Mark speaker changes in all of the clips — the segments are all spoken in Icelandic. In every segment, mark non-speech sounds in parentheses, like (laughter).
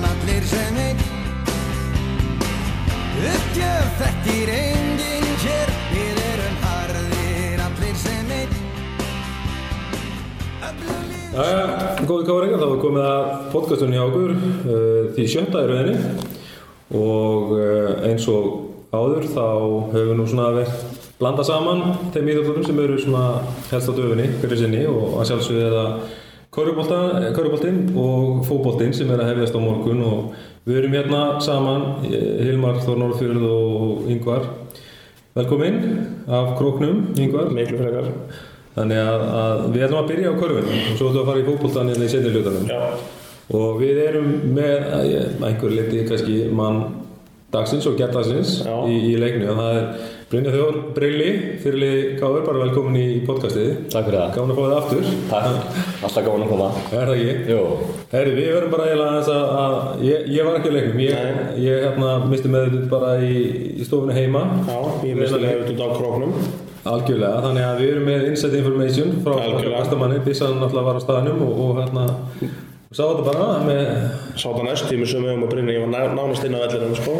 Speaker 1: sem einn Uppgjöf þekkir enginn hér Við erum harðir allir sem einn Öflug lið
Speaker 2: Jæja, góði káringar, þá er komið að podcastunni hjá okkur uh, því sjötta í rauninni og uh, eins og áður þá höfum við nú svona verið blanda saman þeim íþjóðlunum sem eru svona helst á döfunni hverju sinni og að sjálfsögðu eða kauruboltinn eh, og fóboltinn sem er að hefjast á morgun og við erum hérna saman eh, Hilmar Þór Norðfjörð og Yngvar Velkomin af Króknum, Yngvar
Speaker 3: Miklu frekar
Speaker 2: Þannig að, að við ætlum að byrja á körfunum og svo ætlum við að fara í fókbóltan hérna í setni hlutunum.
Speaker 3: Já,
Speaker 2: Og við erum með að ég- að einhverju liti kannski mann dagsins og gerðdagsins
Speaker 3: Já.
Speaker 2: í, í leiknu og það er Brynja Þjór Brilli, fyrirlið Gáður, bara velkomin í podcastið.
Speaker 3: takk fyrir það
Speaker 2: Gáðum að fá þið aftur.
Speaker 3: Takk, alltaf gaman að koma
Speaker 2: Er það ekki?
Speaker 3: Jú,
Speaker 2: Herri, við verðum bara eiginlega aðeins að, að ég, ég var ekki á leiknum, ég,
Speaker 3: Nei.
Speaker 2: ég hérna, misti meðlut bara í, í stofunni heima.
Speaker 3: já, ég misti með út á króknum
Speaker 2: Algjörlega, þannig að við erum með inside information frá okkar
Speaker 3: Algjörlega.
Speaker 2: bestamanni, Bissan náttúrulega var á staðnum og, og hérna og sá þetta bara með,
Speaker 3: Sá það næst tími sem við höfum að brinna Ég var ná- nánast inn á vellinum, sko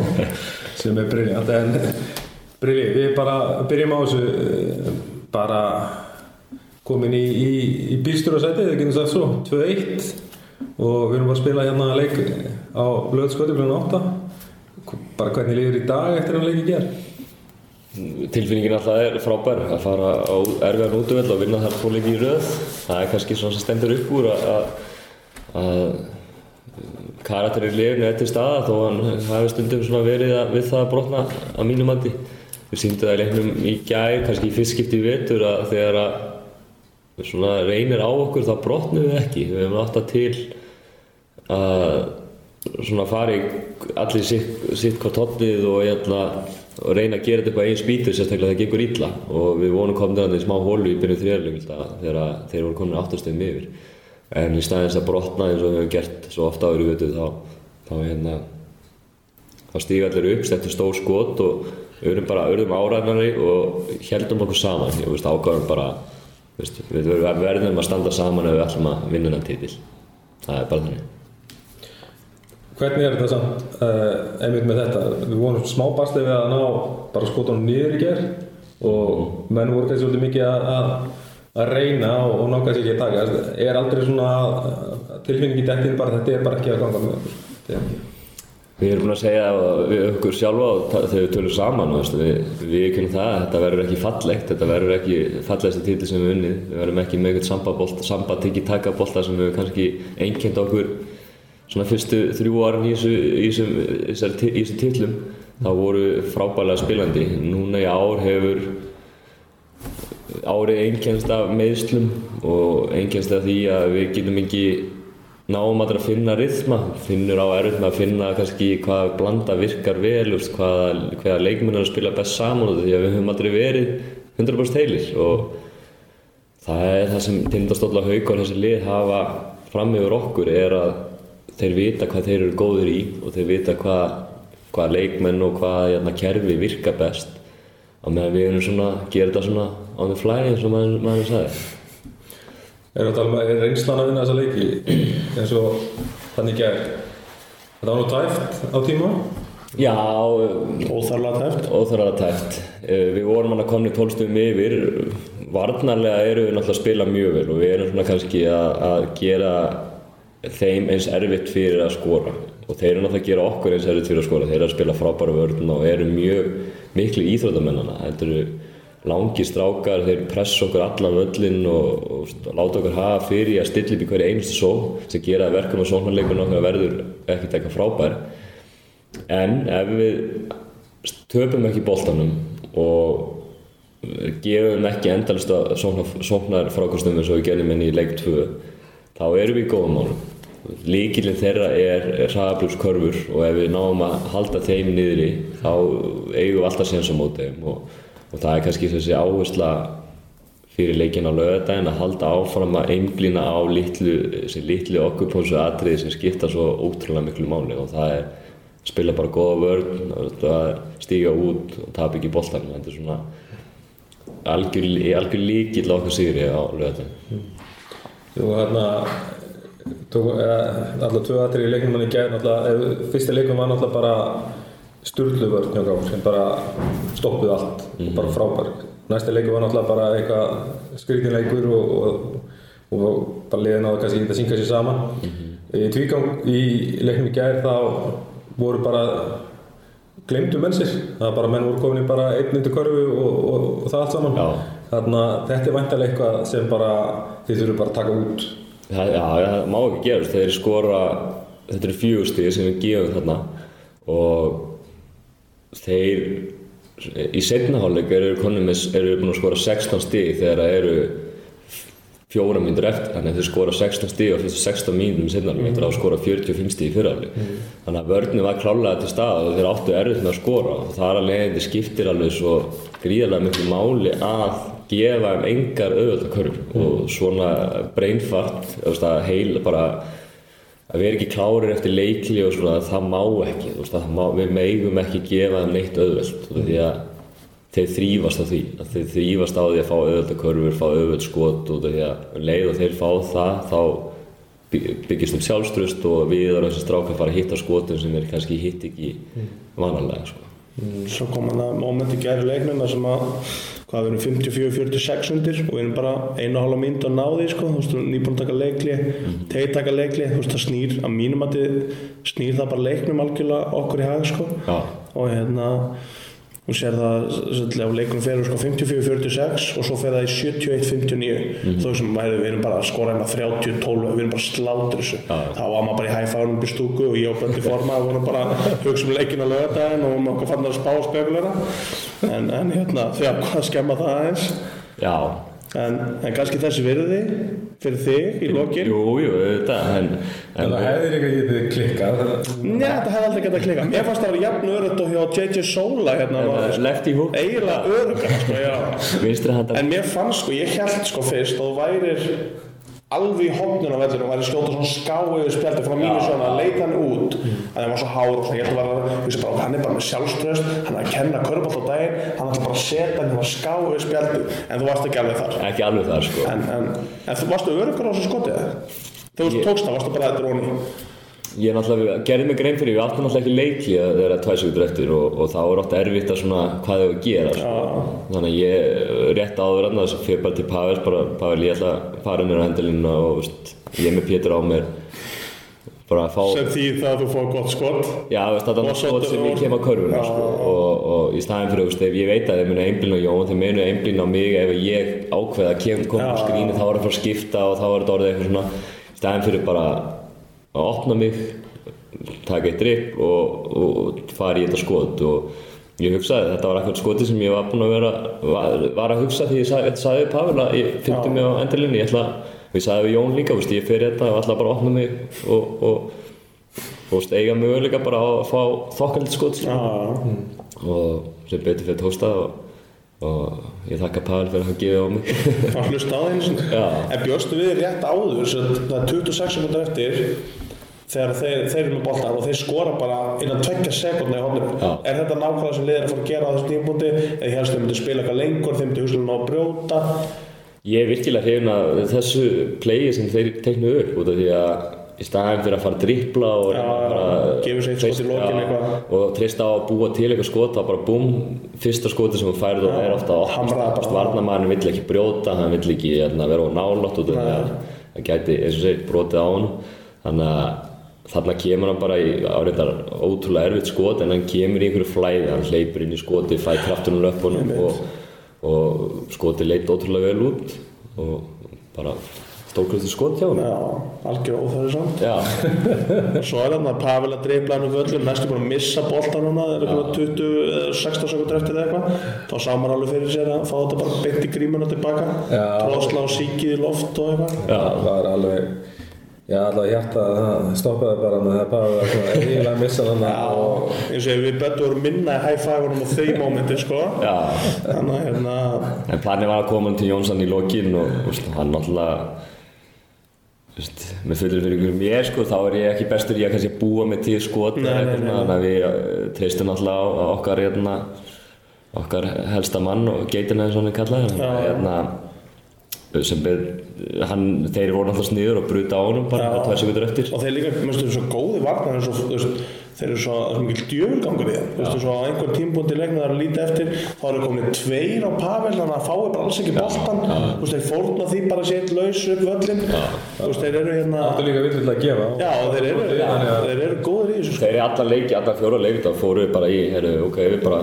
Speaker 2: sem er briljant en brilji, við bara byrjum á þessu eh, bara komin í, í, í bílstjórasæti, það getur sagt svo 2-1 og við erum bara að spila hérna leik á lögðskotu kl. 8 bara hvernig líður í dag eftir hann leik í gerð
Speaker 4: Tilfinningin alltaf er frábær að fara á erfiðan útvöld og vinna þar tvo leiki í röð. Það er kannski svona sem stendur upp úr að, að, að karakterinn í liðinu er til staða þó hann hafi stundum svona verið að, við það að brotna að mínum andi. Við síndum það í leiknum í gær, kannski í fyrstskipti í vetur að þegar að svona reynir á okkur þá brotnum við ekki. Við höfum átt að til að svona fari allir sitt, sitt hvað tóttið og, ætla, og reyna að gera þetta upp á eigin spýtu sérstaklega það gengur illa og við vonum komnir að það í smá hólu í byrjun þrjörlum þegar að þeir voru komin áttastum yfir en í staðins að brotna eins og við höfum gert svo ofta áður í vötu þá, þá hérna þá stíga allir upp, stendur stór skot og við erum bara örðum áræðnari og heldum okkur saman og veist, ákvæðum bara þú veist, við verðum- verðum að standa saman ef við ætlum að vinna hennan titil það er bara þannig
Speaker 2: Hvernig er þetta samt uh, einmitt með þetta? Við vorum smá bastið við að ná bara skotunum niður í gerð og menn voru kannski svolítið mikið að, að, að reyna og, og ná kannski ekki að taka. Þetta Er aldrei svona eh, að- tilfinningi dettin bara þetta er bara ekki að ganga með okkur. Þetta er ekki.
Speaker 4: Við erum búin að segja að við okkur sjálfa og ta- þegar við tölum saman, þú veist, við, við kynum það að þetta verður ekki fallegt, þetta verður ekki fallegasti títil sem við unnið, við verðum ekki með einhvern sambabolt, sambatikki takabolta sem við kannski einkennt okkur svona fyrstu þrjú árin í þessu, í þessum, í þessar ti- í þessum titlum, þá voru frábælega spilandi. Núna í ár hefur árið einkennst af meðslum og einkennst af því að við getum ekki náum allra að finna rithma, finnur á erfitt með að finna kannski hvað blanda virkar vel, þú veist, hvað, hvaða leikmennar spila best saman og því að við höfum aldrei verið 100% heilir og það er það sem tindastólla hauk og þessi lið hafa fram yfir okkur er að þeir vita hvað þeir eru góðir í og þeir vita hvað, hvað leikmenn og hvað jæna, kerfi virka best á meðan við erum svona, gera þetta svona on the fly eins og maður, maður sagði
Speaker 2: Erum við að tala um að er reynslan að vinna þessa leiki eins og þannig gerð. Þetta var nú tæft á tíma.
Speaker 4: Já,
Speaker 3: Óþarlega tæft
Speaker 4: óþarfara tæft. Eh, Við vorum hann að komni tólstum yfir, varnarlega erum við náttúrulega að spila mjög vel og við erum svona kannski að, að gera þeim eins erfitt fyrir að skora og þeir eru náttúrulega að gera okkur eins erfitt fyrir að skora, þeir eru að spila frábæra vörðin og eru mjög miklu íþróttamennana, þetta eru langi strákar, þeir pressa okkur allan völlin og, og st- láta okkur hafa fyrir í að stilla upp í hverju einustu só sem gera að verkum og sóknarleikunum okkar verður ekkert eitthvað frábær En ef við töpum ekki boltanum og gefum ekki endalist að sóknar frákostum eins og við gerðum inn í leik 2 þá erum við í góðum málum. Líkilinn þeirra er hraðablúskörfur og ef við náum að halda þeim niðri þá eigum við alltaf séns á móti þeim og, og það er kannski þessi áhersla fyrir leikin á laugardaginn að halda áfram að einblýna á litlu, þessi litlu okkupónsu atriði sem skipta svo ótrúlega miklu máli og það er spila bara góða vörn að stíga út og tapa ekki boltanum þetta er svona algjör, algjör líkill á okkar sigri á laugardaginn
Speaker 2: Og hérna tók, eh, alltaf tvö aðtrið í leiknum hann í gæðin alltaf, eh, fyrsta leikum var alltaf bara sturlu vörn hjá gáður sem bara stoppuð allt og bara frábær næsta leikum var alltaf bara eitthvað skrítinleikur og, og, og bara liðin á það kannski ekki að synga sér saman í tvígang í leiknum í gæðin þá voru bara glemdu menn sér það var bara menn voru komin í bara einn undir körfu og, og, og það allt saman
Speaker 4: Já.
Speaker 2: þannig að þetta er væntalega eitthvað sem bara þið þurfum bara að taka út
Speaker 4: Það, já, það má ekki gerast, þeir skora, þetta eru fjögustíði sem við gefum þarna og þeir í setnaháleik eru konum með, eru búin að skora 16 stíði þegar það eru fjóra mínútur eftir, þannig að þeir skora 16 stíði á fyrstu 16 mínútum í setnaháleik eftir að hafa skorað 45 stíði í fyrraháleik þannig að vörnum var klálega til stað og þeir áttu erfitt með að skora og það er alveg þetta skiptir alveg svo gríðarlega miklu máli að gefa þeim engar auðvöldakörf og svona breinfart þú veist, að heila bara að vera ekki klárir eftir leikli og svona það má ekki, þú veist, það má, við megum ekki gefa þeim neitt auðvöld því að þeir þrýfast á því að þeir þrýfast á því að fá auðvöldakörfur fá auðvöldskot og því að um leið og þeir fá það þá by- byggist um sjálfstrust og við erum þessi stráka að fara að hitta skotum sem er kannski hitt ekki vanalega sko.
Speaker 5: Svo kom hann að moment í gæri leiknum þar sem að hvað við erum 54-46 undir og við erum bara einu og hálfa mynd að ná því sko, þú veist, nýbúin að taka leikli þeir taka leikli, þú veist, það snýr að mínum að snýr það bara leiknum algjörlega okkur í hag sko
Speaker 4: Já.
Speaker 5: og hérna þú sér það, svolítið á leikunum fyrir sko 54-46 og svo fer það í 71-59
Speaker 4: Mhm.
Speaker 5: þó sem maður, við erum bara að skora hérna 30-12, við erum bara að slátur þessu
Speaker 4: Já, já.
Speaker 5: þá var maður bara í hæfánum upp í stúku og ég og Böndi Forma vorum bara að hugsa um leikin á lögadaginn og vorum okkur fann að spá spekulera en, en hérna, því að hvað skemma það aðeins
Speaker 4: Já,
Speaker 5: en, en kannski þessi virði fyrir þig í lokin
Speaker 4: Jú, jú, þetta en,
Speaker 2: En það hefði líka getið klikkað
Speaker 5: Nei, þetta hefði aldrei getað klika Mér fannst það að jafn örögt og hjá JJ Sola hérna, maður, sko.
Speaker 4: lefti húk
Speaker 5: eiginlega örugan sko, já.
Speaker 4: vinstri handar
Speaker 5: En mér fannst sko, ég held sko fyrst að þú værir alveg í hóknun á vellinu og væri skjóta svona skáu yfir spjaldi frá mínu svona að leita hann út en það var svo hár og svona, ég held að vera vissi bara, hann er bara með sjálfströst, hann er að kenna körbátt á daginn, hann ætla bara að setja hann yfir skáu yfir spjaldi, en þú varst ekki alveg þar
Speaker 4: ekki alveg það sko
Speaker 5: en, en, en þú varstu örugur á þessu skotið eða? þegar þú
Speaker 4: Ég-
Speaker 5: tókst það, varstu bara þetta róni
Speaker 4: ég náttúrulega gerði mig grein fyrir við áttum náttúrulega ekki leikli að þeirra tvæsugur eftir og, og það var ofta erfitt að svona hvað þau að gera sko. þannig að ég eh, rétt áður annað þess að fyrir bara til Pavel bara Pavel ég ætla að fara mér á hendilina og veist, ég er með Pétur á mér bara að fá
Speaker 5: sem því það að þú fóðu gott skot
Speaker 4: Já, þú veist, þetta
Speaker 5: Og
Speaker 4: er
Speaker 5: svo
Speaker 4: skot sem
Speaker 5: dögum.
Speaker 4: ég kem á körfuna sko. og, og í staðin fyrir, þú veist, ef ég veit að þeir munu einblín á Jón, þeir munu einblín á mig ef ég ákveða að kem, koma á
Speaker 5: Já.
Speaker 4: skrínu þá er það frá að skipta og þá er þetta orðið eitthvað svona í staðin fyrir bara að opna mig taka eitt drip og, og fara í þetta skot og ég hugsaði, þetta var eitthvað skoti sem ég var búinn að vera var, var að hugsa því ég sagði, sagði við Pavel að ég fyndi mig á endurlinni, ég ætla og ég sagði við Jón líka, þú veist, ég fer í þetta og ætla bara að opna mig og, og Þú veist, eiga möguleika bara á að fá þokkaldi skot
Speaker 5: Já,
Speaker 4: sko.
Speaker 5: já,
Speaker 4: og sem betur fyrir tósta og, og ég þakka Pavel fyrir að hafa gefið á mig (laughs)
Speaker 5: já. það hlusta á það einu sinni
Speaker 4: Já,
Speaker 5: En bjóstu við rétt áður, sem það er 26 sekundar eftir þegar þeir, þeir eru með boltan og þeir skora bara innan 20 sekundar í hóndinu.
Speaker 4: Já.
Speaker 5: Er þetta nákvæmlega sem liðir að fara að gera á þessu tímpúti? Eða helst þeir myndi spila eitthvað lengur, þeir myndi hugslum að brjóta?
Speaker 4: ég er virkilega hrifin að þessu playi sem þeir teiknu upp út af því að í staðan fyrir að fara að drippla og
Speaker 5: Já,
Speaker 4: reyna bara-
Speaker 5: gefur sér eitt skot í
Speaker 4: treyst-
Speaker 5: lokin
Speaker 4: já,
Speaker 5: eitthvað.
Speaker 4: og treysta á að búa til eitthvað skot þá bara búm, fyrsta skoti sem þú færð og það er ofta
Speaker 5: hamraði bara.
Speaker 4: að varnamæðin vill ekki brjóta, hann vill ekki hérna, vera á nálátt út af því að það gæti, eins og segir, brotið á hann þannig að þarna kemur hann bara í áreindar ótrúlega erfitt skot en hann kemur í einhverju flæði, hann hleypur inn í skoti fæ kraftunum löpunum og, og skoti leit ótrúlega vel út og bara stórkvæmstu skot hjá hann
Speaker 5: Já, algjör óþæri samt.
Speaker 4: Já,
Speaker 5: Og svo er þarna Pavel að dreifla hann um völlum, næstu bara að missa boltan núna, það er eitthvað 20, eða 16 sekundar eftir eða eitthvað. Þá sá maður alveg fyrir sér að fá þetta bara beint í grímuna tilbaka,
Speaker 2: Já.
Speaker 5: tróðsla og síkið í loft og eitthvað.
Speaker 4: já,
Speaker 2: Það var alveg Já, allavega hjarta það stoppaði bara hann það bara var svona eiginlega að missa hann og
Speaker 5: eins og við betur vorum minna í high-five-unum á þeim mómenti sko
Speaker 4: já
Speaker 5: þannig að hérna
Speaker 4: En planið var að koma hann til Jónsson í lokin og veist, hann náttúrulega veist, með fullur fyrir ykkur mér sko, þá er ég ekki bestur í að kannski búa með tíð skot eða
Speaker 5: Nei, nei,
Speaker 4: eitthvað svona, þannig að við eh, treystum náttúrulega á á okkar hérna, okkar helsta mann og geitina eins og hann er kallað
Speaker 5: Já, já.
Speaker 4: hérna, sem ber, hann, þeir voru alltaf sniður og bruta á honum bara
Speaker 5: Já.
Speaker 4: ja. tvær sekundur eftir
Speaker 5: og þeir líka, mér finnst þeir svo góði varnar svo, þú veist, þeir eru svo, það er svo mikil djöfurgangur í þeim þú veist, svo á einhver tímbúndi leikna það er að líta eftir þá eru komin tveir á Pavel þannig að það fái bara alls ekki boltan þú veist, þeir fórna því bara sér laus upp völlin þú veist, þeir eru hérna
Speaker 2: Þetta er líka villilega að gefa
Speaker 5: já, og þeir eru,
Speaker 2: Þannig að-
Speaker 5: þeir eru góðir í þessu sko.
Speaker 4: þeir eru alla leiki, alla fjóra leiki þá fóru við bara í, heyrðu, ok, við bara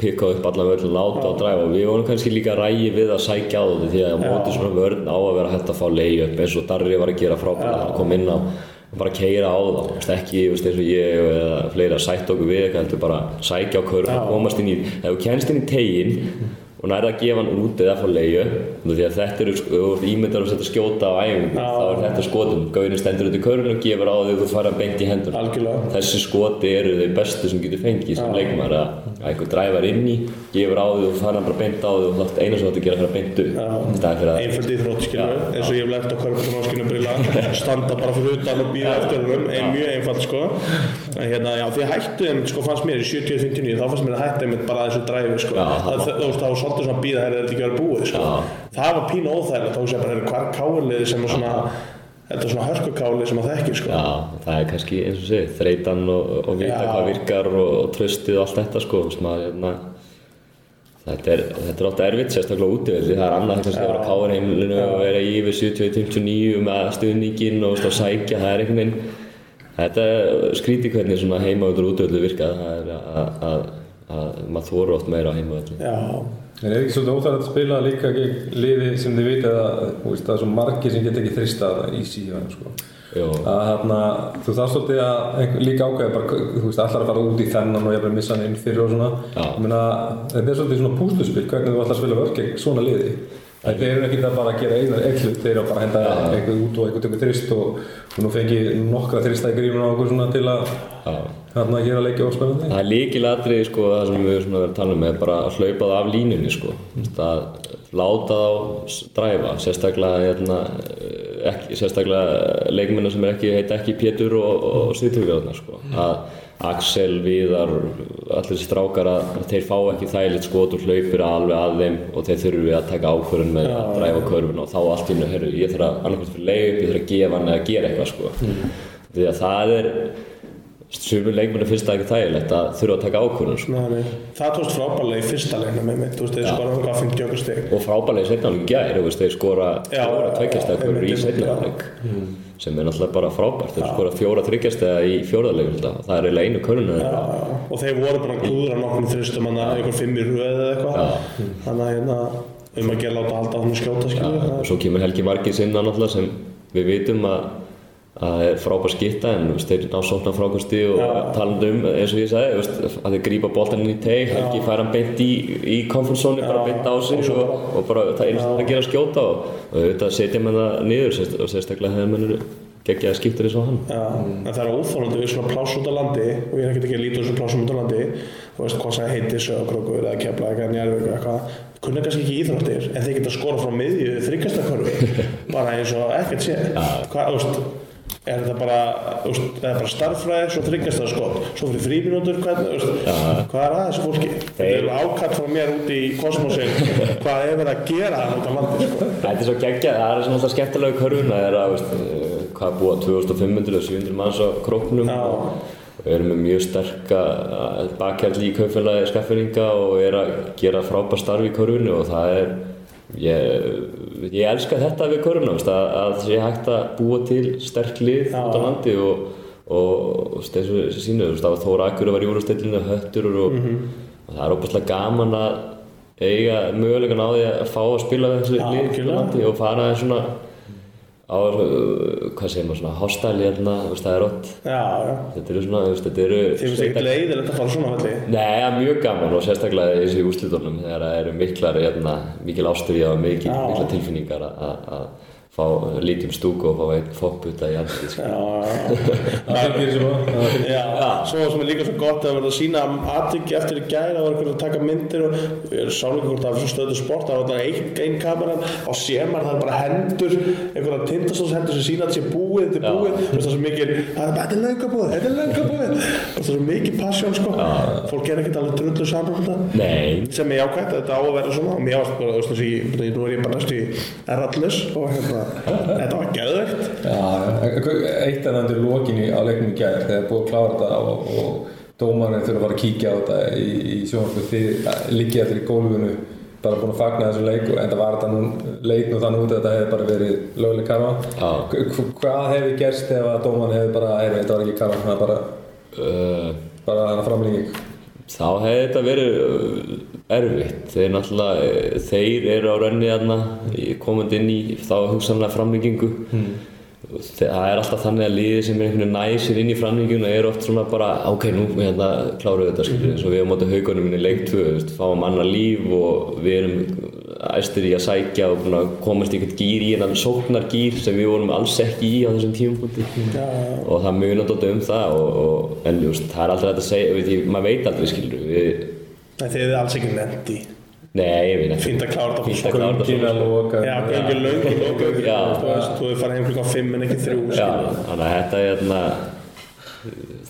Speaker 4: pikkaðu upp alla vörðin, láta og dræfa og við vorum kannski líka rægi við að sækja á þetta því að á móti svona vörðin á að vera hægt að fá leiði upp eins og Darri var að gera frábæra hann kom inn á og bara keira á þá, þú veist, ekki þú veist, eins og ég eða fleiri að sætta okkur við eitthvað, heldur bara sækja á körf og komast inn í, ef þú kennst inn í tegin og nærið að gefa hann út eða fá leiði því að þetta eru, sko- ef þú ert ímyndar að setja skjóta á æfingu, þá er þetta skotum gauðin stendur út í körfinu og gefur á því og þú fara beint í hendur
Speaker 5: algjörlega
Speaker 4: þessi skoti eru þeir bestu sem getur fengið sem leikmaður að, að einhver dræfar inn í gefur á því og fara hann bara beint á því og það eina sem þetta gera að fara beint upp í staðinn fyrir að
Speaker 5: einföld í þrótt, skilur eins og ég hef lært á körpjumannskinu brilla standa bara fyrir utan og býða eftir húnum ein, mjög einfalt, sko en hérna, já, því hættu þeim, sko, fannst mér í 70-59 þá fannst mér að hættu þeim bara að þessu dræfi, sko
Speaker 4: Já,
Speaker 5: það, það, þú veist, þá var svolítið svona býða þegar þetta ekki verið búið, sko
Speaker 4: Já.
Speaker 5: það var pínu óþægilegt, þá sem bara hérna, hvað káliði sem er svona þetta er svona hörkukáli sem að þekki, sko
Speaker 4: Já, það er kannski eins og segið, þreytan og, og vita
Speaker 5: Já.
Speaker 4: hvað virkar og, og tröstið og allt þetta sko, sem að, hérna, þetta er, þetta er alltaf erfitt, sérstaklega útivelli, það er annað kannski að vera á káður heimilinu og vera í yfir 70-59 með stuðningin og svona sækja, það er einhvern veginn, þetta skríti hvernig svona heimaöldur og útivelli virka, það er að, að, að, maður þóru oft meira á heimaöldu.
Speaker 5: já,
Speaker 2: En er ekki svolítið óþægilegt að spila líka gegn liði sem þið vitið að þú veist, það er svo margir sem get ekki þristað í síðan sko.
Speaker 4: Jó.
Speaker 2: að hérna, þú þarf svolítið að einhver, líka ákveða bara, þú veist, allar að fara út í þennan og ég að missa hann inn fyrir og svona
Speaker 4: Já.
Speaker 2: ég meina, þetta er svolítið svona pústuspil hvernig þú ætlar að spila vörk gegn svona liði en þeir eru ekki það bara að gera einar eklut þeir eru bara að henda eitthvað út og eitthvað tekur þrist og, og nú fengi nokkra þrista í grífuna og okkur svona til að
Speaker 4: Já.
Speaker 2: hérna að gera leikja óspennandi
Speaker 4: Það er líkilatriði sko það sem við erum svona verið að tala um er bara að hlaupa það af línunni sko að láta þá s- dræfa sérstaklega hérna, eh, ekki, sérstaklega leikmennar sem er ekki, heita ekki Pétur og, og Sýtugjóðnar sko að Axel, Viðar, allir þessi strákar að að þeir fá ekki þægilegt skot og hlaupir alveg að þeim og þeir þurfi að taka ákvörðun með að dræfa körfun og þá allt í hennu, herru, ég þarf að annarkvæmt fyrir leið upp, ég þarf að gefa hann eða gera eitthvað sko því að það er Sumur leikmennu finnst það ekki þægilegt að þurfa að taka ákvörðun sko.
Speaker 5: Nei, nei. það tókst frábælega í fyrsta leikna með mitt, þú veist, þeir skoraði hvað 50 okkur stig
Speaker 4: og frábælega í setnáleik gær, þú veist, þeir skora
Speaker 5: Já,
Speaker 4: fjóra
Speaker 5: já, já,
Speaker 4: tveggjastæðakvörður í
Speaker 5: einmitt, einmitt,
Speaker 4: setnáleik sem er náttúrulega bara frábært, þeir skora fjóra þryggjastæða í fjórðarleik það er eiginlega einu körnuna þeirra
Speaker 5: og þeir voru bara að klúðra nokkrum þristum hann að einhver fimm í röð eða eitthvað þannig að hérna um að gera láta halda hann að skjóta skilur
Speaker 4: og svo kemur Helgi Margins inn á náttúrulega sem við vitum að að það er frábær skitta en þú veist, þeir ná sókna frákvæmsti og talandi um eins og ég sagði þú veist, að þeir grípa boltaninn í teg Helgi fær hann beint í, í komfortzóni bara beint á sig og, og bara það er að gera að skjóta og, og auðvitað setja menn það niður sérst- og sérstaklega hefur mennur geggjaði skiptir eins og hann
Speaker 5: Já, en það er óþólandi við svona pláss út á landi og ég er ekkert ekki að líta úr svona plásum út á landi þú veist hvað sem heitir sögurkrókur eða kefla eitthvað njárvík eitthvað kunna kannski ekki íþróttir en þeir geta skora frá miðju þryggastakörfi bara eins og ekkert sé hvað, þú veist er þetta bara, þú veist, það er bara starffræði svo þryggastakskot, svo fyrir fríminútur hvað, þú veist, hvað er að þessu fólki þetta
Speaker 4: Þeir-
Speaker 5: er ákall frá mér út í kosmosin hvað er verið að gera þarna út á landi sko.
Speaker 4: Þetta er svo geggjað, það er svona alltaf skemmtilega í körfuna það er að, veist, eh, hvað búa 2500 og 700 manns á króknum
Speaker 5: Já.
Speaker 4: og við erum með mjög sterka bakhjarli í kaupfélagi skafferinga og er að gera frábær starf í körfunu og það er ég, ég elska þetta við körfuna veist, að, að sé hægt að búa til sterk lið út á landi og, og, og þessu sínu, þú veist, það var Þóra Akur var í úrstillinu, Höttur og, og það er óbúslega gaman að eiga mögulegan á því að fá að spila við þessu lið út á
Speaker 5: algjörlega.
Speaker 4: landi og fara aðeins svona á, uh, hvað segir maður, svona hostæli hérna, þú veist, það er ótt
Speaker 5: já, já,
Speaker 4: Þetta eru svona, þú veist, þetta eru
Speaker 5: þeir finnst ekki leiðilegt að fara svona velli
Speaker 4: Nei, það er mjög gaman og sérstaklega í þessu úrslitunum þegar það eru miklar, hérna, mikil ástriða og mikil,
Speaker 5: Já.
Speaker 4: mikla tilfinningar að- að að fá lítjum stúku og fá einn fokkbuta í andlið sko.
Speaker 2: Það fyrir sem að það fylgir.
Speaker 5: Já, svo sem er líka svo gott að verða að sína aðtrykki eftir í gæri, það var einhvern að taka myndir og ég sá líka hvort það var svo stöðu sport, það var þarna einn ein kameran og sér maður það er bara hendur, einhverja tindastóðshendur sem sína að sé búið, þetta er búið, veist það er svo mikið, það er bara, þetta er löngabúið, þetta er
Speaker 4: (laughs)
Speaker 5: löngabúið, veist það er svo mikið passjón sko, fólk er ekkert alveg drullu saman um þetta
Speaker 4: Nei,
Speaker 5: sem er jákvæmt að þetta á að vera svona og mér ást bara, þú veist þessi, ég- ég- nú er ég bara næstu í erallus og
Speaker 4: (laughs)
Speaker 5: hérna, þetta var gæðvegt
Speaker 2: Já, en hvað- eitt er þannig lokinni á leiknum í gær þegar búið að klára þetta og, og dómarinn þurfa að fara að kíkja á þetta í, í sjónvarpu þið liggja eftir í gólfinu bara búin að fagna þessu leik en það var þetta nú leit nú þannig út að þetta hefði bara verið löguleg
Speaker 4: Já.
Speaker 2: karfa Hva- hvað hefði gerst ef að dómarinn hefði bara "Heyrðu, þetta var ekki karfa, það er bara
Speaker 4: uh,
Speaker 2: bara þannig framlýning
Speaker 4: þá hefði þetta verið uh, erfitt. Þeir náttúrulega, eh, þeir eru á renni þarna, í- komandi inn í þá hugsanlega framlengingu. Og þe- Það er alltaf þannig að liðið sem er einhvern veginn næsir inn í framlenginguna er oft svona bara ok, nú hérna kláruðu þetta skilur eins og við á móti haugunum minni leik 2, þú veist, fáum annað líf og við erum æstir í að sækja og búin að komast í einhvern gýr í einhvern sóknargýr sem við vorum alls ekki í á þessum tímapunkti og það munar dóttu um það og, og, en just, það er aldrei hægt að segja, veit ég, maður veit aldrei skilur við,
Speaker 5: Nei, þið hefði alls ekki nefndi
Speaker 4: nei, ég veit ekki
Speaker 5: Fínt að klára þetta
Speaker 4: Fínt að klára þetta
Speaker 2: Göngin að
Speaker 4: svona, sko.
Speaker 2: loka
Speaker 5: Já, göngin löng í loka
Speaker 4: Já.
Speaker 5: Þú veist, þú hefur farið heim klukkan 5 en ekki 3
Speaker 4: Já, þannig að þetta er hérna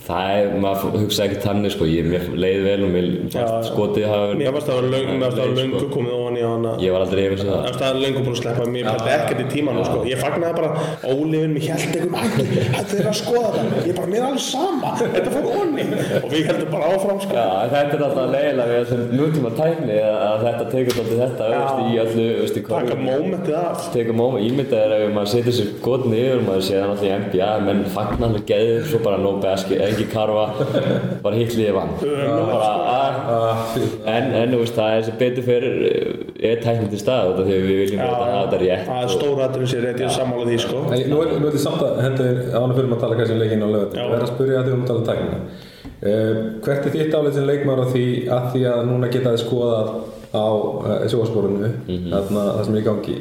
Speaker 4: það er, maður hugsa ekki þannig sko, ég mér leið vel og mér fannst
Speaker 5: já.
Speaker 4: skotið hafa verið-
Speaker 5: Mér fannst það að vera löngu, mér fannst það að vera
Speaker 4: sko.
Speaker 5: löngu komið ofan í hana
Speaker 4: ég var aldrei yfir sem
Speaker 5: Mér
Speaker 4: það
Speaker 5: fannst það að vera löngu búin að sleppa Mér fannst ekkert í tímanum, sko Ég fagnaði bara ólifin, mér held einhvern hættu Þetta er að skoða þetta Ég bara, mér er alveg sama Þetta fór onni Og við heldum bara áfram, sko
Speaker 4: Já, en þetta er alltaf leiðilega við þessum nútíma tækni að að þetta tekur alltaf þetta veist, í öllu, veist, í
Speaker 5: Taka mómentið af
Speaker 4: tekur móma ímyndað er ef maður setur sér gotn yfir maður sé það náttúrulega í NBA menn fagnar alveg geðið svo bara no basket ekki karfa bara hitlið í vann bara að
Speaker 2: Ah,
Speaker 4: en, en þú veist það er sem betur fyrir er tæknir til stað þetta því við viljum bara hafa þetta rétt
Speaker 5: Það er stóra aðurinn sér rétt, ég er sammála því, sko
Speaker 2: En ég- nú er, nú er þetta samt að henda þér ánum fyrir maður að tala kannski um leikinn á lögðin.
Speaker 5: Já.
Speaker 2: Ég verð að spyrja að því um að tala um tæknina. Uh, hvert er þitt álið sem leikmaður að því að, því að núna geta þið skoðað á uh, sjóasporinu,
Speaker 4: Mhm.
Speaker 2: þarna það sem er í gangi?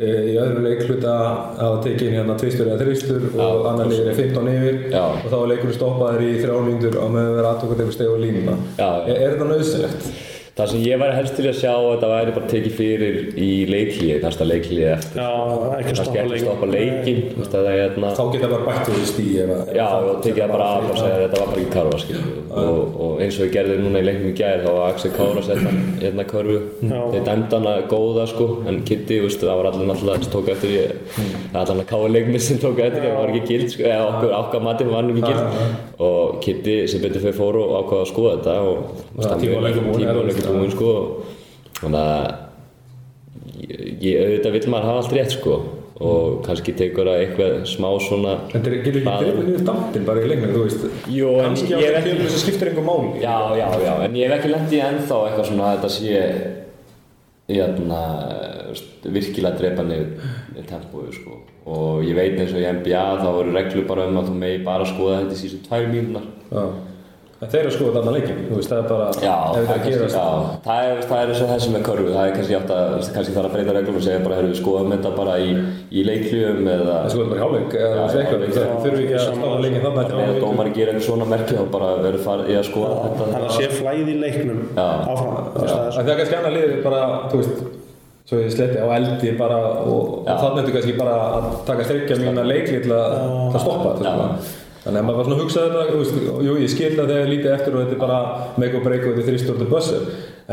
Speaker 2: Uh, í öðrum leik hluta hafa tekið inn hérna tvistur eða þristur og annar liður er 15 yfir
Speaker 4: Já.
Speaker 2: og þá er leikurinn stoppaður í þrjálíndur og meðan við erum aðtökum þegar stegu línuna.
Speaker 4: Já, já.
Speaker 2: Er, er þetta nauðsynlegt?
Speaker 4: það sem ég væri helst til að sjá að þetta væri bara tekið fyrir í leiklíði næsta leiklíði eftir
Speaker 5: Já, ekki að
Speaker 4: kannski
Speaker 5: stoppa
Speaker 4: ekki
Speaker 5: leik
Speaker 4: stoppa leikin þú veist, það er hérna
Speaker 2: Þá geta bara bætt úr í stí ef að...
Speaker 4: Já, og tekið það bara af og segja að þetta var bara ekki karfa skilur. og, og eins og ég gerði núna í leiknum í gær þá var Axel Kára sett hann hérna körfu
Speaker 5: Já.
Speaker 4: þeir dæmdi hana góða sko en Kitty, veistu, það var allir náttúrulega sem tók eftir í það var allir káa leikmið sem tók eftir í það var ekki gild sko, eða okkur ákvað matið var hann ekki gild og Kitty sem betur fyrir fóru og ákvaða að skoða þetta og
Speaker 2: Já, tíma og leikur búinn,
Speaker 4: tíma
Speaker 2: eða,
Speaker 4: og leikur
Speaker 2: veist,
Speaker 4: búinn sko þannig að ég, ég auðvitað vil maður hafa allt rétt sko og kannski tekur það eitthvað smá svona
Speaker 2: En þeir getur ekki
Speaker 4: Bara-
Speaker 2: dreifin niður dampin bara í leiknum, þú veist.
Speaker 4: Jú, en
Speaker 2: Kannski á
Speaker 4: ég
Speaker 2: þeim
Speaker 4: hef
Speaker 2: félögum
Speaker 4: ekki
Speaker 2: sem skiptir einhver máli.
Speaker 4: Já, já, já, en ég hef ekki lent í ennþá eitthvað svona að þetta sé jæna, virkilega drepa niður tempóið sko. og ég veit eins og í NBA þá eru reglur bara um að þú megi bara skoða þetta í síðan tvær mínunar
Speaker 2: Já. En þeir eru sko þarna leikinn, þú veist, það er bara, ef
Speaker 4: Já, það
Speaker 2: þetta
Speaker 4: er kannski,
Speaker 2: gerast.
Speaker 4: já, það er, það er eins og þessum með körfu, það er kannski átt að, kannski þarf að breyta reglum og segja bara, herru, við skoðum þetta bara í, í leikljum eða
Speaker 2: Það sko bara í hálfleik, eða þú veist,
Speaker 4: hálfleik,
Speaker 2: eitthvað,
Speaker 4: já.
Speaker 2: það þurfi ekki að stáða leikinn þarna eftir
Speaker 4: eða
Speaker 2: hálfleik.
Speaker 4: dómar gerir eitthvað svona merkið og bara verður farið í að skoða þetta
Speaker 5: Þannig að sé flæði í leiknum áfram Þú veist, það er
Speaker 2: En Það er kannski annað liðið bara, þú veist, svo ég sletti á eldi bara og, og þannig ertu kannski bara að taka streikja mína leikli til að það stoppa þetta sko. Þannig að maður var svona að hugsa þetta, þú veist, jú ég skil það þegar ég lítið eftir og þetta er bara make or break og þetta er þrýstjórn til bössur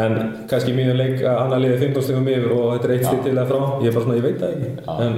Speaker 2: en kannski í mínu leik að annar liðið 15 stegum yfir og þetta er eitt stig til eða frá, ég er bara svona, ég veit það ekki en,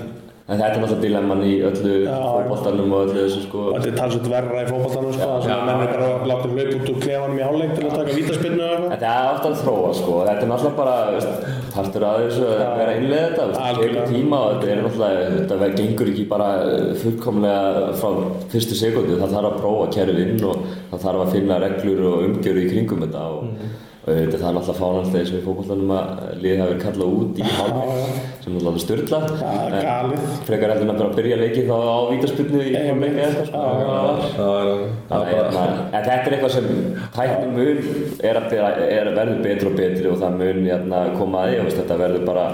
Speaker 4: En þetta er náttúrulega dilemman í öllu fótboltanum og öllu þessu sko
Speaker 5: Þetta er talsveit verra í fótballtanum sko, þar sem að menn er bara að láta hlaup út úr klefanum í hálfleik til að taka vítaspinnu eða eitthvað.
Speaker 4: Þetta er ofta að þróa sko, þetta er náttúrulega bara, veist, þarftur að þessu að vera að innlega þetta, veist,
Speaker 5: Algjörlega.
Speaker 4: tegur tíma og þetta er náttúrulega, þetta ver- gengur ekki bara eh, fullkomlega frá fyrstu sekundu, það þarf að prófa kerfið inn og það þarf að finna reglur og umgjöru í kringum þetta og,
Speaker 5: Mhm.
Speaker 4: og þetta er náttúrulega fánanstegi sem í fótboltanum að liðið hafi verið kallað út í hálfleik sem er náttúrulega styrla.
Speaker 5: Það er galið.
Speaker 4: Frekar heldur en að bara byrja leikið þá á vítaspilnu í hálfleik eða eitthvað sko. Já.
Speaker 2: það er
Speaker 4: Þannig að hérna, en þetta er eitthvað sem tæknin mun er að, bera- er að verður betri og betri og það mun hérna, koma að því, þú veist, þetta verður bara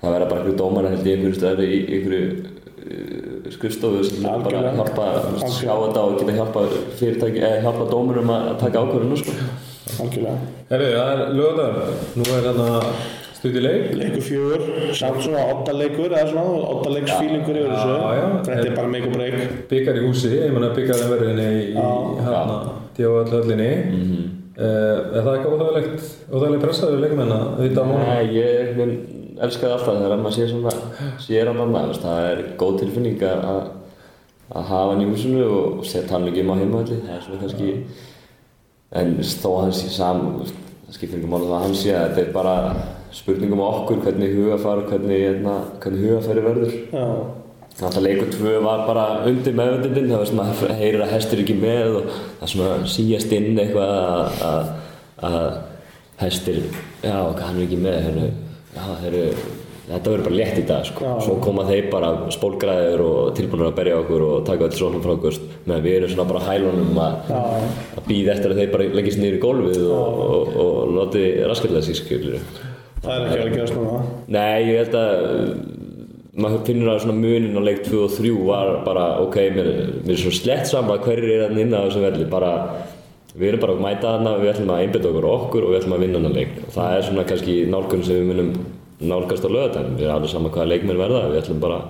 Speaker 4: það verða bara einhverju dómar held ég einhverju stöðri í einhverju skrifstofu sem munu bara
Speaker 5: Algjörlega.
Speaker 4: hjálpa sjá þetta og geta hjálpa fyrirtæki eða hjálpa dómurum að taka ákvörðinu sko.
Speaker 5: algjörlega.
Speaker 2: Herru, það er lögadagur. Nú er þarna stutt í leik.
Speaker 5: Leikur fjögur, samt svona oddaleikur eða svona oddalegsfílingur yfir þessu.
Speaker 2: Já, já.
Speaker 5: Þetta er bara make or break.
Speaker 2: Byggar í húsi, ég meina byggar það verðinni í hérna, djóðallöllinni. Mm
Speaker 5: Mhm.
Speaker 2: -hmm. er það ekki óþægilegt, óþægileg pressaður leikmenn að vita á móna?
Speaker 4: Nei, ég minn, elska það alltaf þegar maður sé svona, sér hann annað, veist, það er góð tilfinning að, að, að hafa hann í húsinu og setja hann ekki um á heimavalli, það er svona kannski, en þó að hann sé saman, veist, það skiptir ekki máli það að hann sé að þetta er bara spurningum á okkur, hvernig hugafar, hvernig, hérna, hvernig hugafæri verður.
Speaker 5: Já,
Speaker 4: Alltaf leikur tvö var bara undir meðvendindin, það var svona að heyrir að hestur er ekki með og það er svona að síast inn eitthvað að- að- að hestur, já, ok, hann er ekki með, heru, já, heru, þetta verður bara létt í dag, sko.
Speaker 5: Já.
Speaker 4: Svo koma þeir bara spólgraðir og tilbúinir að berja okkur og taka öll svona frá okkur, veist, meðan við erum svona bara á hælunum að,
Speaker 5: Já.
Speaker 4: að býða eftir að þeir bara leggist niður í gólfið og, og, og láti raskillega sig, skiljur.
Speaker 5: það er ekki að gerast núna.
Speaker 4: Nei, ég held að uh, maður finnur að svona munin á leik 2 og 3 var bara, ok, mér, mér er svo slett saman hverjir er hann inn á þessu velli bara, við erum bara að mæta hana við ætlum að einbytta okkur á okkur og við ætlum að vinna hana leik og það er svona kannski nálgun sem við munum nálgast á lögadaginn við erum alveg saman hvaða leikmenn verða við ætlum bara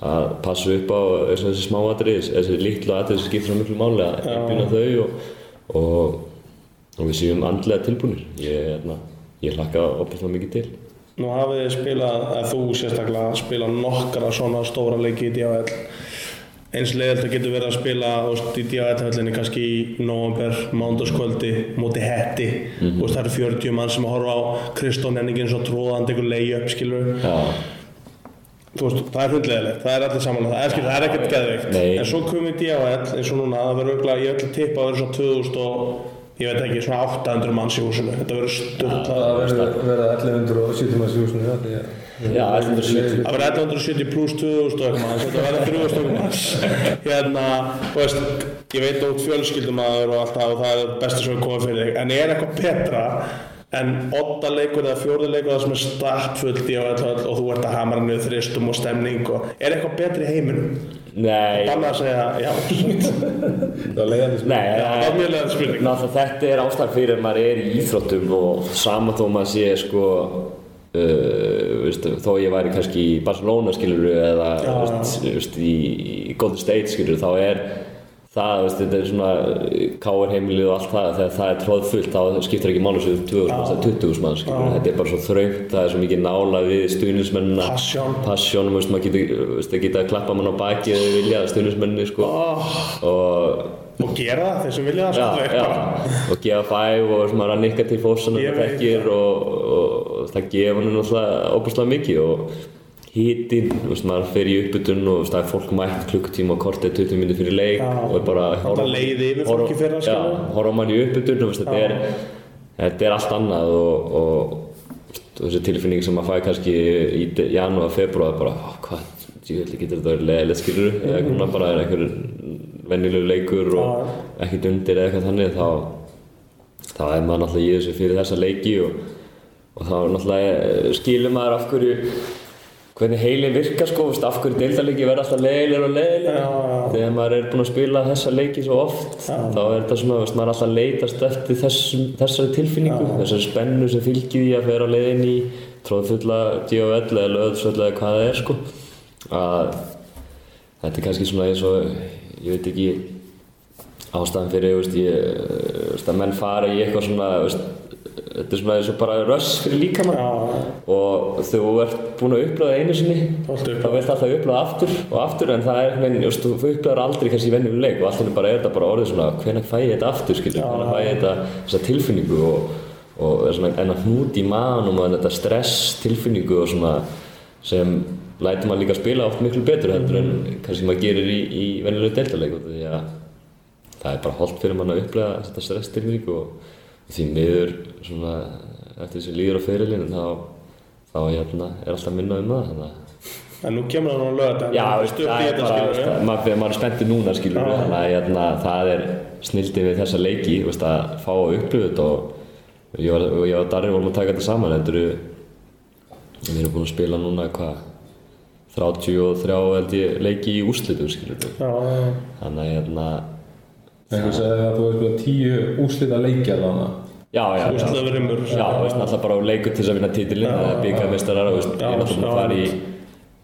Speaker 4: að passa upp á þessi, þessi smá atrið, þessi litlu atrið sem skiptir svo miklu máli að einbýna þau og, og, og við séum andlega tilbúinir ég, hérna, ég hlakka opaslega mikið til
Speaker 5: Nú hafið þið spilað, eða þú sérstaklega, spilað nokkara svona stóra leiki í DHL. Eins leiðilt að getur verið að spila þú veist, í DHL-höllinni kannski í november, mándaskvöldi, móti hetti. Mm veist, Það eru 40 mann sem að horfa á Kristón Henningin svo tróðandi ykkur leiði upp, skilur
Speaker 4: Já,
Speaker 5: Þú veist, það er hundlegilegt, það er allir samanlega, það er skilur, það er ekkert geðveikt.
Speaker 4: Nei.
Speaker 5: En svo komum við í DHL eins og núna, það verður örugglega, ég ætla að tippa að verður svona 2000 og, ég veit ekki, svona 800 manns í húsinu. Þetta verður störtlað.
Speaker 2: Það verður verða 1170 manns í húsinu, þetta er...
Speaker 4: Já, 1170.
Speaker 5: Það verður 1170 pluss 2000 og eitthvað manns, þetta verður 3000 og eitthvað manns. Hérna, þú veist, ég veit út fjölskyldumæður og allt það og það er besta sem er komið fyrir þig. En er eitthvað betra en otta leikur eða fjórða leikur það sem er startfullt í og eitthvað og þú ert að hamra niður þristum og stemning og er eitthvað betri í heiminum?
Speaker 4: Nei,
Speaker 5: Banna að segja, já, satt.
Speaker 2: Það er leiðandi spil.
Speaker 4: nei,
Speaker 5: það
Speaker 4: það
Speaker 5: var mjög leiðan spurning.
Speaker 4: Náttúrulega þetta er ástæðan fyrir að maður er í íþróttum og sama þó maður sé sko uh, veist, þó ég væri kannski í Barcelona skilur eða veist, veist, í, í Golden State skilur þá er það, veist, þetta er svona káir heimilið og allt það þegar það er tróðfullt þá skiptir ekki mánu sem 20.000 manns, það er 20.000 manns skilur þetta er bara svo þröngt, það er svo mikið nála við stuðnismennina
Speaker 5: Passion.
Speaker 4: passion, veist, maður getur, veist, að geta að klappa mann á baki eða vilja stuðnismenninni sko og
Speaker 5: Og gera það, þeir sem vilja það,
Speaker 4: já,
Speaker 5: sko, það er
Speaker 4: já.
Speaker 5: bara.
Speaker 4: og gefa fæf og svona að nikka til fósan og
Speaker 5: Ég veit
Speaker 4: þekkir og, og, og það gefa henni náttúrulega óbúslega mikið og hitinn, þú veist, maður fer í uppbytun og þú veist, það er fólk mætt klukkutíma og kortið 20 minni fyrir leik og er bara horfa-
Speaker 5: leið yfir
Speaker 4: horfa-
Speaker 5: fólki fyrir að
Speaker 4: já,
Speaker 5: skilja.
Speaker 4: horfa á mann í uppbytun, þú veist, þetta er þetta er allt annað og, og þú veist, þessi tilfinning sem maður fæði kannski í de- janúar, februar bara, "Ó, hvað, ég ætla getur þetta verið leðilegt skilur
Speaker 5: Mhm.
Speaker 4: eða núna bara er einhver venjulegu leikur og ekkert undir eða eitthvað þannig þá, þá er maður náttúrulega í þessu fyrir þessa leiki og, og þá náttúrulega eh, skilur maður af hverju hvernig heilin virkar sko, veist, af hverju deildarleiki verða alltaf leiðilegur og leiðilegur þegar maður er búinn að spila þessa leiki svo oft þá er þetta svona, veist, maður er alltaf að leitast eftir þessum, þessari tilfinningu þessari spennu sem fylgir því að vera leiðin í tróðfulla D.O.L. eða löðsvöll eða hvað það er sko að þetta er kannski svona eins og ég veit ekki ástæðan fyrir, veist, ég, veist, að menn fara í eitthvað svona, veist, þetta er svona eins og bara röss fyrir líkamann og þegar þú ert búinn að upplæða einu sinni,
Speaker 5: Þá ertu
Speaker 4: þá vilt alltaf upplæða aftur og aftur en það er einhvern veginn, veist, þú upplæðar aldrei kannski í venjum leik og alltaf er bara, er þetta bara orðið svona, hvenær fæ ég þetta aftur, skilur, hvenær fæ ég þetta, þessa tilfinningu og, og er svona enn að hnúti í maðanum og þetta stress tilfinningu og svona sem lætur maður líka að spila oft miklu betur heldur en kannski maður gerir í, í venjulegu deltaleik því að það er bara holdt fyrir mann að upplega þetta stresstilfinningu og, og því miður svona eftir þessi líður á fyrirlinu þá, þá hérna, er alltaf minna um það þannig að
Speaker 5: En nú kemur það núna lögðan,
Speaker 4: Já,
Speaker 5: það er
Speaker 4: veist,
Speaker 5: stutt í
Speaker 4: það er
Speaker 5: þetta,
Speaker 4: bara,
Speaker 5: skilur
Speaker 4: veist, að maður, maður er spenntið núna skilur við, þannig að hérna, það er snildi við þessa leiki, veist, að fá að upplifa þetta og ég var, og ég var Darri vorum að taka þetta saman, þetta eru Við erum búin að spila núna hvað 33 held ég leiki í úrslitum skilur við.
Speaker 5: Já, já, já.
Speaker 4: Þannig að hérna,
Speaker 2: Einhver sagði að þú hefði spilað tíu úrslita leiki að þarna.
Speaker 4: já, já, já.
Speaker 5: Úrslit yfir rimur.
Speaker 4: Já, veist, alltaf bara á leikur til þess að vinna títilinn, það er byggamestrar og veist, ég
Speaker 5: Já,
Speaker 4: er alltaf búin að
Speaker 5: já,
Speaker 4: fara í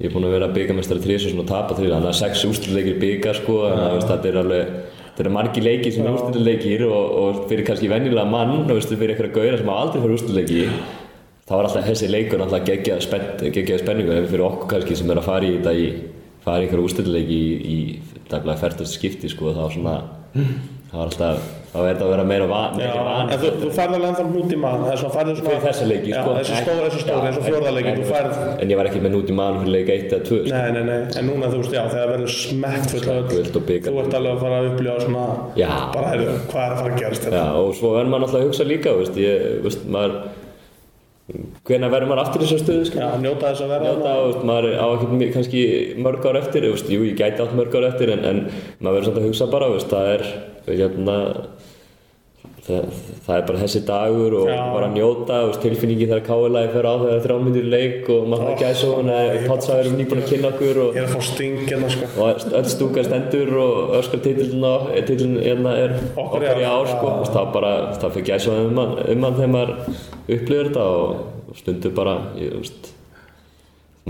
Speaker 4: Ég er búin að vera byggamestrar þrís og svona tapa þrís, þannig að sex úrslitleikir bygga sko, þannig að veist, þetta er alveg Þetta eru margi leikir sem er úrslitleikir og, og fyrir kannski venjulega mann, og veist, fyrir einhverja gauðra sem hafa aldrei fyrir úrslitleiki þá er alltaf þessi leikur alltaf geggjað spennt, geggjað spenningu en fyrir okkur kannski sem er að fara í þetta í fara í einhverja úrslitleiki í, í daglega færtast skipti sko, þá svona þá er alltaf, þá er þetta að vera meira van,
Speaker 5: Já,
Speaker 4: meira van
Speaker 5: en þú, þú færði alveg ennþá hnút í mann, það er svona færði svona...
Speaker 4: fyrir þessa leiki
Speaker 5: Já,
Speaker 4: sko.
Speaker 5: þessi stóri, þessi
Speaker 4: Já,
Speaker 5: stóri, þessi fjórðarleiki,
Speaker 4: en-
Speaker 5: þú færð...
Speaker 4: en ég var ekki með núti mann fyrir leik 1 eða 2 sko.
Speaker 5: Nei, nei, nei, en núna þú veist, já, þegar verður smekkt full öll,
Speaker 4: Fullt og bikar.
Speaker 5: þú ert alveg að fara að upplifa svona,
Speaker 4: Já.
Speaker 5: bara heyrðu, hvað er að fara að gerast hérna? þetta?
Speaker 4: Já, og svo verður maður alltaf að hugsa líka veist, ég, veist, maður hvenær verður maður aftur í þessu stöðu
Speaker 5: Já,
Speaker 4: sko?
Speaker 5: njóta þess að vera hérna.
Speaker 4: Njóta,
Speaker 5: þarna.
Speaker 4: veist, maður á ekkert mi- kannski mörg ár eftir veist, jú, ég gæti átt mörg ár eftir en, en maður verður samt að hugsa bara veist, það er hérna, það, það er bara þessi dagur og
Speaker 5: Já.
Speaker 4: bara njóta veist, tilfinningi þegar káðilagi fer á þegar þrjámyndir leik og maður oh, gæði svo hún að potsaður um nýbúin að kynna okkur og,
Speaker 5: Ég er að fá sting hérna, sko.
Speaker 4: og öll stúka stendur og öskar titilina titilin hérna er
Speaker 5: Okkur
Speaker 4: okkur
Speaker 5: í
Speaker 4: í ár
Speaker 5: ár,
Speaker 4: sko
Speaker 5: já.
Speaker 4: og það bara, það fyrir gæsa um hann um hann þegar maður upplifir þetta og stundur bara, ég veist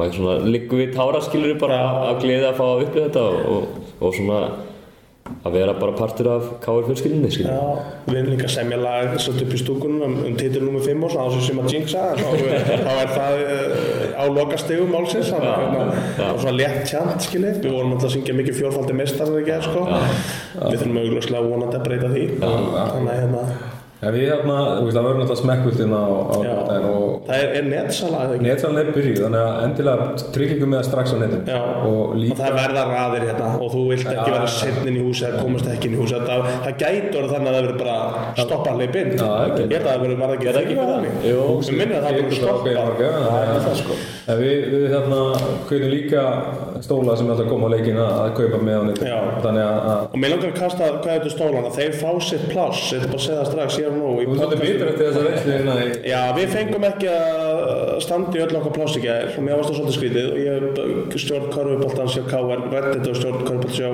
Speaker 4: maður svona liggur við táraskilur bara af gleði að fá að upplifa þetta og, og, og svona að vera bara partur af káir fjölskyldinni skilur
Speaker 5: Já, við erum líka að semja lag svolítið upp í stúkunum um, um titil nr. 5 og svona, þessu sem að jinxa, en þá eh, þá er það uh, á lokastegum málsins, þannig að hérna, það var svona létt tjant, skiljið. Við vorum alltaf að syngja mikið fjórfaldi mestarinn í gerð, sko. Við þurfum augljóslega vonandi að breyta því. Þannig að hérna,
Speaker 2: En við hérna, þú veist, það verður náttúrulega smekkvöldin á, á
Speaker 5: já,
Speaker 2: daginn og
Speaker 5: það er, er netsala eða ekki?
Speaker 2: Netsalan er byrjuð, þannig að endilega tryggingum með það strax á netinu
Speaker 5: Já,
Speaker 2: og
Speaker 5: og það
Speaker 2: líka
Speaker 5: er verða raðir hérna og þú vilt ekki vera setnin í húsi eða komast ekki inn í húsi það, það gæti orðið þannig að það verður bara stoppa hleyp inn
Speaker 2: Já, það
Speaker 5: ég
Speaker 2: gæti.
Speaker 5: held að það verður bara ekki
Speaker 4: ekki bara þannig?
Speaker 5: Jú, sem minnir að það verður
Speaker 2: ákveðið marga,
Speaker 5: stoppa
Speaker 2: þannig að-
Speaker 5: sko.
Speaker 2: En við, við hérna hvernig líka stóla sem er alltaf að koma á leikin að að kaupa með á
Speaker 5: Já.
Speaker 2: netinu þannig að, að
Speaker 5: og mér langar að kasta hvað er þetta stólana þeir fá sitt pláss, ég ætla bara að segja það strax ég er nú í
Speaker 2: þú veist þetta
Speaker 5: podcastinu.
Speaker 2: bitur eftir þessa veislu hérna í
Speaker 5: Já, við fengum ekki að standa í öll okkar pláss í gær og mér varst það svolítið skrítið og ég stjórn körfuboltans hjá KR, reddit og stjórn körfuboltans hjá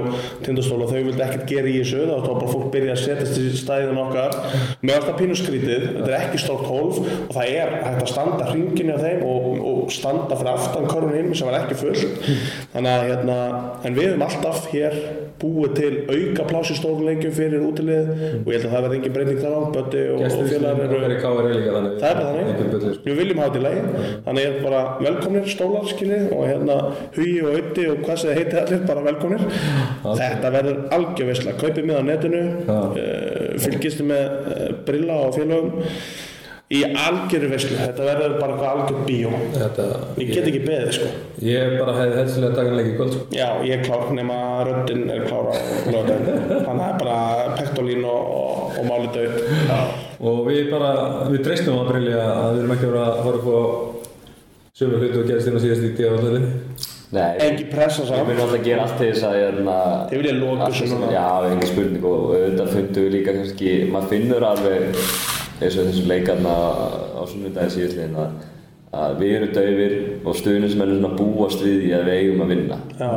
Speaker 5: tindastól og þau vildi ekkert gera í þessu þá var bara fólk byrja að setjast í stæðin okkar mér varst það pínu skrítið, þetta er ekki stórt hólf og það er hægt að standa hringinu af þeim og, og standa fyrir aftan körfun hinn sem var ekki full þannig að hérna, en við höfum alltaf hér búið til auka pláss í stórum lengjum fyrir útilið og ég held að það verði engin breyting þar á, Böddi og, og félagar
Speaker 2: gestur
Speaker 5: eru
Speaker 2: fyrir KRL líka þannig sko.
Speaker 5: Það er bara
Speaker 2: Einhver
Speaker 5: þannig,
Speaker 2: bullur.
Speaker 5: við viljum hafa þetta í lagi Þannig er bara velkomnir stólar skilið og hérna hugi og auði og hvað sem þið heiti allir, bara velkomnir Þetta verður algjör veisla, kaupið með á netinu
Speaker 2: Já.
Speaker 5: uh, fylgistu með uh, brilla og félögum í algjöru veislu, þetta verður bara eitthvað algjör bíó
Speaker 2: Þetta,
Speaker 5: Ég get ekki beðið sko
Speaker 2: ég bara hefði helsilega daginn leik í kvöld sko.
Speaker 5: Já, ég er klár nema röddinn er klára og lögðin Þannig er bara pektolín og, og, og máli döð
Speaker 2: og við bara, við dreistum á Brilli að að við erum ekki að vera að horfa á sömu hlutu og gerist hérna síðast í díðavallinu
Speaker 4: Nei,
Speaker 5: Engi pressa
Speaker 4: Við
Speaker 5: saman
Speaker 4: munum alltaf að gera allt til þess að hérna
Speaker 5: Þið viljið loka
Speaker 4: allt
Speaker 5: þessu
Speaker 4: þess-
Speaker 5: núna.
Speaker 4: Já, engin spurning og auðvitað fundum við líka kannski maður finnur alveg eins og þessum leikarna á sunnudagin síðastliðin að, að við erum daufir og stuðunum sem er svona búast við í að við eigum að vinna
Speaker 5: Já.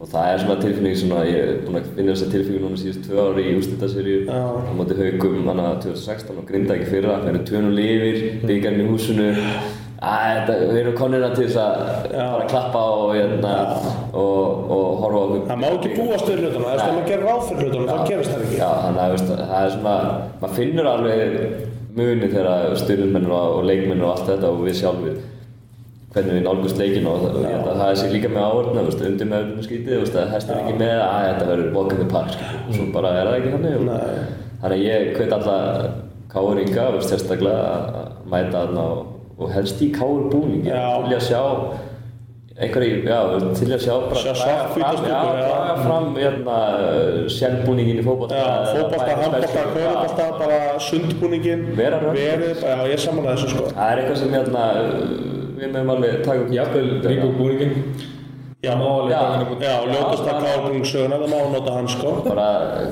Speaker 4: og það er svona tilfinning sem að ég er búinn að finna þessa tilfinning núna síðust tvö ári í úrstættaseríu
Speaker 5: Já.
Speaker 4: á móti haugum hana 2016 og grinda ekki fyrra það eru tvönum lifir, byggjarn í húsinu Æ, þetta, við erum konina til þess að bara klappa og, hérna, og, og horfa á okkur
Speaker 5: Það má ekki búast við hlutunum, það er að maður gerir ráð fyrir hlutunum, þá gerist það ekki.
Speaker 4: Já, þannig að veist, það er svona, maður finnur alveg muni þegar styrnumenn og, og leikmenn og allt þetta og við sjálfur hvernig við nálgumst leikinu og það, og ég held að það sé líka með áhörna, veist, undir með öllum skítið, veist, að hestir ekki með að þetta verður walk in the park, skilur, og svo bara er það ekki þannig.
Speaker 5: Mm. Nei.
Speaker 4: Og, þannig að ég hvet alltaf káur ynga, veist, sérstaklega að- að mæta þarna og, og helst í káur búning, ég
Speaker 5: Já.
Speaker 4: vilja sjá einhverju, já, til að sjá bara
Speaker 5: Sjá
Speaker 4: draga
Speaker 5: svart hvíta
Speaker 4: fram-
Speaker 5: stúlkur,
Speaker 4: já,
Speaker 5: já.
Speaker 4: draga fram hérna, sjálfbúningin í fótbolta
Speaker 5: Já, fótbolta,
Speaker 4: bæði
Speaker 5: handbolta,
Speaker 4: stelpur,
Speaker 5: kvöðubolta, bara sundbúningin,
Speaker 4: Vera rödd.
Speaker 5: verið, bara- já ég er saman að þessu sko.
Speaker 4: það er eitthvað sem hérna, við mögum alveg taka upp
Speaker 2: Jafnvel líka úr búningin
Speaker 5: Já,
Speaker 2: Má alveg
Speaker 4: Já.
Speaker 2: taka henni búningin
Speaker 5: já ljótast að klára búning söguna, það má nota hann sko.
Speaker 4: bara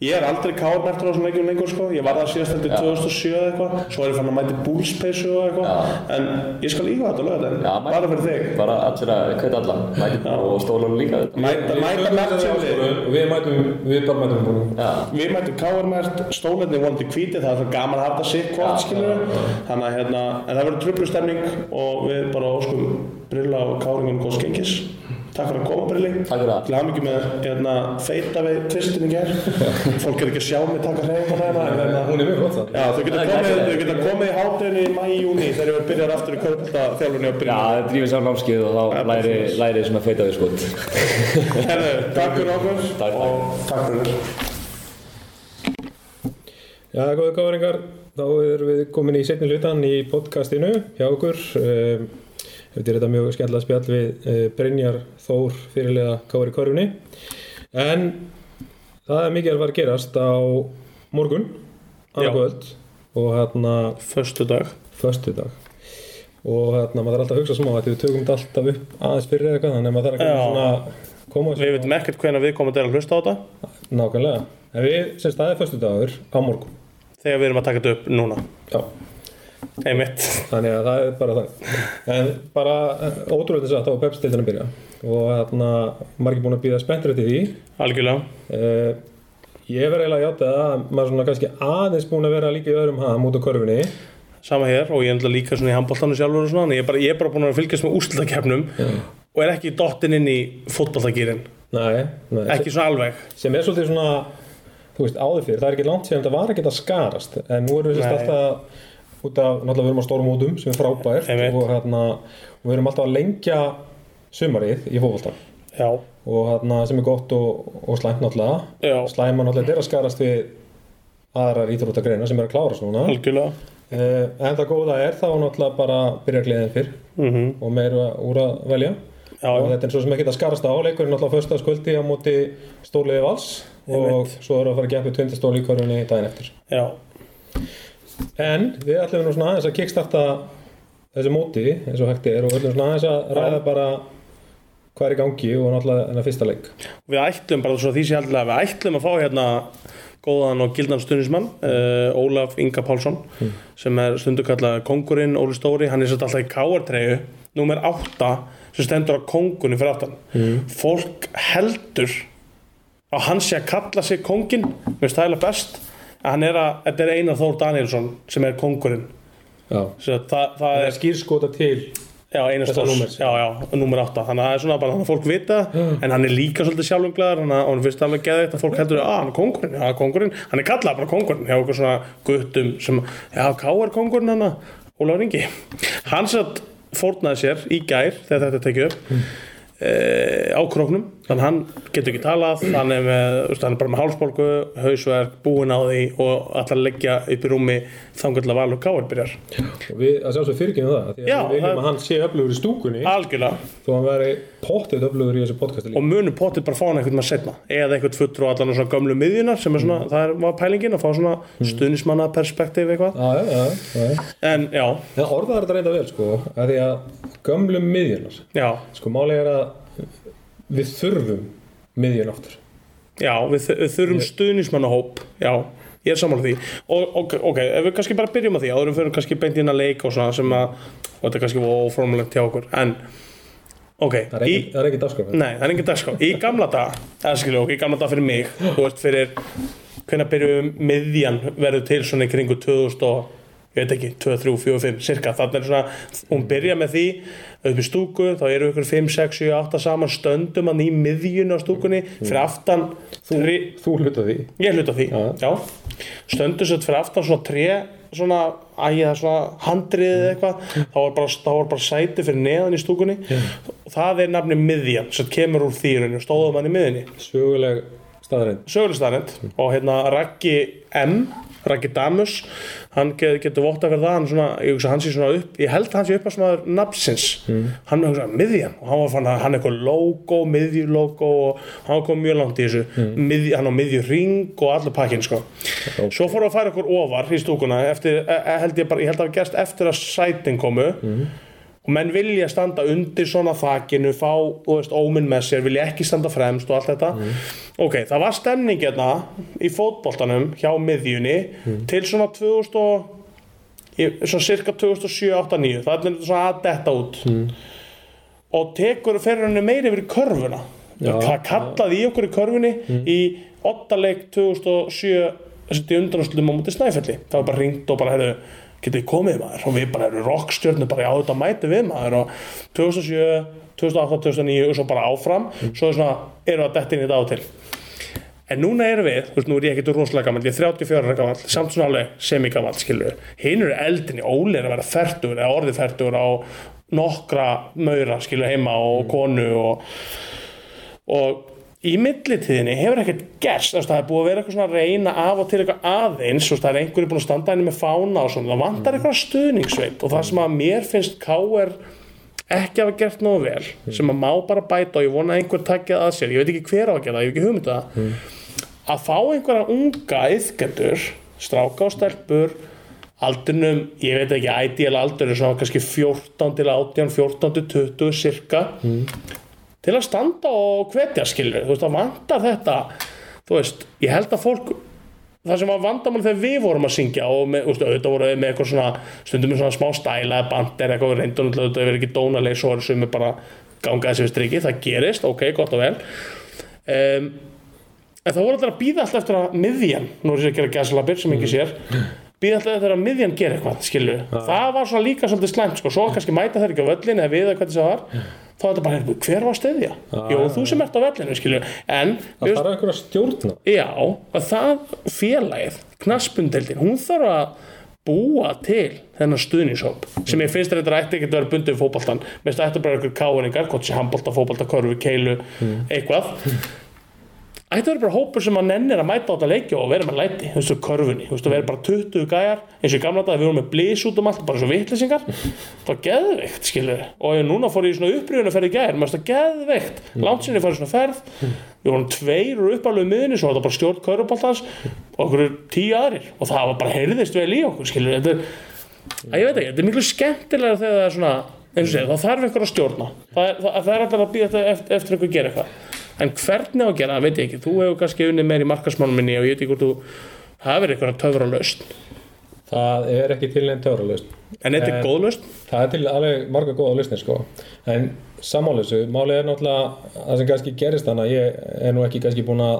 Speaker 5: Ég er aldrei káur mertur á svona leikjum lengur sko, ég var það síðast heldur 2007 eða eitthvað, svo er ég fann að mæti búlspeysu og eitthvað, en ég skal íhuga þetta lögða þetta,
Speaker 4: mæ-
Speaker 5: bara fyrir þig.
Speaker 4: bara allir að hvet alla mæti og stóla líka þetta
Speaker 5: Mæta, mæta mertjólið.
Speaker 2: og við mætum, við bara mætum búin
Speaker 4: já,
Speaker 5: Við mætum káarmært, stólarnir vonandi hvítið, það er svo gaman að hafa þetta sitt hvort,
Speaker 4: Já,
Speaker 5: skilur Þannig að hérna, en það verður trublu stemning og við bara óskum Brilla og Káringun góðs gengis. Takk fyrir að koma, Brilli.
Speaker 4: Takk fyrir það.
Speaker 5: Til hamingjum með hérna, feita við
Speaker 4: (laughs)
Speaker 5: tvistinu ger. Fólk er ekki að sjá mig taka hreyfinguna hérna, en hérna.
Speaker 2: hún er mjög flott það
Speaker 5: Já, þau geta
Speaker 4: Það er
Speaker 5: komið,
Speaker 4: glæsilegt.
Speaker 5: þau geta komið í hátinu í mæ, júni þegar við byrjar aftur í kvölda þjálfunni að
Speaker 4: já
Speaker 5: byrja.
Speaker 4: það drífið saman námskeið og
Speaker 5: Já,
Speaker 4: þá læri,
Speaker 5: precis.
Speaker 4: læri svona feita við skot
Speaker 5: Herðu, takk fyrir okkur
Speaker 4: Takk.
Speaker 5: og takk fyrir.
Speaker 2: Já, góðu gáðaringar, þá erum við komin í setni hlutan í podcastinu hjá okkur. Um, Þetta er þetta mjög skemmtilega spjall við uh, Brynjar Þór fyrirlega Kári Körfunni. En það er mikið að fara að gerast á morgun,
Speaker 5: Já.
Speaker 2: annarkvöld og hérna
Speaker 5: Föstu dag.
Speaker 2: förstu dag. Og hérna maður þarf alltaf að hugsa smá að við tökum þetta alltaf upp aðeins fyrir eða eitthvað, þannig að maður þarf að
Speaker 5: Já.
Speaker 2: koma svona koma
Speaker 5: Við veitum ekkert hvernig við komum að hlusta á þetta
Speaker 2: Nákvæmlega. En við, sem staðið förstu dagur, á morgun.
Speaker 5: þegar við erum að taka þetta upp núna.
Speaker 2: Já.
Speaker 5: Einmitt.
Speaker 2: Þannig að það er bara það En bara eh, ótrúlega satt á pepstildin að byrja og þarna margir búin að býða spenntur eftir því
Speaker 5: Algjörlega.
Speaker 2: uh, Ég verð eiginlega að játa það að maður er svona kannski aðeins búin að vera líka í öðrum ham út á körfinni
Speaker 5: Sama hér og ég er náttúrulega líka svona í handbóltanum sjálfur og svona, en ég er bara, ég er bara búin að fylgjast með úrslutakefnum og er ekki dottinn inn í fótballtakýrin.
Speaker 2: Nei, nei
Speaker 5: Ekki svona alveg.
Speaker 2: sem er svolítið svona þú veist, áður fyrir, það er ekki langt sér en það var ekki að skarast en nú erum við sérst
Speaker 5: Nei.
Speaker 2: alltaf út af, náttúrulega við erum á stórum mótum sem er frábært
Speaker 5: Einmitt.
Speaker 2: og, hérna, og við erum alltaf að lengja sumarið í fótboltan
Speaker 5: Já.
Speaker 2: og þarna sem er gott og, og slæmt náttúrulega
Speaker 5: Já.
Speaker 2: slæma náttúrulega er að skarast við aðrar íþróttagreina sem er að klára svona uh,
Speaker 5: Algjörlega.
Speaker 2: en það góða er þá náttúrulega bara byrja gleðin fyrr -hmm. og meira úr að velja
Speaker 5: Mhm. Já,
Speaker 2: og
Speaker 5: já.
Speaker 2: þetta er svo sem ekki að skarast á leikurinn náttúrulega föstaskvöldi á móti stórliði vals og svo eru að fara að gefa tundastóli í körfunni daginn eftir
Speaker 5: Já.
Speaker 2: en við ætlum nú svona aðeins að kickstarta þessu móti eins og hægt er og við ætlum svona aðeins að ræða bara hvað er í gangi og náttúrulega þennan fyrsta leik
Speaker 5: Við ætlum bara svo því sé alltaf að við ætlum að fá hérna góðan og gildan stundismann, uh, Ólaf Inga Pálsson, sem er stundu kallað Kongurinn, Óli Stóri, hann er satt alltaf í káartreyju, númer 8, sem stendur á Kongunni fyrir aftan. Fólk heldur að hann sé að kalla sig kongin með stæla best að hann er að, þetta er Einar Þór Danielsson sem er kongurinn
Speaker 2: já.
Speaker 5: Svo að það, það
Speaker 2: það
Speaker 5: er,
Speaker 2: er skýrskota til
Speaker 5: já, Einar
Speaker 2: Þetta
Speaker 5: Þór
Speaker 2: númer,
Speaker 5: já, já, nummer 8, þannig að það er svona bara þannig að fólk
Speaker 2: (gasps)
Speaker 5: vita en hann er líka svolítið sjálfumglæðar þannig að hann finnst alveg geðið að fólk heldur að hann er kongurinn, já, kongurinn, hann er kallað bara kongurinn hjá okkur svona guttum sem já, ká er kongurinn hann að Ólafur Ingi hann satt fórnaði sér í gær þegar þetta er tekið upp
Speaker 2: Hmm.
Speaker 5: eh, á króknum þannig að hann getur ekki talað hann er, með, þú veist, hann er bara með hálsbólgu hausverk, búinn á því og ætlar að leggja upp í rúmi þangar til að vala og káar byrjar
Speaker 2: og við að sjálfsög fyrirgjum það því að
Speaker 5: Já,
Speaker 2: við viljum
Speaker 5: það-
Speaker 2: að hann sé öflugur í stúkunni
Speaker 5: algjörlega
Speaker 2: þó hann væri pottið öflugur í þessu podcasti líka
Speaker 5: og munum potið bara fá hann einhvern maður setna eða einhvern fulltrú allan á svona gömlu miðjunar sem er svona,
Speaker 2: Mm.
Speaker 5: það er, var pælingin að fá svona stuðnismanna perspektíf eitthvað
Speaker 2: Já, já, já, já.
Speaker 5: en já,
Speaker 2: það orðaðar þetta reynda vel sko að því að gömlum miðjunar
Speaker 5: já,
Speaker 2: sko málið er að við þurfum miðjun aftur
Speaker 5: já við, þ- við þurfum stuðnismannahóp já, ég er sammála því og ok, ok, ef við kannski bara byrjum að því áðurum fyrir kannski beint inn að leik og svona sem að og þetta er kannski óformulegt hjá okkur en ok,
Speaker 2: það er ekki, það er ekki dagskráð
Speaker 5: Nei, það er engin dagskrá. Í gamla dag, eða skilju okkur, í gamla dag fyrir mig, þú veist fyrir, hvenær byrjuðum miðjan verður til svona í kringu 2000 og, ég veit ekki, 2, 3, 4, 5, cirka, þannig er svona, hún byrja með því, upp í stúku, þá eru ykkur 5, 6, 7, 8 saman, stöndum hann í miðjun á stúkunni, fyrir aftan,
Speaker 2: þú,
Speaker 5: þri,
Speaker 2: þú hluta því
Speaker 5: ég hluta því,
Speaker 2: Já.
Speaker 5: já, stöndum sett fyrir aftan svona tré, svona, æja, svona handriðið eða eitthvað, þá var bara, þá var bara sæti fyrir neðan í stúkunni og það er nafni miðjan sem kemur úr þýrunni og stóðum hann í miðjunni
Speaker 2: söguleg staðarind
Speaker 5: sögulistarind og hérna Raggi M Raggi Damus, hann ge- getur votta fyrir það, hann svona, ég hugsa hann sé svona upp ég held hans sé upp að smaður nafnsins hann hugsa miðjan og hann var fann að hann eitthvað logo, miðjulogo og hann kom mjög langt í þessu Miðj, hann á miðjuring og allur pakkin sko. svo fóru að færa okkur ofar í stúkuna eftir, e, e, held ég, bara, ég held að hafa gerst eftir að sætin komu og menn vilja standa undir svona þakinu fá, þú veist, óminn með sér vilja ekki standa fremst og allt þetta ok, það var stemning hérna í fótboltanum hjá miðjunni til svona 2000 og í- svona cirka 2007, 8, 9 það er þetta svona að detta út og tekur fyrir henni meiri yfir í körfuna
Speaker 6: Já. Mm.
Speaker 5: það kallaði í okkur í körfunni í 8 leik 2007 þessi undanúslutum á móti snæfelli það var bara ringt og bara hefðu getið þið komið maður og við bara erum rockstjörnum bara á þetta mæti við maður og 2007, 2008, 2009 og svo bara áfram
Speaker 6: Mm.
Speaker 5: svo er svona, erum við að detta inn í þetta á og til En núna erum við, þú veist, nú er ég ekkert rosalega gammal, ég er 34 ára gammal, samt svona alveg semigammal, skilur. Hinn eru eldinni, Óli er að vera færtur eða orðið færtur á nokkra maura, skilur, heima og konu og, og í millitíðinni hefur ekkert gerst, þú veist, það er búið að vera eitthvað svona að reyna af og til eitthvað aðeins, þú veist, það er einhverju búin að standa henni með fána og svona, það vantar eitthvað stuðningsveit og það sem að mér finnst K.R ekki hafa gert nógu vel sem að má bara bæta og ég vona að einhver takkja að sér, ég veit ekki hver á að gera það, ég hef ekki hugmynd um það að fá einhverja unga yfgættur, stráka og stelpur aldrinum, ég veit ekki ideal aldurinn, svona kannski 14 til 18, 14 til 20 cirka til að standa og hvetja skilur, þú veist, það vantar þetta þú veist, ég held að fólk það sem var vandamál þegar við vorum að syngja og með, úst, auðvitað voru við með eitthvað svona stundum með svona smá stæla, bandir eitthvað við reyndum alltaf auðvitað, við erum ekki dónaleg svo er sem er bara gangað þessi við strikki, það gerist ok, gott og vel um, en það voru alltaf að býða alltaf eftir að miðjan, nú er ég að gera gæslapir sem ekki sér
Speaker 6: Mm.
Speaker 5: býða alltaf eftir að miðjan gera eitthvað skilju, það var svona líka svolítið slæmt sko, svo kannski mæta þeir ekki á völlin eða við eða hvernig það
Speaker 6: Mm.
Speaker 5: var, þá er þetta bara "Heyrðu, hver var að styðja, jú þú sem ert á völlinu skilju, en
Speaker 6: Það þarf einhverja að stjórna
Speaker 5: Já, og það félagið, knaspundeldin, hún þarf að búa til þennan stuðningshóp sem ég finnst að þetta ætti ekkert að vera bundið við fótboltan mér finnst að þetta bara ykkur káringar hvort sé handbolta, fótbolta, körfu, keilu, eitthvað ætti að vera bara hópur sem að nennir að mæta á þetta leikja og vera með læti, þú veist, og körfunni, þú veist, og vera bara 20 gæjar, eins og í gamla dag við vorum með blís út um allt, bara svo vitlýsingar það var geðveikt, skilur, og ég núna fór ég í svona upprýðun að ferði gæjar, maður veist, það geðveikt langt sinni fór ég í svona ferð við vorum tveir úr uppalveg miðinni, svo var þetta bara stjórn körfuboltans og okkur tíu aðrir og það var bara heyrðist vel í okkur, skilur, þetta er að ég veit ekki, þetta er miklu skemmtilega þegar það er svona eins og segja, þá þarf einhver að stjórna það er, það, það er alltaf að býja þetta eftir, eftir einhver gera eitthvað en hvernig á að gera, það veit ég ekki þú hefur kannski unnið meir í markasmánum minni og ég veit ekki hvort þú hafir einhverja töfra lausn
Speaker 2: Það er ekki til neitt töfralaust.
Speaker 5: en þetta er
Speaker 2: En-
Speaker 5: góð lausn
Speaker 2: Það er til alveg marga góða lausnir sko. En samálusu, málið er náttúrulega það sem kannski gerist þannig að ég er nú ekki kannski búin að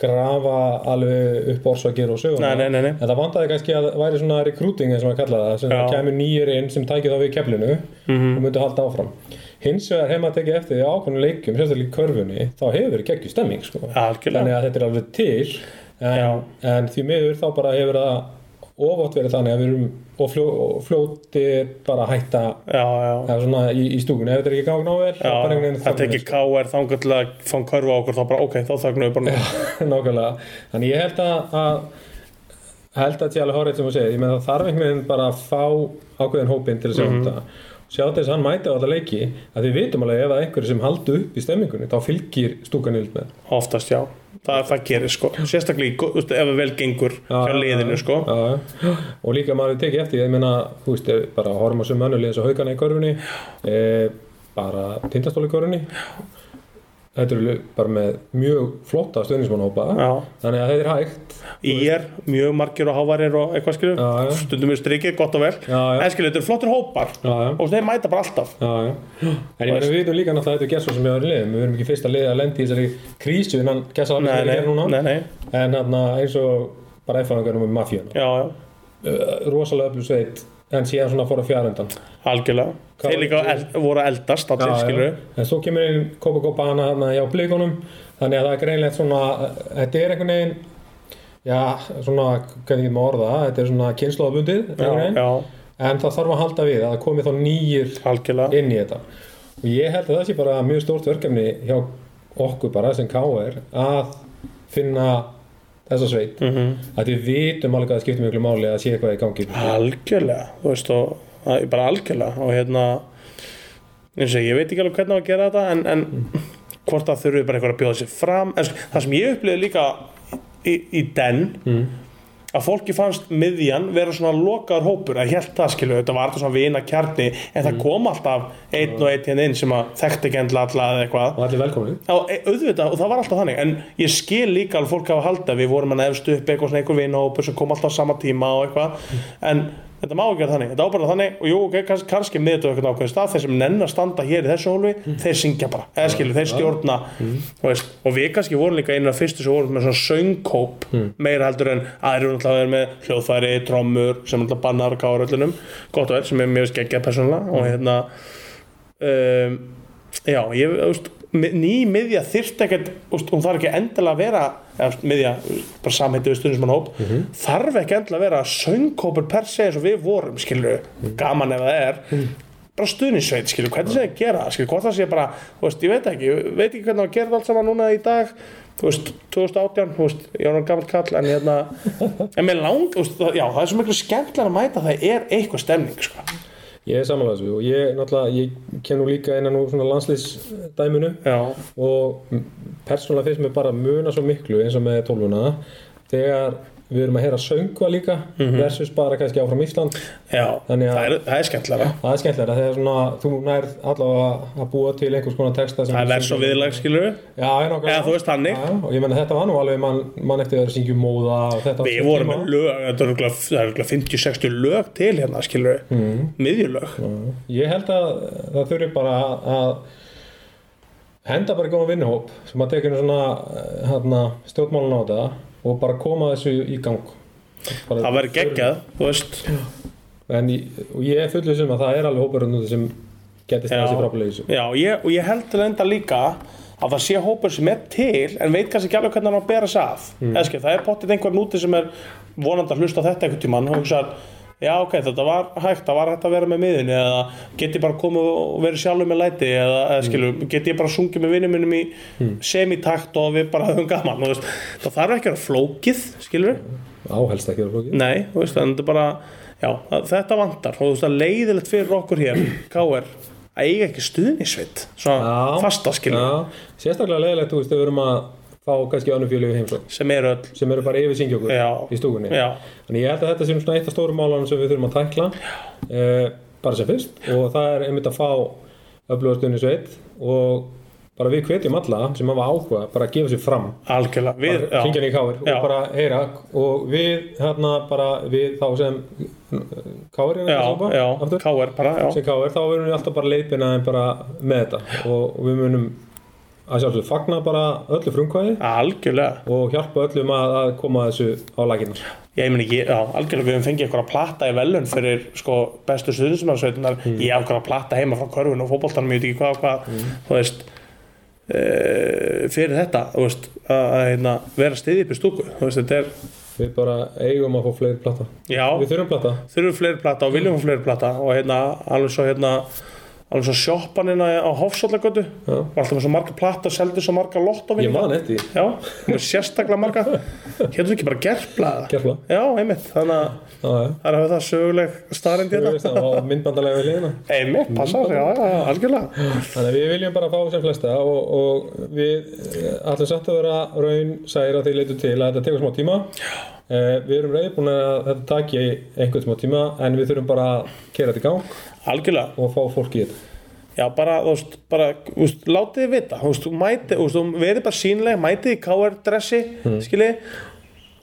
Speaker 2: grafa alveg upp orsakir og söguna.
Speaker 5: Nei, nei, nei, nei.
Speaker 2: En það vantaði kannski að væri svona recruiting eins og maður kallaði það, sem
Speaker 5: Já. Mhm.
Speaker 2: það kemur nýjir inn sem tækið þá við keflinu og myndi halda áfram. Hins vegar hef maður tekið eftir því að ákveðnum leikum, sérstaklega í körfunni, þá hefur verið geggjur stemming sko.
Speaker 5: Algjörlega.
Speaker 2: Þannig að þetta er alveg til,
Speaker 5: Já.
Speaker 2: en, en því miður þá bara hefur það ofátt verið þannig að við erum og, fljó, og fljótir bara að hætta
Speaker 5: já, já,
Speaker 2: eða svona í, í stúkunni, ef þetta er ekki gangi nável þá bara einhvern
Speaker 5: já,
Speaker 2: veginn
Speaker 5: það tekir
Speaker 2: þögnin,
Speaker 5: KR þangar til að fá hann körfa á okkur þá bara ok, þá þagnu við bara núna.
Speaker 2: sko. (laughs) nákvæmlega, þannig ég held að, að held að sé alveg horrið sem þú segir ég með það þarf einhvern veginn bara að fá ákveðin hópinn til að sjá
Speaker 5: Mhm.
Speaker 2: um þetta sjá til þess að hann mæti á alla leiki að við vitum alveg ef að einhverju sem haldi upp í stemmingunni þá fylgir stúkan yld með
Speaker 5: oftast já, það, það gerir sko sérstaklega í gó- þú veist, ef það vel gengur hjá liðinu sko
Speaker 2: já, já. og líka maður hefur tekið eftir ég meina, þú veist, ef bara horfum á sem önnulið eins og haugana í körfunni e, bara tindastóli í körfunni þetta eru bara með mjög flotta stöðnismannhópa
Speaker 5: Já.
Speaker 2: þannig að þetta er hægt
Speaker 5: Ír, mjög margir og hávarir og eitthvað skilur
Speaker 2: Já, já.
Speaker 5: stundum við strikið, gott og vel
Speaker 2: Já, já.
Speaker 5: en skilur, þetta eru flottir hópar
Speaker 2: Já, já.
Speaker 5: og þeir mæta bara alltaf
Speaker 2: Já, já. En ég meina við vitum líka náttúrulega að þetta er gert svo sem við erum liðum, við erum ekki fyrst að liða að lendi í þessari krísu innan gæsa alveg
Speaker 5: nei,
Speaker 2: sem við
Speaker 5: nei,
Speaker 2: erum núna,
Speaker 5: nei, nei,
Speaker 2: en þarna eins og bara effanganum með um mafíuna,
Speaker 5: já, já,
Speaker 2: rosalega öflug sveit, en síðan svona fór að fjara undan.
Speaker 5: algjörlega
Speaker 2: Hvað
Speaker 5: þeir líka
Speaker 2: var-
Speaker 5: eld, voru að eldast allir, skilur
Speaker 2: En svo kemur einn Copa Copana hérna hjá blikunum þannig að það er greinlegt svona þetta er einhvern veginn já, svona, hvernig getur maður orða það, þetta er svona kynnslóðabundið einhvern
Speaker 5: já,
Speaker 2: veginn
Speaker 5: já,
Speaker 2: en það þarf að halda við að það komi þá nýjir
Speaker 5: algjörlega
Speaker 2: inn í þetta og ég held að það sé bara mjög stórt verkefni hjá okkur bara sem KR að finna þessa sveit mm
Speaker 5: Mhm.
Speaker 2: -hmm. að við vitum alveg að það skiptir miklu máli að sé eitthvað í gangi
Speaker 5: algjörlega, þú veist og það er bara algjörlega og hérna eins og ég veit ekki alveg hvernig á að gera þetta en, en hvort það þurfi bara eitthvað að bjóða sér fram en sko, það sem ég upplýði líka í, í den að fólki fannst miðjan vera svona lokaður hópur að held það skilu, þetta var alltaf svona vina kjarni en það kom alltaf einn og einn hérna inn sem að þekkti ekki endla alla eða eitthvað
Speaker 7: og allir velkomni
Speaker 5: Já, e- auðvitað, og það var alltaf þannig en ég skil líka alveg fólk hafa halda við vorum hann efst upp eitthvað svona einhver vinahópur sem kom alltaf á sama tíma og eitthvað en þetta má ekki vera þannig, þetta á bara að vera þannig og jú, okay, kannski, kannski miður þetta eitthvað ákveðin stað þeir sem nenn að standa hér í þessu hólfi þeir syngja bara, eða skilur, þeir stjórna þú veist, og við kannski vorum líka einu af fyrstu sem vorum með svona söngkóp meira heldur en aðrir voru náttúrulega með hljóðfæri, trommur, sem alltaf bannar og káar öllunum, gott og öll sem er mjög skeggja persónulega og hérna um, já, ég þú veist, mi- ný miðja þyrft ekkert þú veist, hún þarf ekki endilega að vera eða, þú veist, miðja, bara samheiti við stundismannhóp mm
Speaker 2: Mhm.
Speaker 5: þarf ekki endilega að vera söngkópur per se eins og við vorum, skilur
Speaker 2: Mhm.
Speaker 5: gaman ef það er bara stuðnisveit, skilur, hvernig sé það að gera það, skilur, hvort það sé bara, þú veist, ég veit ekki ég veit ekki hvernig það gerði allt saman núna í dag þú veist, 2018, þú veist, ég var nú gammal kall en hérna,
Speaker 2: (laughs)
Speaker 5: en mér lang þú veist, það, já, það er svo miklu skemmtilega að mæta það er eitthvað stemning, sko
Speaker 2: Ég er samanlega þessu og ég náttúrulega, ég ken nú líka innan úr svona landslýsdæminu
Speaker 5: já,
Speaker 2: og persónulega finnst mér bara muna svo miklu eins og með tólfuna þegar við erum að heyra söngva líka
Speaker 5: Mhm.
Speaker 2: versus bara kannski áfram Ísland
Speaker 5: já,
Speaker 2: Þannig að-
Speaker 5: það er, það er skemmtilega
Speaker 2: það er skemmtilega þegar svona, þú nærð allavega að búa til einhvers konar texta sem
Speaker 5: það er
Speaker 2: þú
Speaker 5: vers og
Speaker 2: syngur.
Speaker 5: viðlag, skilur
Speaker 2: Já, ég nokkuð
Speaker 5: Eða þú veist þannig.
Speaker 2: Já, og ég menna þetta var nú alveg mann man eftir að syngjum móða og þetta á
Speaker 5: við
Speaker 2: sínum
Speaker 5: vorum
Speaker 2: tíma.
Speaker 5: með lög, þetta er örugglega- það er örugglega 50-60 lög til hérna, skilur mm. miðjulög,
Speaker 2: Ég held að það þurfi bara að henda bara í góðan vinnuhóp sem að tekja svona hérna, stjórnmálun á þetta og bara koma þessu í gang bara,
Speaker 5: það verður geggjað þú veist,
Speaker 2: en ég, og ég er fullið sem að það er alveg hópur þarna úti sem getist
Speaker 5: Já.
Speaker 2: þessi frábælega í þessu
Speaker 5: Já, ég, og ég heldur enda líka að það sé hópur sem er til en veit kannski ekki alveg hvernig hann á að bera sig að mm. Eski, það er pottið einhvern úti sem er vonandi að hlusta á þetta einhvern tímann og hugsaðar, já ok, þetta var hægt það var hægt að vera með miðinni eða get ég bara komið og verið sjálfur með læti eða eða skilu, get ég bara sungið með vinnum minnum í semitakt og við bara (laughs) höfum gaman þú veist. það þarf ekki að vera flókið skilur
Speaker 2: áhelst ekki að flóki
Speaker 5: Nei, þú veist, en þetta er bara já, að- þetta vantar og þú veist, það er leiðilegt fyrir okkur hér K.R. að eiga ekki stuðnisveit svona
Speaker 2: Já.
Speaker 5: fasta skilur
Speaker 2: Já, sérstaklega leiðilegt þú veist þegar við erum að fá kannski önnum fjölu í heimsókn
Speaker 5: sem eru öll
Speaker 2: sem eru bara yfir syngjokkur
Speaker 5: Já.
Speaker 2: í stúkunni
Speaker 5: Já.
Speaker 2: Þannig ég held að þetta sé nú svona eitt af stórum málanum sem við þurfum að tækla uh, bara sem fyrst og það er einmitt að fá öflugastunni sveit og bara við hvetjum alla sem hafa áhuga bara að gefa sér fram
Speaker 5: algjörlega við, já.
Speaker 2: hringjan í káir og
Speaker 5: Já.
Speaker 2: bara heyra og við hérna bara við þá sem káir
Speaker 5: já, já, K.R. bara já.
Speaker 2: sem káir þá verðum við alltaf bara leiðbina en bara með þetta og, og við munum að sjálfsög fagna bara öllu frumkvæði
Speaker 5: algjörlega,
Speaker 2: og hjálpa öllum að, að koma þessu á laginnar
Speaker 5: ég meina ekki, já, algjörlega við höfum fengið eitthvað að plata í velun fyrir sko, bestu stuðnismæðsveitunar
Speaker 2: Mm.
Speaker 5: ég hef eitthvað að plata heima frá körfun og fótboltanum ég veit ekki hvað og hvað, þú veist eh, fyrir þetta þú veist, að, að hérna, vera stiðið upp í stúku þú veist, þetta er,
Speaker 2: Við bara eigum að fá fleiri plata
Speaker 5: já
Speaker 2: Við þurfum plata
Speaker 5: þurfum fleiri plata og viljum fleiri plata og hérna alveg svo hérna alveg svo sjoppanina á Hofsallagötu
Speaker 2: Já.
Speaker 5: var alltaf með svo marga plata og seldi svo marga
Speaker 2: Ég
Speaker 5: lottovinninga
Speaker 2: man eftir því
Speaker 5: já, með sérstaklega marga hérna ekki bara gerflaða
Speaker 2: Gerfla
Speaker 5: já, einmitt, þannig að
Speaker 2: Það
Speaker 5: það er að hafa það söguleg starrend
Speaker 2: er
Speaker 5: hérna
Speaker 2: það og myndbandalega við liðina
Speaker 5: einmitt, passar, já, já, já, algjörlega
Speaker 2: Þannig að við viljum bara fá sem flesta og, og við eh, ætlum satt að vera raun særa því leitu til að þetta tekur smá tíma eh, Við erum reyðbúin að þetta taki einhvern smá tíma en við þurfum bara að kera þetta í gang
Speaker 5: algjörlega
Speaker 2: og fá fólk í þetta
Speaker 5: Já, bara, þú veist, bara, þú veist, látið þið vita, þú veist, þú mætið, þú veist, þú verið bara sínleg, mætið í KR-dressi, mm.
Speaker 2: Hmm.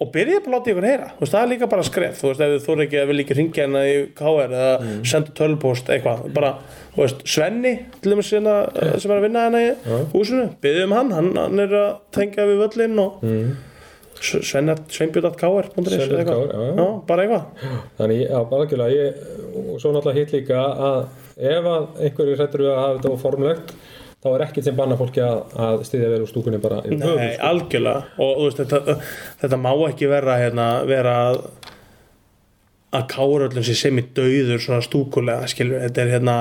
Speaker 5: og byrjið bara að láta ykkur heyra, þú veist, það er líka bara skref, þú veist, ef þú eru ekki að vilja ekki ringja hérna í KR eða
Speaker 2: Hmm.
Speaker 5: senda tölpost, eitthvað, bara, þú veist, Svenni, til dæmis hérna,
Speaker 2: Hmm.
Speaker 5: sem er að vinna hérna í húsinu, byrjið um hann, hann, hann er að tengja við völlinn og mm. sveinbjörn.kr.is,
Speaker 2: Hmm. Sveinbjörn KR,
Speaker 5: eitthvað,
Speaker 2: já, já.
Speaker 5: já, bara eitthvað,
Speaker 2: Þannig já, bara algjörlega ég, og svo náttúrulega hitt líka að ef að einhverju hrættur við að hafa þetta óformlegt þá er ekkert sem banna fólki að, að styðja vel úr stúkunni bara yfir um höfuð,
Speaker 5: Nei, algjörlega og þú veist, þetta, þetta má ekki vera hérna, vera að að káröldum sér sem í dauður svona stúkulega, skilur, þetta er hérna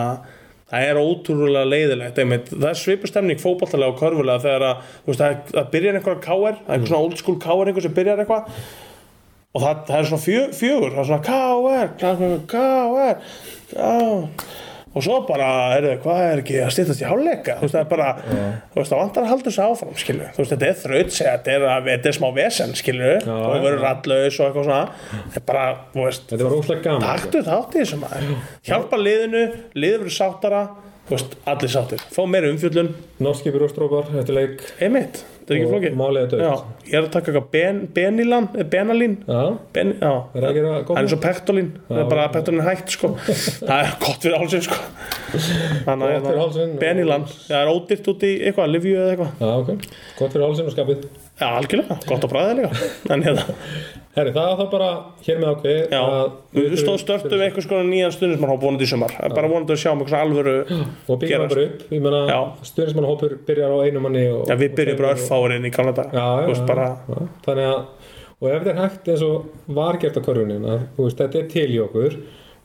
Speaker 5: það er ótrúlega leiðilegt einmitt. það er svipustemning fótballtalega og körfulega þegar að, þú veist, það, það byrjar einhver káir, það er einhver svona old school káir einhver sem byrjar eitthvað og það, það er svona fjö, fjögur, það er svona káir, káir, káir, káir og svo bara, heyrðu, hvað er ekki að stýttast í hálfleika, þú veist, það er bara þú veist, það vantar að halda þessu áfram, skilju þú veist, þetta er þraut, segja, þetta er, að- þetta er smá vesen skilju, og
Speaker 2: já.
Speaker 5: verður rallaus og eitthvað svona, þetta er bara, þú veist
Speaker 2: Þetta var óslega gaman sko.
Speaker 5: taktu þátt í þessu maður, hjálpa liðinu liður verður sáttara, þú veist, allir sáttir fá meira umfjöllun,
Speaker 2: Norski byrjóstrópar eftir leik
Speaker 5: einmitt þetta er ekki
Speaker 2: Og
Speaker 5: flókið,
Speaker 2: málið er dautt.
Speaker 5: já, ég er að taka eitthvað ben, Benilan, eh, Benalín
Speaker 2: Já,
Speaker 5: ben, já,
Speaker 2: það er ekki að
Speaker 5: hann
Speaker 2: koma
Speaker 5: er svo Pektolín það er bara að Pektolín er hægt
Speaker 2: (laughs)
Speaker 5: sko það er gott fyrir hálsinn sko
Speaker 2: Gott
Speaker 5: þannig
Speaker 2: fyrir
Speaker 5: að
Speaker 2: hálsinn.
Speaker 5: hérna, Benilan það er ódýrt út í eitthvað, Livju eða eitthvað
Speaker 2: Já, ok, gott fyrir hálsinn og skapið
Speaker 5: já, algjörlega, gott að bræða líka en hérna,
Speaker 2: Herri, það er þá bara hér með ákveð
Speaker 5: já,
Speaker 2: að-
Speaker 5: við stóð störtum við eitthvað sko nýjan stundismarhóp vonandi í sumar Það er bara vonandi að sjá um eitthvað
Speaker 2: (gasps)
Speaker 5: alvöru
Speaker 2: og byggjum það
Speaker 5: gerast.
Speaker 2: bara upp ég meina,
Speaker 5: Já.
Speaker 2: stuðnismannhópur byrjar á einu manni og,
Speaker 5: Já, við byrjum bara
Speaker 2: og-
Speaker 5: örfáurinn í gamla dag
Speaker 2: já, já,
Speaker 5: Þú veist,
Speaker 2: já,
Speaker 5: bara,
Speaker 2: já. þannig að, og ef þetta er hægt eins og var gert á körfunin að, þú veist, þetta er til í okkur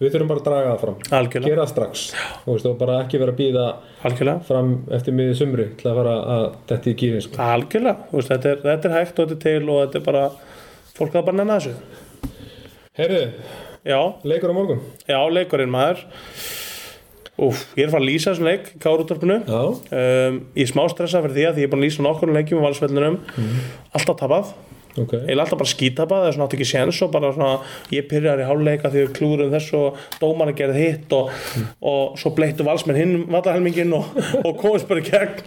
Speaker 2: við þurfum bara að draga það fram
Speaker 5: Algjörlega.
Speaker 2: gera það strax þú veist, og bara ekki vera að býða
Speaker 5: algjörlega
Speaker 2: fram eftir miðið sumri til að fara að þetta í gýrin sko.
Speaker 5: Algjörlega, Þú veist, þetta, er, þetta er hægt og þetta er til og þetta er bara fólk að bara nenna þessu
Speaker 2: herðu,
Speaker 5: Já,
Speaker 2: leikur á morgun
Speaker 5: já, leikurinn maður Úf, ég er að fara að lýsa þessum leik Kárútorpinu
Speaker 2: já,
Speaker 5: um, Ég er smá stressa fyrir því að því ég er búin að lýsa nokkur leikjum í valsvellinum
Speaker 2: Mhm.
Speaker 5: Alltaf tapað,
Speaker 2: ok
Speaker 5: eiginlega alltaf bara skítapað Það er svona átt ekki séns og bara svona Ég pyrjar í háluleika því við klúrum þess og dómarna gerði hitt og, og svo bleittu valsmenn hinn vallahelmingin og, og komist bara í gegn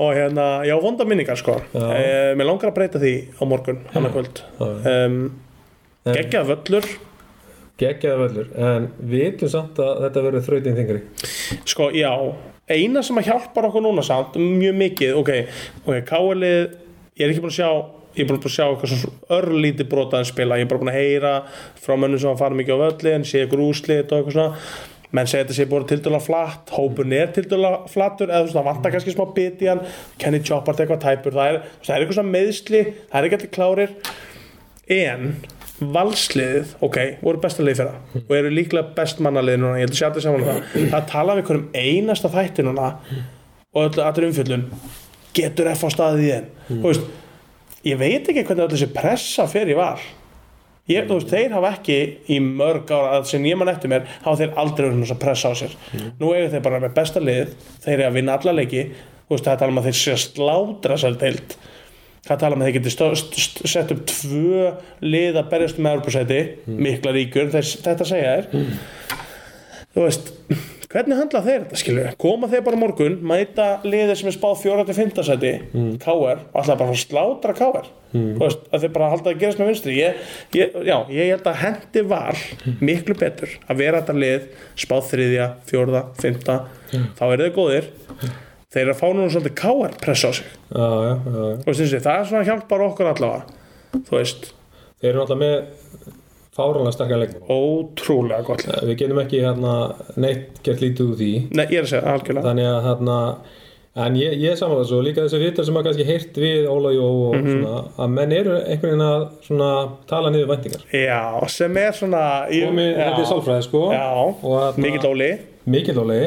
Speaker 5: og hérna, já, vonda minningar sko e, Mér langar að breyta því á morgun annarkvöld um,
Speaker 2: En-
Speaker 5: Geggjað völlur
Speaker 2: geggjaði völlur, en við vitum samt að þetta verður þrautin þingri
Speaker 5: Sko, já, eina sem að hjálpar okkur núna samt, mjög mikið, ok, ok, káalið, ég er ekki búin að sjá, ég er búin að sjá eitthvað svona örlítið brotaðan spila, ég er bara búin að heyra frá mönnum sem að fara mikið á völlin, sé ykkur úslit og eitthvað svona, menn segja þetta sé búin tildulega flatt, hópun er tildulega flattur, eða svona vantar kannski smá bit í hann, Kenny Choppart eitthvað tæpur, það er, það er eitthvað svona meðsli, það er ekki allir klárir, en valsliðið, ok, voru besta lið fyrra og eru líklega best mannalið núna ég held að sjá þetta saman um það það tala við einhverjum einasta þætti núna og öllu allir umfjöllun getur F á staðið í þeim mm. veist, ég veit ekki hvernig öll þessi pressa fer í val ég, þú veist, þeir hafa ekki í mörg ára að sem ég mann eftir mér hafa þeir aldrei verið svona pressa á sér nú eiga þeir bara með besta lið þeir eru að vinna alla leiki þú veist, það er talað um að þeir sé að slátra sér deilt það tala um að þeir geti stó- st- st- sett upp tvö lið að berjast með Europasæti, mikla ríkur þess, þetta segja þér þú veist, hvernig handla þeir þetta skilur við, koma þeir bara á morgun mæta liðið sem er spáð 4-5 sæti KR og alltaf bara að slátra KR þú veist, að þeir bara halda að gerast með vinstri ég, ég, já, ég held að hendi var miklu betur að vera þetta lið spáð 3, 4, 5 þá eru þeir góðir þeir eru að fá núna svolítið KR pressa á sig
Speaker 2: já, já, já, já.
Speaker 5: Þú veist, þessi, það er svona hjálpar okkur allavega þú veist,
Speaker 2: þeir eru alltaf með fáranlega stakka leikmann
Speaker 5: ótrúlega gott lið.
Speaker 2: við getum ekki hérna, neitt gert lítið úr því
Speaker 5: Nei, ég er að segja, algjörlega
Speaker 2: þannig að hérna en ég, ég samanlega svo líka þessu vittar sem að kannski heyrt við Óla Jó og
Speaker 5: Mhm.
Speaker 2: svona að menn eru einhvern veginn að svona tala niður væntingar
Speaker 5: Já, sem er svona ég,
Speaker 2: og mér,
Speaker 5: já,
Speaker 2: þetta er sálfræði sko og
Speaker 5: Já,
Speaker 2: hérna,
Speaker 5: mikill óli
Speaker 2: mikill Óli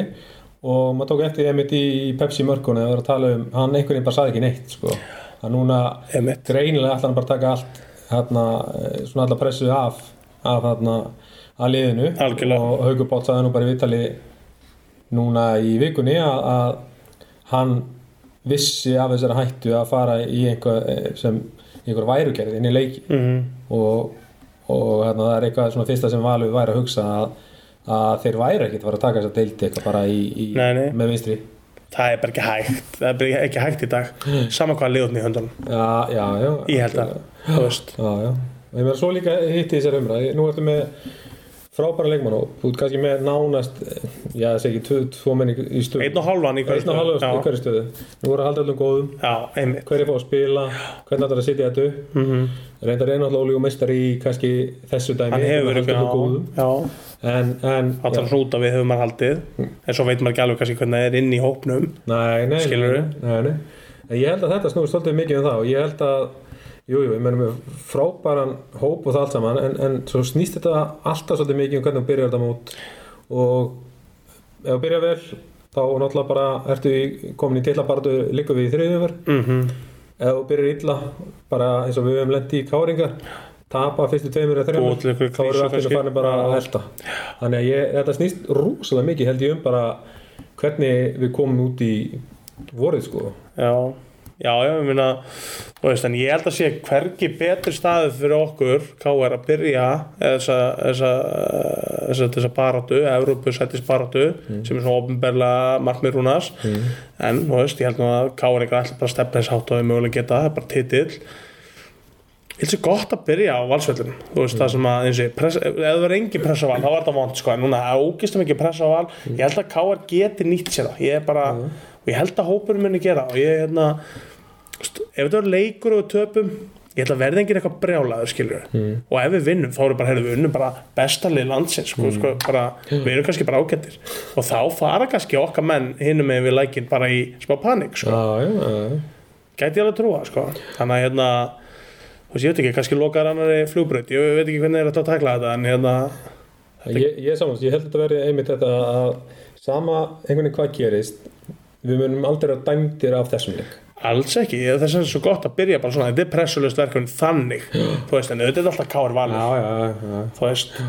Speaker 2: og maður tók eftir einmitt í, í Pepsi mörkunni að vera að tala um hann einhvern veginn bara saði ekki neitt sko að núna
Speaker 5: Einmitt.
Speaker 2: greinilega ætla hann bara að taka allt hérna, eh, svona alla pressu af af hérna að liðinu
Speaker 5: Algjörlega.
Speaker 2: og Haugubátt sagði nú bara í vitali núna í vikunni að, að hann vissi af þessari hættu að fara í einhver eh, sem í einhver værugerð inn í leiki
Speaker 5: Mm.
Speaker 2: -hmm.
Speaker 5: Mhm.
Speaker 2: og, og hérna, það er eitthvað svona fyrsta sem Valur væri að hugsa að, að þeir væri ekkit að fara að taka þess að deildi eitthvað bara í, í
Speaker 5: Nei, nei.
Speaker 2: með vinstri
Speaker 5: það er bara ekki hægt það er bara ekki hægt í dag
Speaker 2: (laughs)
Speaker 5: saman hvað liðutni í höndunum,
Speaker 2: já, já, já,
Speaker 5: ég held að þú veist,
Speaker 2: já, já. Og Ég meðan svo líka hitti þessar umræði nú ertu með frábæra leikmann og þú ert kannski með nánast eh, já, þessi ekki, tvö, tvo menn í, í stöðu
Speaker 5: einn og hálfan í
Speaker 2: einn og halvöfst í
Speaker 5: já,
Speaker 2: hverju stöðu nú voru að halda öllum góðum
Speaker 5: já, einmitt Mhm.
Speaker 2: hverju fá að spila, hvernig ætlar að sitja þetta upp mm -hmm. reyndar einnáttúrulega Óli og meistari í kannski þessu dæmi
Speaker 5: hann hefur
Speaker 2: halda
Speaker 5: verið
Speaker 2: öllum
Speaker 5: já,
Speaker 2: góðum
Speaker 5: já,
Speaker 2: en, en
Speaker 5: allar
Speaker 2: já, Mm.
Speaker 5: svona út af við hefur maður haldið en svo veit maður ekki alveg kannski hvernig það er inn í hópnum
Speaker 2: nei, nei,
Speaker 5: Skilurðu?
Speaker 2: nei, nei, nei. En ég held að þetta snúið stoltið mikið um það og ég held að jú, jú, ég menn með frábæran hóp og það allt saman en, en svo snýst þetta alltaf svolítið mikið um hvernig þú byrjar þetta mót og ef þú byrjar vel þá náttúrulega bara ertu í- komin í tillabartu líka við í þriðjöfur
Speaker 5: mm -hmm.
Speaker 2: ef þú byrjar illa bara eins og við höfum lendi í káringar tapa fyrstu tveimur eða þreimur
Speaker 5: Búa til einhverju
Speaker 2: þá erum við
Speaker 5: krísu
Speaker 2: allir
Speaker 5: kannski.
Speaker 2: fannir bara að elta þannig að ég, þetta snýst rosalega mikið held ég um bara hvernig við komum út í vorið sko
Speaker 5: Já, já, já, ég meina þú veist, en ég held að sé hvergi betri staðið fyrir okkur KR að byrja þessa, þessa, þessa, þessa baráttu, Evrópusættis baráttu sem er svona ofnberlega markmið rúnas en, þú veist, ég held nú að KR ekki allir bara stefna þess hátt og við mögulega geta, það er bara titill Ég finnst gott að byrja á valsvöllum þú veist það sem að eins og ég, press, ef það verður engin pressa á val þá var þetta vond sko en núna það er ógistum ekki pressa á val ég held að KR geti nýtt sér það ég er bara og ég held að hópurum minni gera og ég hérna st- ef þetta verður leikur og við töpum ég held að verði engin eitthvað brjálaður skilur og ef við vinnum þá erum bara heyrðu við unnum bara besta lið landsins sko, sko, bara, við erum kannski bara ágættir og þá fara kannski okkar menn hinnum með við lækin bara í smá panik sko
Speaker 2: já, já, já,
Speaker 5: gæti ég alveg trúa sko. þannig að hérna þú veist ég veit ekki, kannski lokar annari flugbraut ég veit ekki hvernig er þetta að takla þetta en hérna,
Speaker 2: já. ég, ég samans, ég held að þetta verði einmitt þetta að sama einhvern veginn hvað gerist við munum aldrei að dæmdir af þessum leik
Speaker 5: alls ekki Ég- þess að það er svo gott að byrja bara svona þetta er pressulust verkefni þannig þú veist, en auðvitað er alltaf káir valur
Speaker 2: já, já,
Speaker 5: þú veist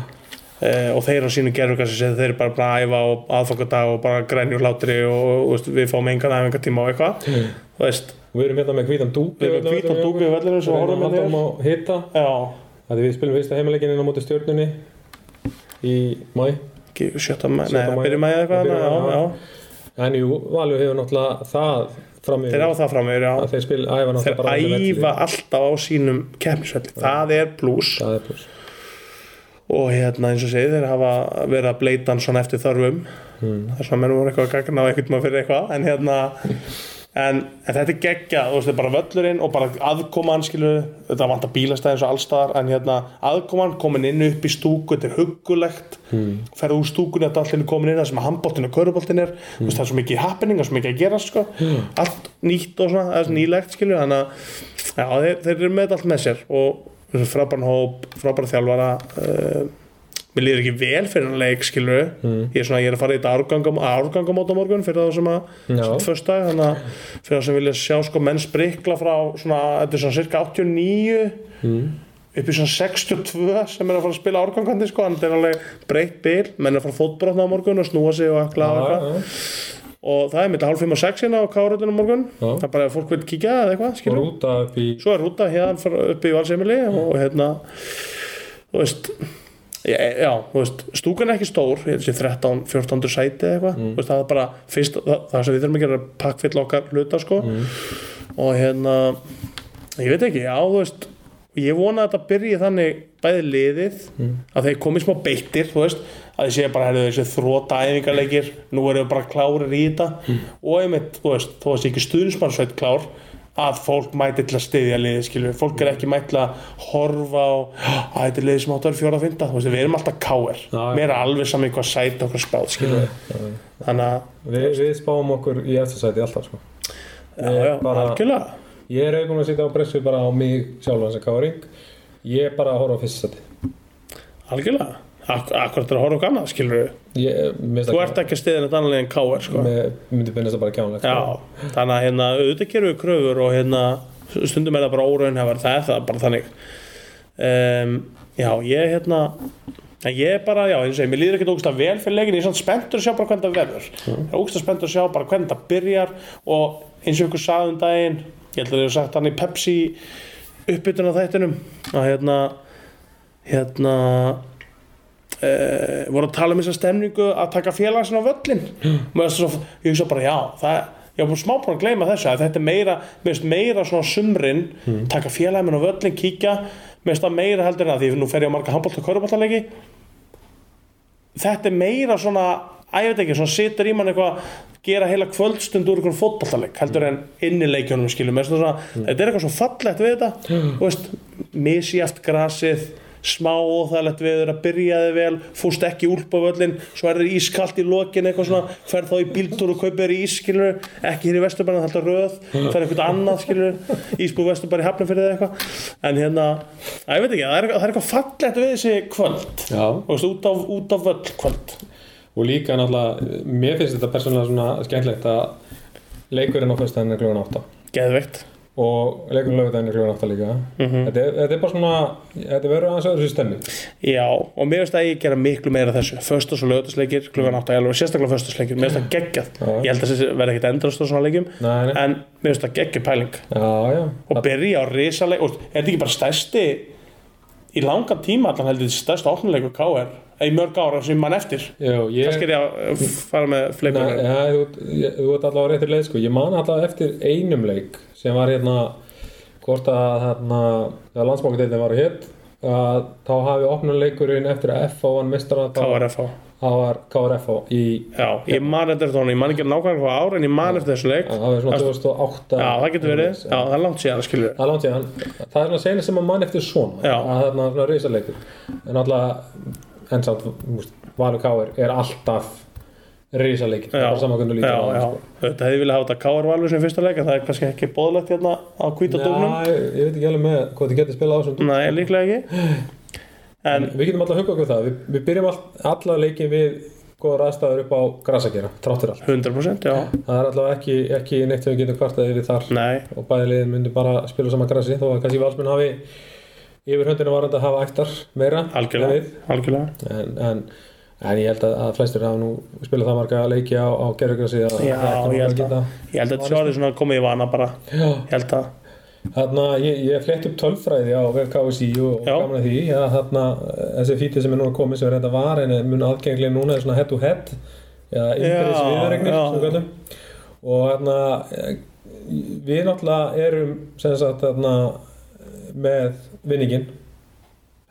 Speaker 5: Eh, og þeir á sínu gerur kannski segja þeir eru bara búin að æfa og aðfangadag og bara grænjur hlátri og, og veist, við fáum engan æfingatíma og eitthvað þú veist,
Speaker 2: og við erum hérna með hvítan dúk
Speaker 5: við erum hvítan dúbið vellinu sem horfum hérna
Speaker 2: við
Speaker 5: við
Speaker 2: erum
Speaker 5: þér
Speaker 2: að hitta
Speaker 5: já,
Speaker 2: að við spilum fyrsta heimileikinina á móti stjórnunni í mæ
Speaker 5: ekki, sjötta mæ, nei,
Speaker 2: Sjötta maí.
Speaker 5: byrjum mæja eitthvað
Speaker 2: Byrjum maí,
Speaker 5: já,
Speaker 2: já.
Speaker 5: já.
Speaker 2: En jú, Valur hefur náttúrulega það fram í
Speaker 5: þeir á það fram yfir, já
Speaker 2: að þeir spil æfa
Speaker 5: þeir
Speaker 2: náttúrulega bara á þessum velli.
Speaker 5: æfa alltaf á sínum keppnisvelli, það er pluss
Speaker 2: Það er pluss.
Speaker 5: og hérna eins og segið þeir hafa verið að bleita hann svona eftir þörfum það er svona mennum voru eitthvað að gagna á einhvern maður fyrir eitthvað en hérna en, en þetta er geggja, þú veist, þetta er bara völlurinn og bara aðkoman, skilu þetta vantar bílastæðins og allstaðar en hérna aðkoman komin inn upp í stúku þetta er huggulegt, mm. ferðu úr stúkunni að allir komin inn, það sem að handbóltin og köruboltin er þú veist, það er svo mikið happening, það er svo mikið að gera sko. allt nýtt og svona, það er svona nýlegt skilu, þannig að já, þeir, þeir eru með þetta allt með sér og frábæran hóp, frábæran þjálfara uh, mér líður ekki vel fyrir hann leik skilur
Speaker 2: Mm.
Speaker 5: ég, er svona, ég er að fara í þetta árgangum, árgangum á morgun fyrir það sem að
Speaker 2: Já.
Speaker 5: sem föstudag, þannig að fyrir það sem vilja sjá sko menn sprikla frá svona, þetta er svona cirka 89
Speaker 2: Mm.
Speaker 5: upp í svona 62 sem er að fara að spila árgangandi sko, en þetta er alveg breytt bil menn er að fara fótbrotna á morgun og snúa sig og ekla og
Speaker 2: Já,
Speaker 5: eitthvað
Speaker 2: já.
Speaker 5: og það er mitt að hálf fimm og sex hérna á káröldinu morgun
Speaker 2: Já.
Speaker 5: það er bara að fólk vil kíkja eða eitthvað
Speaker 2: Og
Speaker 5: skilur
Speaker 2: rúta upp í...
Speaker 5: svo er rúta hérna fara upp í valseimili og hérna þú veist já, já, þú veist, stúkan er ekki stór ég held að sé 13, 14 sæti eða eitthvað þú veist, það er bara fyrst, það, það sem við þurfum að gera er að pakkfylla okkar hluta sko og hérna ég veit ekki, já, þú veist ég vona að þetta byrji þannig bæði liðið
Speaker 2: Mm.
Speaker 5: að þeir komið smá beittir þú veist, að þeir séu bara herðu þessi þróta æfingarleikir, nú erum við bara klárir í þetta
Speaker 2: Mm.
Speaker 5: og einmitt, þú veist þó að sé ekki stuðnismannsveit klár að fólk mæti til að styðja liðið skilur við. fólk er ekki mæti til að horfa á að þetta er liðið sem áttu að vera fjóra að fynda við erum alltaf káir,
Speaker 2: Já, já.
Speaker 5: mér er alveg saman hvað sæti okkur spáð skilur við. þannig að,
Speaker 2: Við, við spáum okkur í eftirsæti alltaf sko.
Speaker 5: já, já,
Speaker 2: bara-
Speaker 5: algjörlega
Speaker 2: Ég er auðvitað að sitja á pressu bara á mig sjálfan sem káring. Ég er bara að horfa á fyrstsæti.
Speaker 5: algjörlega, Ak akkurat er að horfa okkur annað skilur við.
Speaker 2: Ég minnst
Speaker 5: þú ert ekki að styðja þetta annað liðið en káir sko.
Speaker 2: Mér myndi finnast það bara sko. kjánlegt.
Speaker 5: Já, þannig að hérna auðvitað gerum við kröfur og hérna stundum er það bara óraunhefar, það er það bara þannig um, Já, ég hérna en ég er bara, já, eins og ég, mér líður ekkert ógust vel fyrir leikin, ég er svona spenntur að sjá bara hvernig það verður ég er ógust spenntur að sjá bara hvernig það byrjar og eins og ykkur sagði um daginn ég held að þið hefur sagt hann í Pepsi uppbytun af þættinum að hérna hérna uh, voru að tala um þessa stemningu að taka félagsin á völlin og svo, ég hugsa bara já það, ég var bara smá búin að gleyma þessu að þetta er meira, mér finnst meira svona á sumrin taka félagin minn á völlin, kíkja mér finnst það meira heldur en að því nú fer ég á marga handbólt og körubóttalegi þetta er meira svona að ég veit ekki, svona situr í mann eitthvað gera heila kvöldstund úr einhvern fótballtaleg heldur en innileikjónum skilum mm. svona, þetta er eitthvað svo fallegt við þetta mm. veist, misjæft grasið smá óþægilegt viður að byrjaði vel fúst ekki úlp á völlin svo er það ískalt í lokin eitthvað svona ferð þá í bíltúr og kaupir í ískilur ekki hér í Vesturbanna, það er alltaf röð ferð eitthvað annað skilur ísbú Vesturbanna í hafnum fyrir það eitthvað en hérna, að ég veit ekki, það er, það er eitthvað fallegt við þessi kvöld
Speaker 2: Já.
Speaker 5: Þú veist, út af, út af völl kvöld
Speaker 2: Og líka náttúrulega, mér finnst þetta persónulega svona skemmtlegt að leikurinn á fyrstæðinu er klukkan 8.
Speaker 5: Geðveikt
Speaker 2: og leikur lögudaginn er klukkan átta líka
Speaker 5: Mhm.
Speaker 2: þetta, er, þetta er bara svona þetta verður aðeins öðru systemi
Speaker 5: Já, og mér finnst að ég gera miklu meira af þessu Föstas og lögutasleikir, klukkan 8 alveg, sérstaklega föstasleikir, mér finnst það geggjað
Speaker 2: Já.
Speaker 5: Ég held að þessi verði ekkit endrast á svona leikjum
Speaker 2: Nei, nei.
Speaker 5: En mér finnst það geggjuð pæling
Speaker 2: já, já,
Speaker 5: Og byrja á risaleik, og er þetta ekki bara stærsti Í langan tíma allan heldur þetta stærsti opnuleikur KR Í mörg ára sem mann eftir
Speaker 2: já ég,
Speaker 5: Kannski er ég að eh, fara með
Speaker 2: Nei,
Speaker 5: fleikunum
Speaker 2: ja, þú, ég, þú ert allavega á réttir leið sko. ég man allavega eftir einum leik sem var hérna hvort að hérna, þegar landsbókadeildin var hitt að þá hafi opnum leikurinn eftir að FH vann mistara
Speaker 5: KRFH
Speaker 2: KRFH í
Speaker 5: Já, ég man eftir þetta honum, ég man ekki nákvæmlega hvað ára en ég man eftir þessu leik
Speaker 2: að það var svona 2008
Speaker 5: Já, það getur verið, já, það er langt síðan, skilur
Speaker 2: Það er langt síðan, það er svona senast sem maður mann eftir svona
Speaker 5: Já.
Speaker 2: að það er svona reysaleikur en alltaf, en samt þú veist, Valur Káir er alltaf reysaleikur, það er bara saman hvernig
Speaker 5: já,
Speaker 2: lítið
Speaker 5: já, þetta hefði viljað hafa þetta K.R. Valur sem fyrsta leik en það er kannski ekki bóðlegt hérna á hvíta dómnum
Speaker 2: Já, ég, ég veit ekki alveg með hvað þið getur spilað á þessum
Speaker 5: Nei, líklega ekki En
Speaker 2: Við getum alltaf að huga okkur það, við, við byrjum all, alla leikin við góðar aðstæður upp á grasakera, tráttur allt
Speaker 5: 100% já,
Speaker 2: Það er alltaf ekki, ekki neitt sem við getum kvartaði við þar
Speaker 5: nei
Speaker 2: og bæði liðin myndu bara spila saman grasi þó að kannski valsmenn hafi yfir höndinu varandi að hafa ættar meira en
Speaker 5: Algjörlega,
Speaker 2: við.
Speaker 5: algjörlega
Speaker 2: en, en, en ég held að, að flestir hafa nú spilað það marga leiki á, á gerðugrasi að
Speaker 5: Já, ég held að Ég held að þetta sé orðið svona komið í vana bara
Speaker 2: Já,
Speaker 5: Ég held að,
Speaker 2: þarna, ég, ég flett upp tölfræði á VKSI og, og
Speaker 5: Já.
Speaker 2: gaman að því að þarna, þessi fítið sem er núna komið sem er reynda var en er mun aðgengileg núna er svona head to head eða innbyrðis
Speaker 5: Já,
Speaker 2: viðaregnir
Speaker 5: já.
Speaker 2: sem við köllum. og þarna eh, við náttúrulega erum sem sagt þarna með vinningin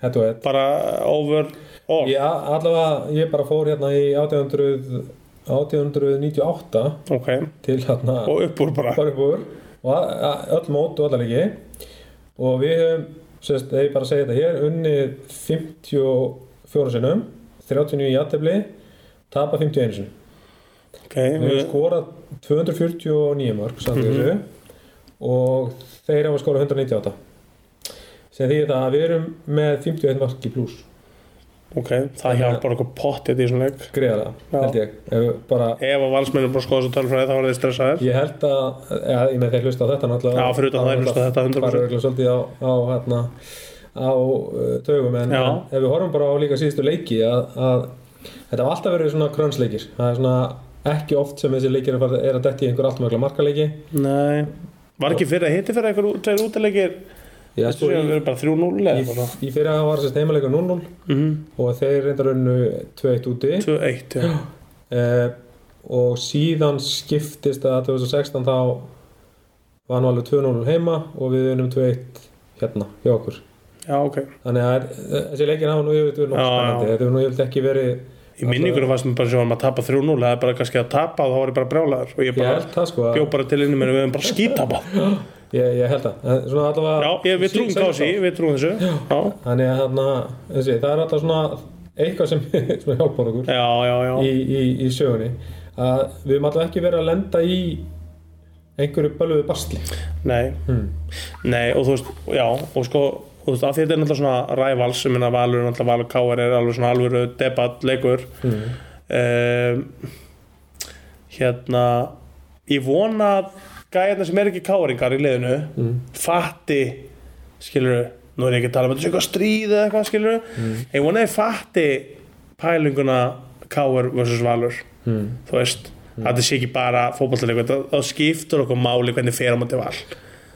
Speaker 2: head to head
Speaker 5: bara over all
Speaker 2: Já, allavega ég bara fór hérna í 1800, 1898
Speaker 5: Ok,
Speaker 2: til hérna
Speaker 5: og upp úr bara
Speaker 2: Borgbúr og að- að- öll mót og allalegi og við höfum, sérst, ef ég bara segi þetta hér, unnið 54 sinnum, 39 í aðtefli, tapa 51 sinnum.
Speaker 5: Ok,
Speaker 2: Við
Speaker 5: við,
Speaker 2: höfum skorað 249 mörg, samt mm þessu, og þeir hafa skorað 198. Sem því það að við erum með 51 mark í pluss,
Speaker 5: ok, það hjálpar okkur pottið í svona leik
Speaker 2: greiða
Speaker 5: Já.
Speaker 2: það, held ég. Ef við bara
Speaker 5: Ef að valsmennir bara skoða þessu tölfræði þá var þið stressaðir
Speaker 2: Ég held að, ja, ég með þeir hlusta á þetta náttúrulega
Speaker 5: Já, fyrir utan það, þeir hlusta á þetta 100%.
Speaker 2: Bara örgulega svolítið á, á, hérna, á uh, taugum en,
Speaker 5: Já.
Speaker 2: en ef við horfum bara á líka síðustu leiki að, að þetta var alltaf verið svona krönsleikir Það er svona ekki oft sem þessi leikir er að fara- er að detti í einhver allmögla markaleiki
Speaker 5: Nei, var ekki fyrir að hitti fyrir eitthvað tveir útilegir
Speaker 2: Já,
Speaker 5: Þessu
Speaker 2: Sko,
Speaker 5: við
Speaker 2: í,
Speaker 5: erum bara 3-0 eða Mhm.
Speaker 2: í,
Speaker 5: bara
Speaker 2: í fyrir að var þessi heimaleikur 0-0 og þeir reyndar unnu 2-1 úti
Speaker 5: 2-1 já.
Speaker 2: eh, og síðan skiptist að 2016 þá var nú alveg 2-0 heima og við unum 2-1 hérna hjá okkur
Speaker 5: já, ok
Speaker 2: þannig að þessi leikir hafa nú yfirleitt verið
Speaker 5: Já,
Speaker 2: nokkuð spennandi þetta
Speaker 5: já.
Speaker 2: hefur nú yfirleitt ekki verið
Speaker 5: Í minningunum fannst mér bara sem við varum að tapa 3-0 Það er bara kannski að tapa og þá var ég bara brjálaður Og ég
Speaker 2: ég
Speaker 5: bara
Speaker 2: held það sko að-
Speaker 5: bjó bara til innum en við hefum bara skítapað
Speaker 2: ég, ég held það En svona allavega
Speaker 5: Já, ég, við trúum kási, við trúum þessu Já,
Speaker 2: þannig að þarna þessi, það er alltaf svona eitthvað sem, (laughs) sem hjálpar okkur
Speaker 5: já, já,
Speaker 2: í,
Speaker 5: já
Speaker 2: í, í sögunni að við höfum alltaf ekki verið að lenda í einhverju bölvuðu bastli
Speaker 5: Nei, nei og þú veist, já Og sko, og þú veist, af því þetta er náttúrulega svona rævals Ég minna valur, er náttúrulega valur káar er alveg svona alvöru debatt, leikur um, Hérna Ég vona að gæðarna sem er ekki káaringar í liðinu Fatti skilur nú er ég ekki að tala um að þetta sé eitthvað stríð eða eitthvað skilur ég vona að ég fatti pælinguna Káur vs. Valur mm. þú veist, að þetta sé ekki bara fótballtilegur, þá skiptur okkur máli hvernig fer á móti val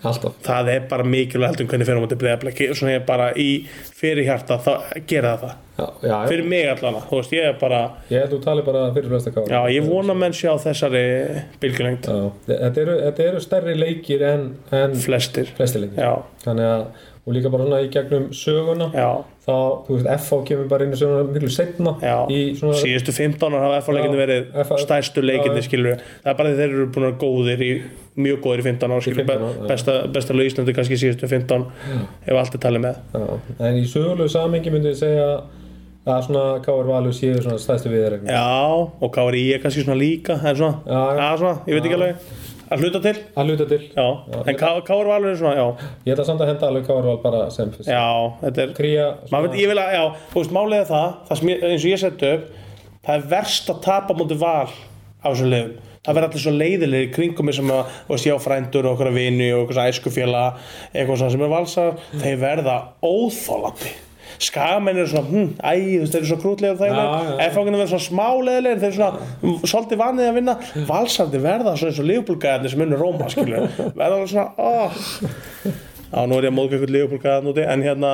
Speaker 2: alltaf
Speaker 5: það er bara mikilvægt heldur en hvernig fer á móti breyðablik svona ég er bara í fyrir hjarta þá gera það það,
Speaker 2: já, já,
Speaker 5: fyrir mig allan þú veist, ég er bara,
Speaker 2: ég held þú tali bara fyrir flesta kára
Speaker 5: já, ég vona að menn sé á þessari bylgjulengd,
Speaker 2: Já, þetta eru, þetta eru stærri leikir en, en
Speaker 5: flestir
Speaker 2: flesti leikir
Speaker 5: já,
Speaker 2: þannig að, og líka bara svona í gegnum söguna
Speaker 5: já,
Speaker 2: þá, þú veist, FH kemur bara inn í söguna miklu setna
Speaker 5: já
Speaker 2: í svona
Speaker 5: síðustu 15 ára hafa F-leikinni
Speaker 2: Já,
Speaker 5: verið
Speaker 2: FA
Speaker 5: stærstu leikinni
Speaker 2: já.
Speaker 5: skilur það er bara því þeir eru búin að vera góðir í mjög góðir í 15 ára skilur
Speaker 2: 15 ára, já.
Speaker 5: besta, besta lög Íslandi kannski síðustu 15 ef allt er talið með
Speaker 2: já, en í sögulegu samengi myndi ég segja að svona K.R. Valur séu svona stærstu viðregnum
Speaker 5: já og KRI er kannski svona líka en svona,
Speaker 2: Já, já.
Speaker 5: að svona, ég veit ekki alveg að hluta til,
Speaker 2: að hluta til,
Speaker 5: já, en KR Valur er svona, já,
Speaker 2: ég ætla samt að henda alveg K.R. Val bara sem fyrst
Speaker 5: já, þetta er
Speaker 2: Kría,
Speaker 5: maður veit, ég vil að, já, þú veist, málið er það það sem ég, eins og ég seti upp það er verst að tapa mútið val af þessum liðum það verður allir svo leiðilegir í kringum mig sem að, þú veist, ég á frændur og okkur vini og okkur æskufjöla eitthvað svona sem er valsar þeir verða óþólandi skagamenn eru svona, hm, æ, þú veist, þeir eru svona krútlegir og
Speaker 2: Já, já,
Speaker 5: þægilegir
Speaker 2: já.
Speaker 5: F-fanginu verður svona smá leiðilegir, þeir eru svona mm, svolítið vanið
Speaker 2: (laughs)
Speaker 5: að vinna, valsandi verða svona eins og liðbúlgæðarnir sem unnu Róma, skilur verða alveg svona, óh Já, nú er ég að móðka ykkur liðbúlgæðan úti en hérna,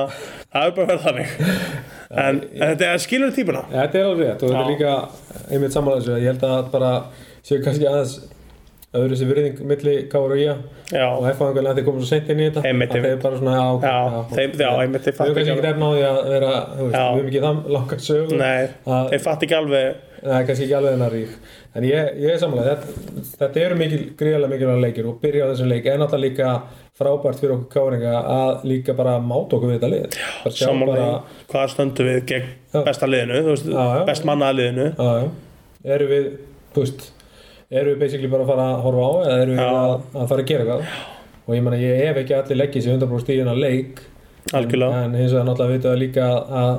Speaker 5: það er bara að verða þannig en, en þetta er skilur típuna
Speaker 2: Ja, Þetta er alveg rétt og þetta er
Speaker 5: Já.
Speaker 2: líka einmitt samanlega þessu að ég held að bara séu kannski aðeins öðru sér virðing milli Káur og Ía
Speaker 5: Já.
Speaker 2: og F-fangarlega þeir komið svo seint inn í þetta
Speaker 5: Einmitt,
Speaker 2: að þeir
Speaker 5: einmitt.
Speaker 2: bara svona já, ok,
Speaker 5: Já, þeim- já, einmitt, þeir
Speaker 2: Við
Speaker 5: fatta
Speaker 2: höfum kannski
Speaker 5: ekki
Speaker 2: ekki efna á því að vera þú veist,
Speaker 5: Já.
Speaker 2: við höfum ekki það langar sögur
Speaker 5: Nei,
Speaker 2: að,
Speaker 5: þeir fatt ekki alveg
Speaker 2: það er kannski ekki alveg hennar rík en ég, ég er samanlega þetta, þetta eru mikil, gríðarlega mikilvæg leikir og byrja á þessum leik en alltaf líka frábært fyrir okkur Káringa að líka bara máta okkur við þetta lið bara sjá
Speaker 5: samanlega
Speaker 2: bara
Speaker 5: hvað stöndum við gegn
Speaker 2: Já.
Speaker 5: besta liðinu, þú veist,
Speaker 2: Já, já.
Speaker 5: best mannaða liðinu
Speaker 2: Já, já. Erum við, þú veist, erum við basically bara að fara að horfa á eða erum við
Speaker 5: Já.
Speaker 2: að, að fara að gera eitthvað? Og ég meina, ég hef ekki að allir leggja sér 100% í hennar leik.
Speaker 5: Algjörlega.
Speaker 2: En, en hins vegar náttúrulega veitum við líka að,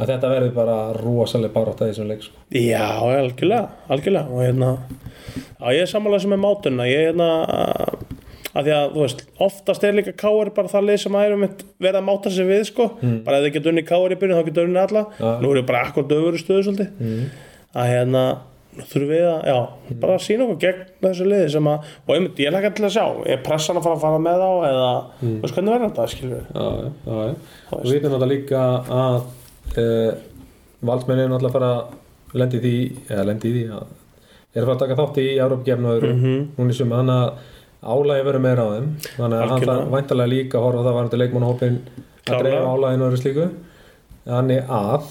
Speaker 2: að þetta verður bara rosalega barátt að þessum leik, sko.
Speaker 5: Já, algjörlega, algjörlega og hérna, já ég er samanlega sem er mátunna, ég er hérna að því að þú veist, oftast er líka káar bara það lið sem að erum mitt verið að máta sig við sko, bara ef þið getur unni káar í byrju þá getur unni alla,
Speaker 2: Já.
Speaker 5: nú erum við bara akkur döfur í stöðu svolítið, að hérna nú þurfum við að, já, bara að sína okkur gegn þessu liði sem að, og einmitt, ég lakka til að sjá, er pressan að fara að fara með þá eða, þú veist hvernig verður þetta, skilur við
Speaker 2: já, já, já, já. og við veitum náttúrulega líka að e, valdsmenni er náttúrulega að fara að lendi því, eða lendi því að er að fara að taka þátt í Európgefn og öðru mm
Speaker 5: Mhm.
Speaker 2: -hmm. núna í sumar, þannig að álægi verður meira á þeim þannig að hann
Speaker 5: Algjörlega.
Speaker 2: þarf væntalega líka að horfa á það varandi leikmannahópin að
Speaker 5: Klárlega.
Speaker 2: dreifa álægin og öðru slíku þannig að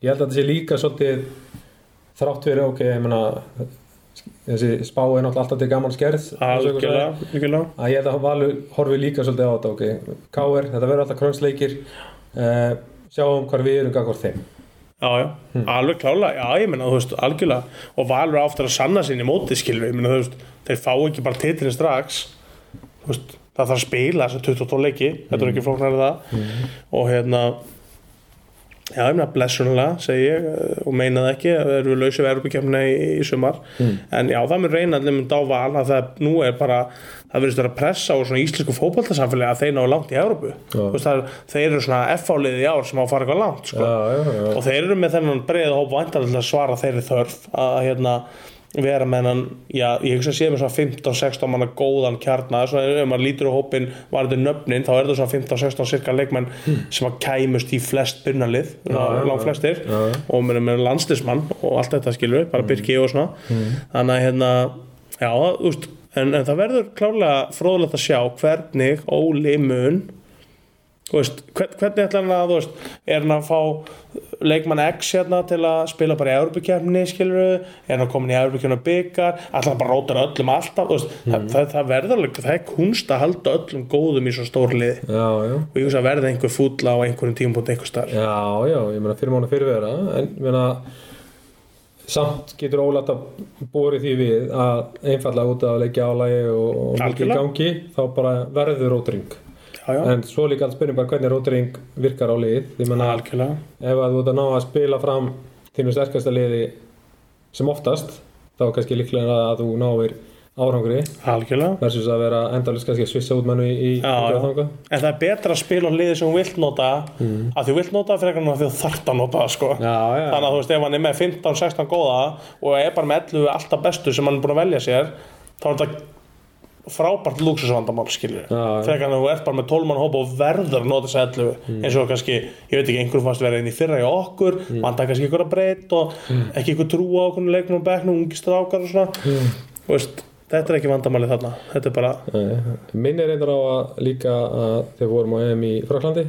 Speaker 2: ég held að þetta sé líka svolítið þrátt fyrir ok, ég meina þessi spá er náttúrulega alltaf til gaman skerð eins og ykkur sagði
Speaker 5: Algjörlega, algjörlega
Speaker 2: að ég held að Valur horfi líka svolítið á þetta ok, K.R. þetta verður alltaf krönsleikir uh, sjáum hvar við erum gangvart þeim
Speaker 5: Já, já, alveg klálega, já, ég meina, þú veist, algjörlega og Valur á aftur að sanna sinni móti, skilvi, ég meina, þú veist, þeir fá ekki bara titlinn strax, þú veist, það þarf að spila þessar 22 leiki, þetta er ekki flóknar það og hérna, já, ég meina, blessunlega, segi ég eh, og meina það ekki, það eru við lausið verðbyggjöfni í, í sumar, en já, það mun reyna allir mynd á Val að það nú er bara, það verðist vera pressa á svona íslensku fótboltasamfélagi að þeir ná langt í Európu, þú veist, það, er- þeir eru svona F-áliði í ár sem á að fara eitthvað langt, sko
Speaker 2: já, já, já.
Speaker 5: og þeir eru með þennan breið hóp vantar til að svara þeirri þörf að hérna vera með hennan, já, ég hugsa að sé með svona 15-16 manna góðan kjarna svona ef maður lítur á hópin varðið nöfnin þá er það svona 15-16 cirka leikmenn sem að kæmust í flest byrnalið langt flestir og með, með landslismann og allt þetta skilur bara
Speaker 2: Mm.
Speaker 5: Birki og svona þannig að hérna, já, úst, en, en það verður klárlega fróðlegt að sjá hvernig Óli mun Þú veist, hvern- hvernig ætlar hann að þú veist, er hann að fá leikmann X hérna til að spila bara í Európukefni skilur er hann að komin í Európukefni og byggar ætlar hann bara að róta öllum alltaf þú veist,
Speaker 2: Mm.
Speaker 5: það, það, það verður alveg, það er kunst að halda öllum góðum í svo stórlið
Speaker 2: já, já,
Speaker 5: og ég veist að verða einhver fútla á einhverjum tímpúnt einhver starf
Speaker 2: já, já, ég meina fyrir mánu fyrirvera en ég meina samt getur ólætt að bóri því við að einfallega út að leikja álægi og, og mikið í
Speaker 5: Algjörlega.
Speaker 2: gangi þá bara verður rótring
Speaker 5: já, já,
Speaker 2: en svo líka að spyrjum bara hvernig rótring virkar á lið, ég meina
Speaker 5: algjörlega
Speaker 2: ef að þú ert að ná að spila fram þínu sterkasta liði sem oftast þá er kannski líklega að þú náir árangri
Speaker 5: algjörlega
Speaker 2: versus að vera endalist kannski að svissa út mannu í, í
Speaker 5: Já,
Speaker 2: í-
Speaker 5: já.
Speaker 2: þangað.
Speaker 5: en það er betra að spila á liði sem hún vilt nota mm. að því hún vilt nota það frekar en að því þú þarft að nota það sko
Speaker 2: já, já,
Speaker 5: þannig að þú veist ef hann er með 15-16 góða og er bara með 11 alltaf bestu sem hann er búin að velja sér þá er þetta frábært lúksusvandamál skilur
Speaker 2: Já, já. Mm.
Speaker 5: frekar en að þú ert bara með 12 mann hópa og verður að nota þess að 11 eins og kannski, ég veit ekki, einhver fannst vera inn í fyrra í okkur, mm. vantar kannski ykkur að breyt og
Speaker 2: Mm.
Speaker 5: ekki ykkur trú á okkur leiknum og bekknum, ungi strákar og svona mm. veist, þetta er ekki vandamáli þarna þetta er bara,
Speaker 2: Nei, Minn er Eh, reyndar á að líka að þegar við vorum á EM í Fraklandi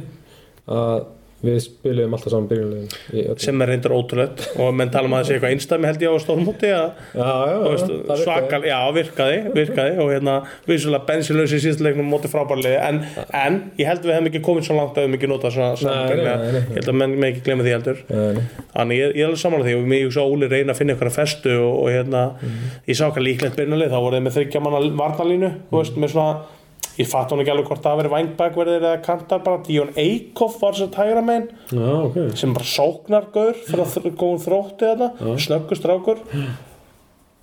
Speaker 2: að við spilum alltaf saman byrjunlegin í öllum.
Speaker 5: sem er reyndar ótrúlegt og menn tala um að það sé eitthvað einstæmi held ég á stórmúti að
Speaker 2: Já, já,
Speaker 5: Þú
Speaker 2: já, það
Speaker 5: veist,
Speaker 2: er
Speaker 5: svakal, já, virkaði, virkaði og hérna, vissulega bensinlaus í síðustu leiknum á móti frábærlega, en, en ég held við hefum ekki komið svo langt að við hefum ekki notað svona
Speaker 2: nei,
Speaker 5: samkvæmlega,
Speaker 2: nei, nei.
Speaker 5: ég held að menn með ekki glemma því heldur
Speaker 2: Nei,
Speaker 5: þannig ég, ég er alveg samanlega því og mér ég svo Óli reyna að finna ykkur að festu og, og hérna, ég sá okkar líklegt byrjunalið, þá voruð þið með þryggja manna varnalínu þú veist, með svona ég fatt hún ekki alveg hvort það verið vængback verið eða kantar bara, Díon Eikhoff var sér tægra megin
Speaker 2: já, ok
Speaker 5: sem bara sóknargaur fyrir að góðum þrótti þarna, snöggustrákur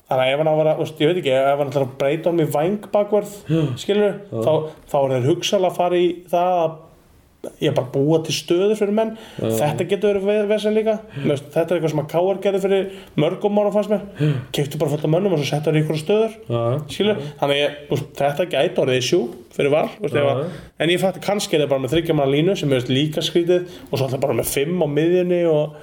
Speaker 5: Þannig að ef hann á að vera, veist, ég veit ekki, ef hann ætlar að breyta honum í vangbakvörð, skilur, þá, þá er þeir hugsalega að fara í það að ég bara búa til stöður fyrir menn þetta getur verið vesen líka Mest, þetta er eitthvað sem að Káar gerði fyrir mörgum ára fannst mér, keiptu bara fullt af mönnum og svo settu þær í eitthvað stöður skilur, þannig að ég, úst, þetta gæti orðið sjú fyrir val, úst, ef að, en ég fætti kannski er það bara með þryggjamanna línu sem er líka skrítið og svo er það bara með fimm á miðjunni og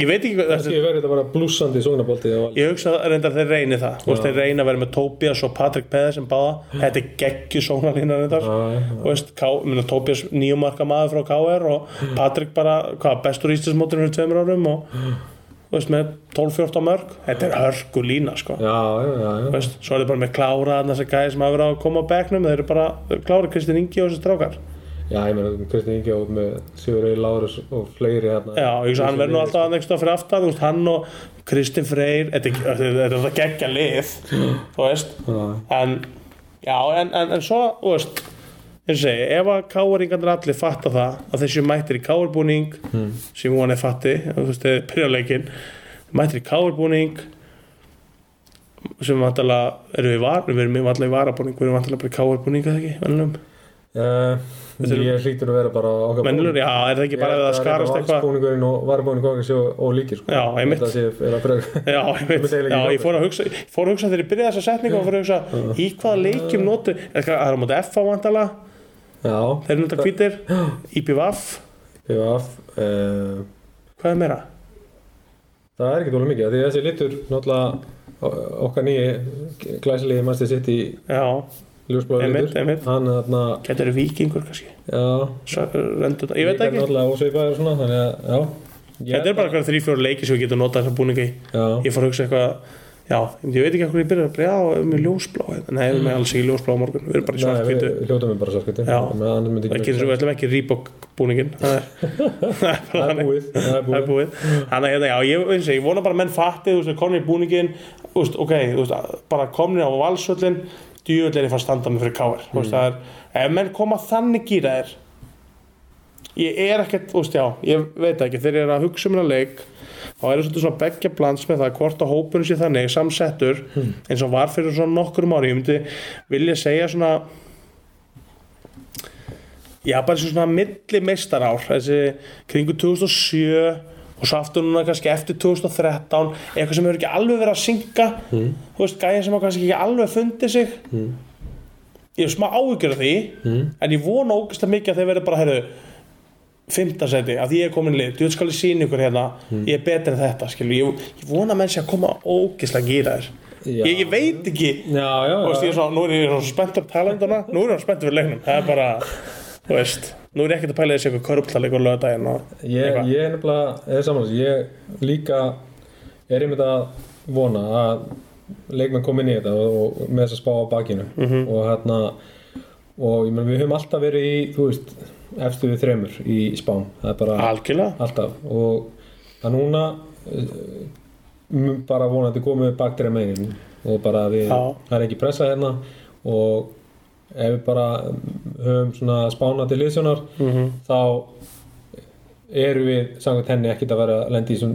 Speaker 5: ég veit ekki hvað
Speaker 2: Ég verður þetta bara blúsandi í sóknabolti á
Speaker 5: Ég hugsa að reyndar þeir reyni það Þú veist, Þeir reyni að vera með Tobias og Patrick Pedersen báða Þetta er geggju sónalína reyndar Þú veist, K, minna, Tobias nýjumarka maður frá KR og Patrick bara, hvað, bestur ístismóturinn fyrir tveimur árum og þú veist, með 12-14 mörg Þetta er hörku lína sko
Speaker 2: Já, já, já, já.
Speaker 5: Þú veist, Svo er þetta bara með klára þarna þessi gæði sem hafa verið að koma á bekknum þeir eru bara klára Kristinn Ingi og þessi strákar
Speaker 2: Já, ég meina, Kristi Ingi út með Sigur Egil Lárus og fleiri hérna.
Speaker 5: Já, ég veist, hann verður nú alltaf aðeins fyrir aftan, þú veist, hann og Kristinn Freyr, þetta er- þetta er þetta geggja lið, þú veist, en, já, en, en, en svo, þú veist, eins og segi, ef að káaringarnir allir fatta það, að þessi mættir í káarbúning, sem hún er fatti, þú veist, prjóðleikin, mættir í káarbúning, sem vantalega eru við var, við erum vantalega í varabúning, við erum vantalega bara í káarbúning, eða ekki, vennilegum,
Speaker 2: Uh, ég hlýtur að vera bara okkar
Speaker 5: vennilegur, já, er það ekki bara að það skarast eitthvað? sko,
Speaker 2: Búningurinn og varubúning okkar séu ólíkir, sko.
Speaker 5: Já, einmitt.
Speaker 2: Þetta séu fyrir að brega.
Speaker 5: Já, ég
Speaker 2: Ég
Speaker 5: veit,
Speaker 2: myndi eiginlega
Speaker 5: já,
Speaker 2: ekki
Speaker 5: ég fór að hugsa, ég fór að hugsa þegar ég byrjaði þessa setningu og fór að hugsa í hvaða leikjum notu, eða hvað, það er á móti F á vandala,
Speaker 2: (laughs) Já,
Speaker 5: þeir eru náttúrulega hvítir, IPVAF,
Speaker 2: ég var af. Uh,
Speaker 5: hvað er meira?
Speaker 2: það er ekki tóla mikið, af því að þessi litur, náttúrulega, o- okkar nýji glæsilegi Master City
Speaker 5: Já,
Speaker 2: ljósbláður
Speaker 5: Einmitt,
Speaker 2: litur.
Speaker 5: einmitt.
Speaker 2: Hann er þarna,
Speaker 5: getur eru vikingur kannski,
Speaker 2: já,
Speaker 5: Svo- rendur- ég veit
Speaker 2: líka
Speaker 5: ekki,
Speaker 2: Náttúrulega ósveipaður og svona, þannig að, já. Ég
Speaker 5: þetta er bara eitthvað þrjú fjóru leiki sem við getum notað þessa búninga í,
Speaker 2: Já,
Speaker 5: ég fór að hugsa eitthvað, já, ég veit ekki hvað ég byrjaði að byrja á með ljósblá, hérna? nei, við erum alls ekki í ljósblá á morgun, við erum bara
Speaker 2: Mm. Nei,
Speaker 5: í svart
Speaker 2: við
Speaker 5: hvítu,
Speaker 2: við hljótum við bara svartkviti.
Speaker 5: Já.
Speaker 2: annars myndi
Speaker 5: það
Speaker 2: ekki
Speaker 5: getur svo við ætlum ekki Reebok
Speaker 2: (laughs)
Speaker 5: búningin, það er, (laughs) það er bara
Speaker 2: Það er
Speaker 5: þannig.
Speaker 2: búið, það er
Speaker 5: það
Speaker 2: búið.
Speaker 5: er búið þannig að hérna, já, ég, eins og ég vona bara að menn fatti þú veist, komin í búningin þú veist, ok, þú veist, að- bara komin á valsvöllin djöfull er ég fann standa mig fyrir káir mm. veist, það er, ef menn koma þannig gýra þér ég er ekkert, þú veist, já, ég veit það ekki þegar ég er að hugsa um hérna leik þá er þetta svona begja blands með það hvort að hópurinn sé þannig samsettur eins og var fyrir svona nokkrum ári ég myndi vilja segja svona já, bara eins og svona milli meistarár þessi kringu 2007 og svo aftur núna kannski eftir 2013 eitthvað sem hefur ekki alveg verið að synga þú veist, gæja sem hafa kannski ekki alveg fundið sig ég hef smá áhyggjur af því en ég vona ógust að mikið að þeir verði bara heyrðu, fymta seti, að ég er komin lið þú veit skal ég sína ykkur hérna, ég er betri en þetta skilu, ég, ég vona að menn sé að koma ógislega gýra þér,
Speaker 2: Já.
Speaker 5: ég, ég veit ekki
Speaker 2: Já, já,
Speaker 5: Þú veist, ég
Speaker 2: já.
Speaker 5: er svona, nú er ég svona spennt um talenduna nú er ég svona spennt fyrir leiknum, það er bara þú veist, nú er ég ekkert að pæla þessi eitthvað körptaleik og lögadaginn og
Speaker 2: Ég,
Speaker 5: eitthvað.
Speaker 2: ég er nefnilega, eða samanlega, ég líka er einmitt að vona að leikmenn komi inn í þetta og, og með þess að spá á bakinu og hérna og ég menn við höfum alltaf verið í, þú veist, efstu við þremur í spám, það er bara
Speaker 5: algjörlega,
Speaker 2: alltaf og það núna eh, mun bara vonandi komið bakdreið megin og bara við,
Speaker 5: Já.
Speaker 2: það er ekki pressa hérna og ef við bara höfum svona spána til liðsjónar þá eru við samkvæmt henni ekkert að vera að lenda í þessum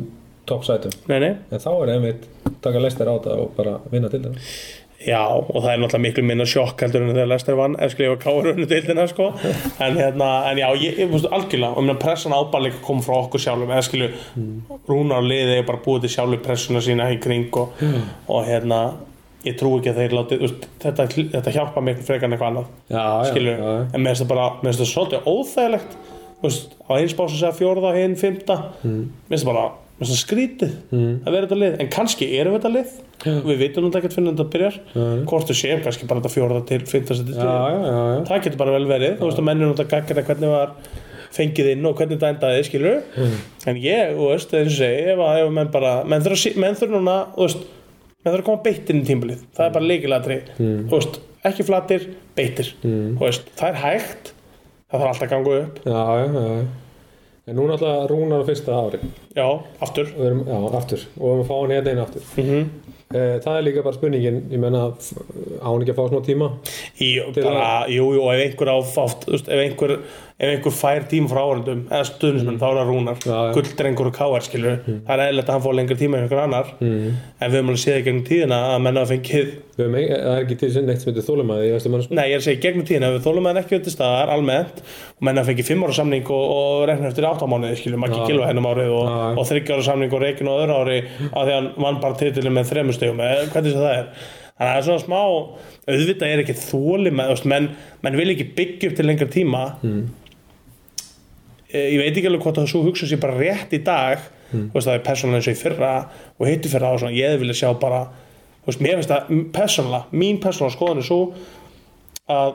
Speaker 2: toppsætum
Speaker 5: nei nei
Speaker 2: en þá er einmitt taka lestir á það og bara vinna til það
Speaker 5: Já, og það er náttúrulega miklu minna sjokk heldur en þegar Lester vann, ef skrifa káur unni deildina, sko, en hérna en já, ég, ég veist, algjörlega, og minna pressan ábæðleika kom frá okkur sjálfum, eða skilju Rúnar og liðið er bara búið til sjálfum pressuna sína í kring og, og hérna, ég trú ekki að þeir láti veist, þetta, þetta hjálpa miklu frekar en eitthvað annað
Speaker 2: Já, já,
Speaker 5: skilju,
Speaker 2: já, já.
Speaker 5: en mér finnst það bara mér finnst það svolítið óþægilegt þú veist, á eins básu segja fjórða, hinn, fymta mm. mér finnst það bara, mér finnst það skrítið mm. að vera þetta lið, en kannski erum við þetta lið við vitum náttúrulega ekkert fyrir þetta byrjar hvort þú séum kannski bara þetta fjórða til fymta setið
Speaker 2: Já, já, já, já.
Speaker 5: það getur bara vel verið, þú veist að mennir náttúrulega gaggar hvernig var fengið inn og hvernig þetta endaði, skilur en ég, þú veist, eins og segi ef, að- ef menn bara, menn þurfa að sí- menn þurfa núna þú veist, menn þurfa að koma beittir inn í tímbilið, það er bara leikilatri mm. veist, ekki flatir, beittir mm. veist, það er hægt það þarf alltaf að ganga upp,
Speaker 2: Já, já, já, já. En núna alltaf rúnar á fyrsta ári
Speaker 5: já, aftur
Speaker 2: og við erum, já, aftur, og við erum að fá hann hérna einu aftur mm það er líka bara spurningin ég menna, á hann ekki að fá smá tíma
Speaker 5: í,
Speaker 2: Til
Speaker 5: bara, jú, jú, og ef einhver á, átt, þú veist, ef einhver ef einhver fær tíma frá áhörendum eða stuðnismenn þá er það rúnar
Speaker 2: Já, já. Mm.
Speaker 5: gulldrengur og káar skilur það er eðlilegt að hann fá lengri tíma en einhver annar en við höfum alveg séð í gegnum tíðina að menn hafa fengið
Speaker 2: Við höfum ein- Það er ekki til sinn neitt sem heitir þólumæði í vestum mannsbúr
Speaker 5: Nei, ég er að segja í gegnum tíðina, við þólum að ekki öll til staðar almennt og menn að fengi 5 ára samning og, og rekna eftir 8 mánuði, skiljum, ekki gilva hennum árið og,
Speaker 2: Já, já.
Speaker 5: og 30 ára samning og reikin á öðru ári af því að hann vann bara titilin með 3 stegum, eða hvernig sem það er þannig að það er svona smá, auðvitað er ekki þólim, menn, menn vil ekki byggja upp til lengra tíma
Speaker 2: Hmm.
Speaker 5: Eh, ég veit ekki alveg hvort að svo hugsa sér bara rétt í dag
Speaker 2: Hmm.
Speaker 5: þú veist það er persónulega eins og í fyrra og hittu fyrra á svona, ég vilja sjá bara þú veist, mér finnst það persónulega mín persónulega skoðan er svo að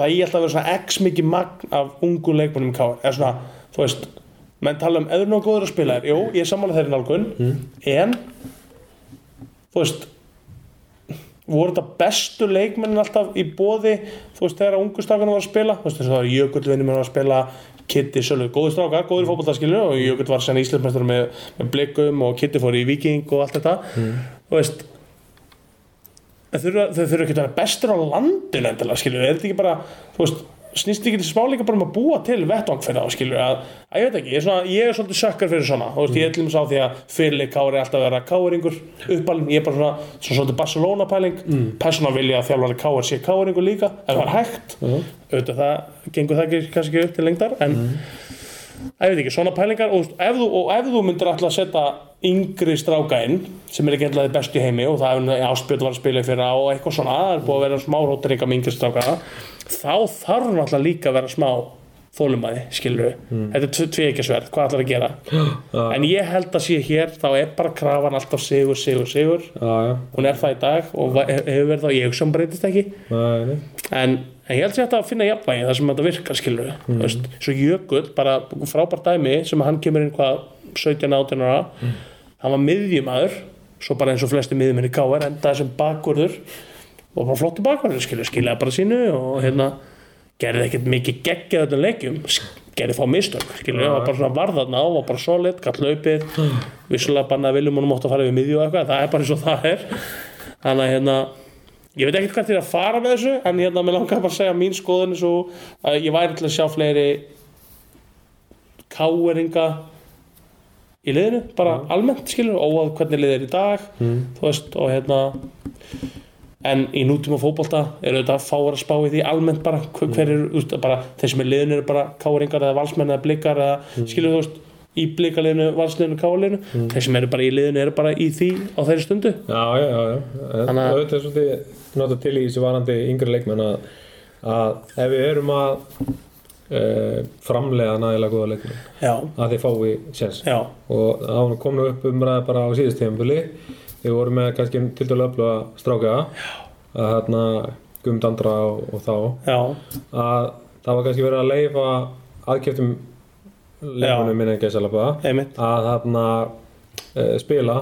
Speaker 5: það ég ætla að vera svona x mikið magn af ungu leikmönnum í káir, eða svona, þú veist menn tala um, eður nóg góður að spila þér jú, ég er sammála þeirri nálgun, en þú veist voru þetta bestu leikmennin alltaf í bóði þú veist þegar ungustakunum var að spila þú veist þess að það var Jökullvinnum var að spila Kitty Sölvi, góður strákar, góður fótballtaskilur og Jökull var senn Íslandsmeistur með, með blikum og Kitty fór í Viking og allt þetta þú veist en þurfa, þau þurfa ekki að vera bestur á landinu endilega skilur, er þetta ekki bara þú veist, snýst ekki þessi smá líka bara um að búa til vettvang fyrir þá skilur, að, að ég veit ekki ég er, svona, ég er svolítið sökkar fyrir svona þú veist, ég er til þess á því að fyrirleik kári alltaf að vera káringur uppalinn, ég er bara svona, svona svolítið Barcelona pæling, mm. persóna vilja að þjálfari káir sé káringur líka, ef það er hægt auðvitað það, gengur það ekki, kannski ekki upp til lengdar, en ég veit ekki, svona pælingar og, þú veist, ef þú, og ef þú myndir alltaf að setja yngri stráka inn sem er ekki alltaf þið bestu í heimi og það er áspjöld var að spila fyrir á og eitthvað svona það er búið að vera smá rótaríka með yngri stráka þá þarf náttúrulega líka að vera smá þólumæði, skilur við þetta er tveikisverð, hvað ætlar að gera en ég held að sé hér, þá er bara krafan alltaf sigur, sigur, sigur
Speaker 2: Já, já,
Speaker 5: hún er það í dag og va- hefur verið þá ég sem breytist ekki
Speaker 2: Nei, nei.
Speaker 5: en, en ég held sér þetta að finna jafnvægi þar sem þetta virkar skilur mm. veist, svo Jökull, bara frábært dæmi sem að hann kemur inn hvað 17-18 ára hann var miðjumæður svo bara eins og flesti miðjumenn í káir endaði sem bakvörður og bara flottu bakvörður skilur, skiljaði bara sínu og hérna gerði ekkert mikið geggja þetta leikjum sk- gerði fá mistök, skilur, var bara svona varðarna og var bara solid, galt laupið vissulega bannaði viljum honum ótt að fara við miðju og eitthvað, það er bara eins og það er þannig að hérna ég veit ekkert hvað þér að fara með þessu en hérna mér langar bara að segja mín skoðun svo að ég væri til að sjá fleiri káeringa í liðinu, bara almennt skilur óað hvernig liðið er í dag þú veist og hérna en í nútíma fótbolta eru þetta fáar að spá í því almennt bara hver, hver er, úst, bara þeir sem er liðinu eru bara káeringar eða valsmenn eða blikar eða skilur þú veist í blikaliðinu, valsliðinu, káliðinu þeir sem eru bara í liðinu eru bara í því á þeirri stundu
Speaker 2: já, já, já, já. En
Speaker 5: Þannig að-
Speaker 2: auðvitað er svolítið nota til í þessu varandi yngri leikmenn að, að ef við erum að e, framlega nægilega góða leikmenn
Speaker 5: já,
Speaker 2: að þeir fái séns
Speaker 5: já,
Speaker 2: og það kom nú upp umræði bara á síðust tíðanbili við vorum með kannski til dælu öfluga stráka að hérna gumdandra og, og þá
Speaker 5: já
Speaker 2: að það var kannski verið að leifa aðkjöftum leifunum minna en gæsalapa
Speaker 5: Einmitt.
Speaker 2: að þarna uh, spila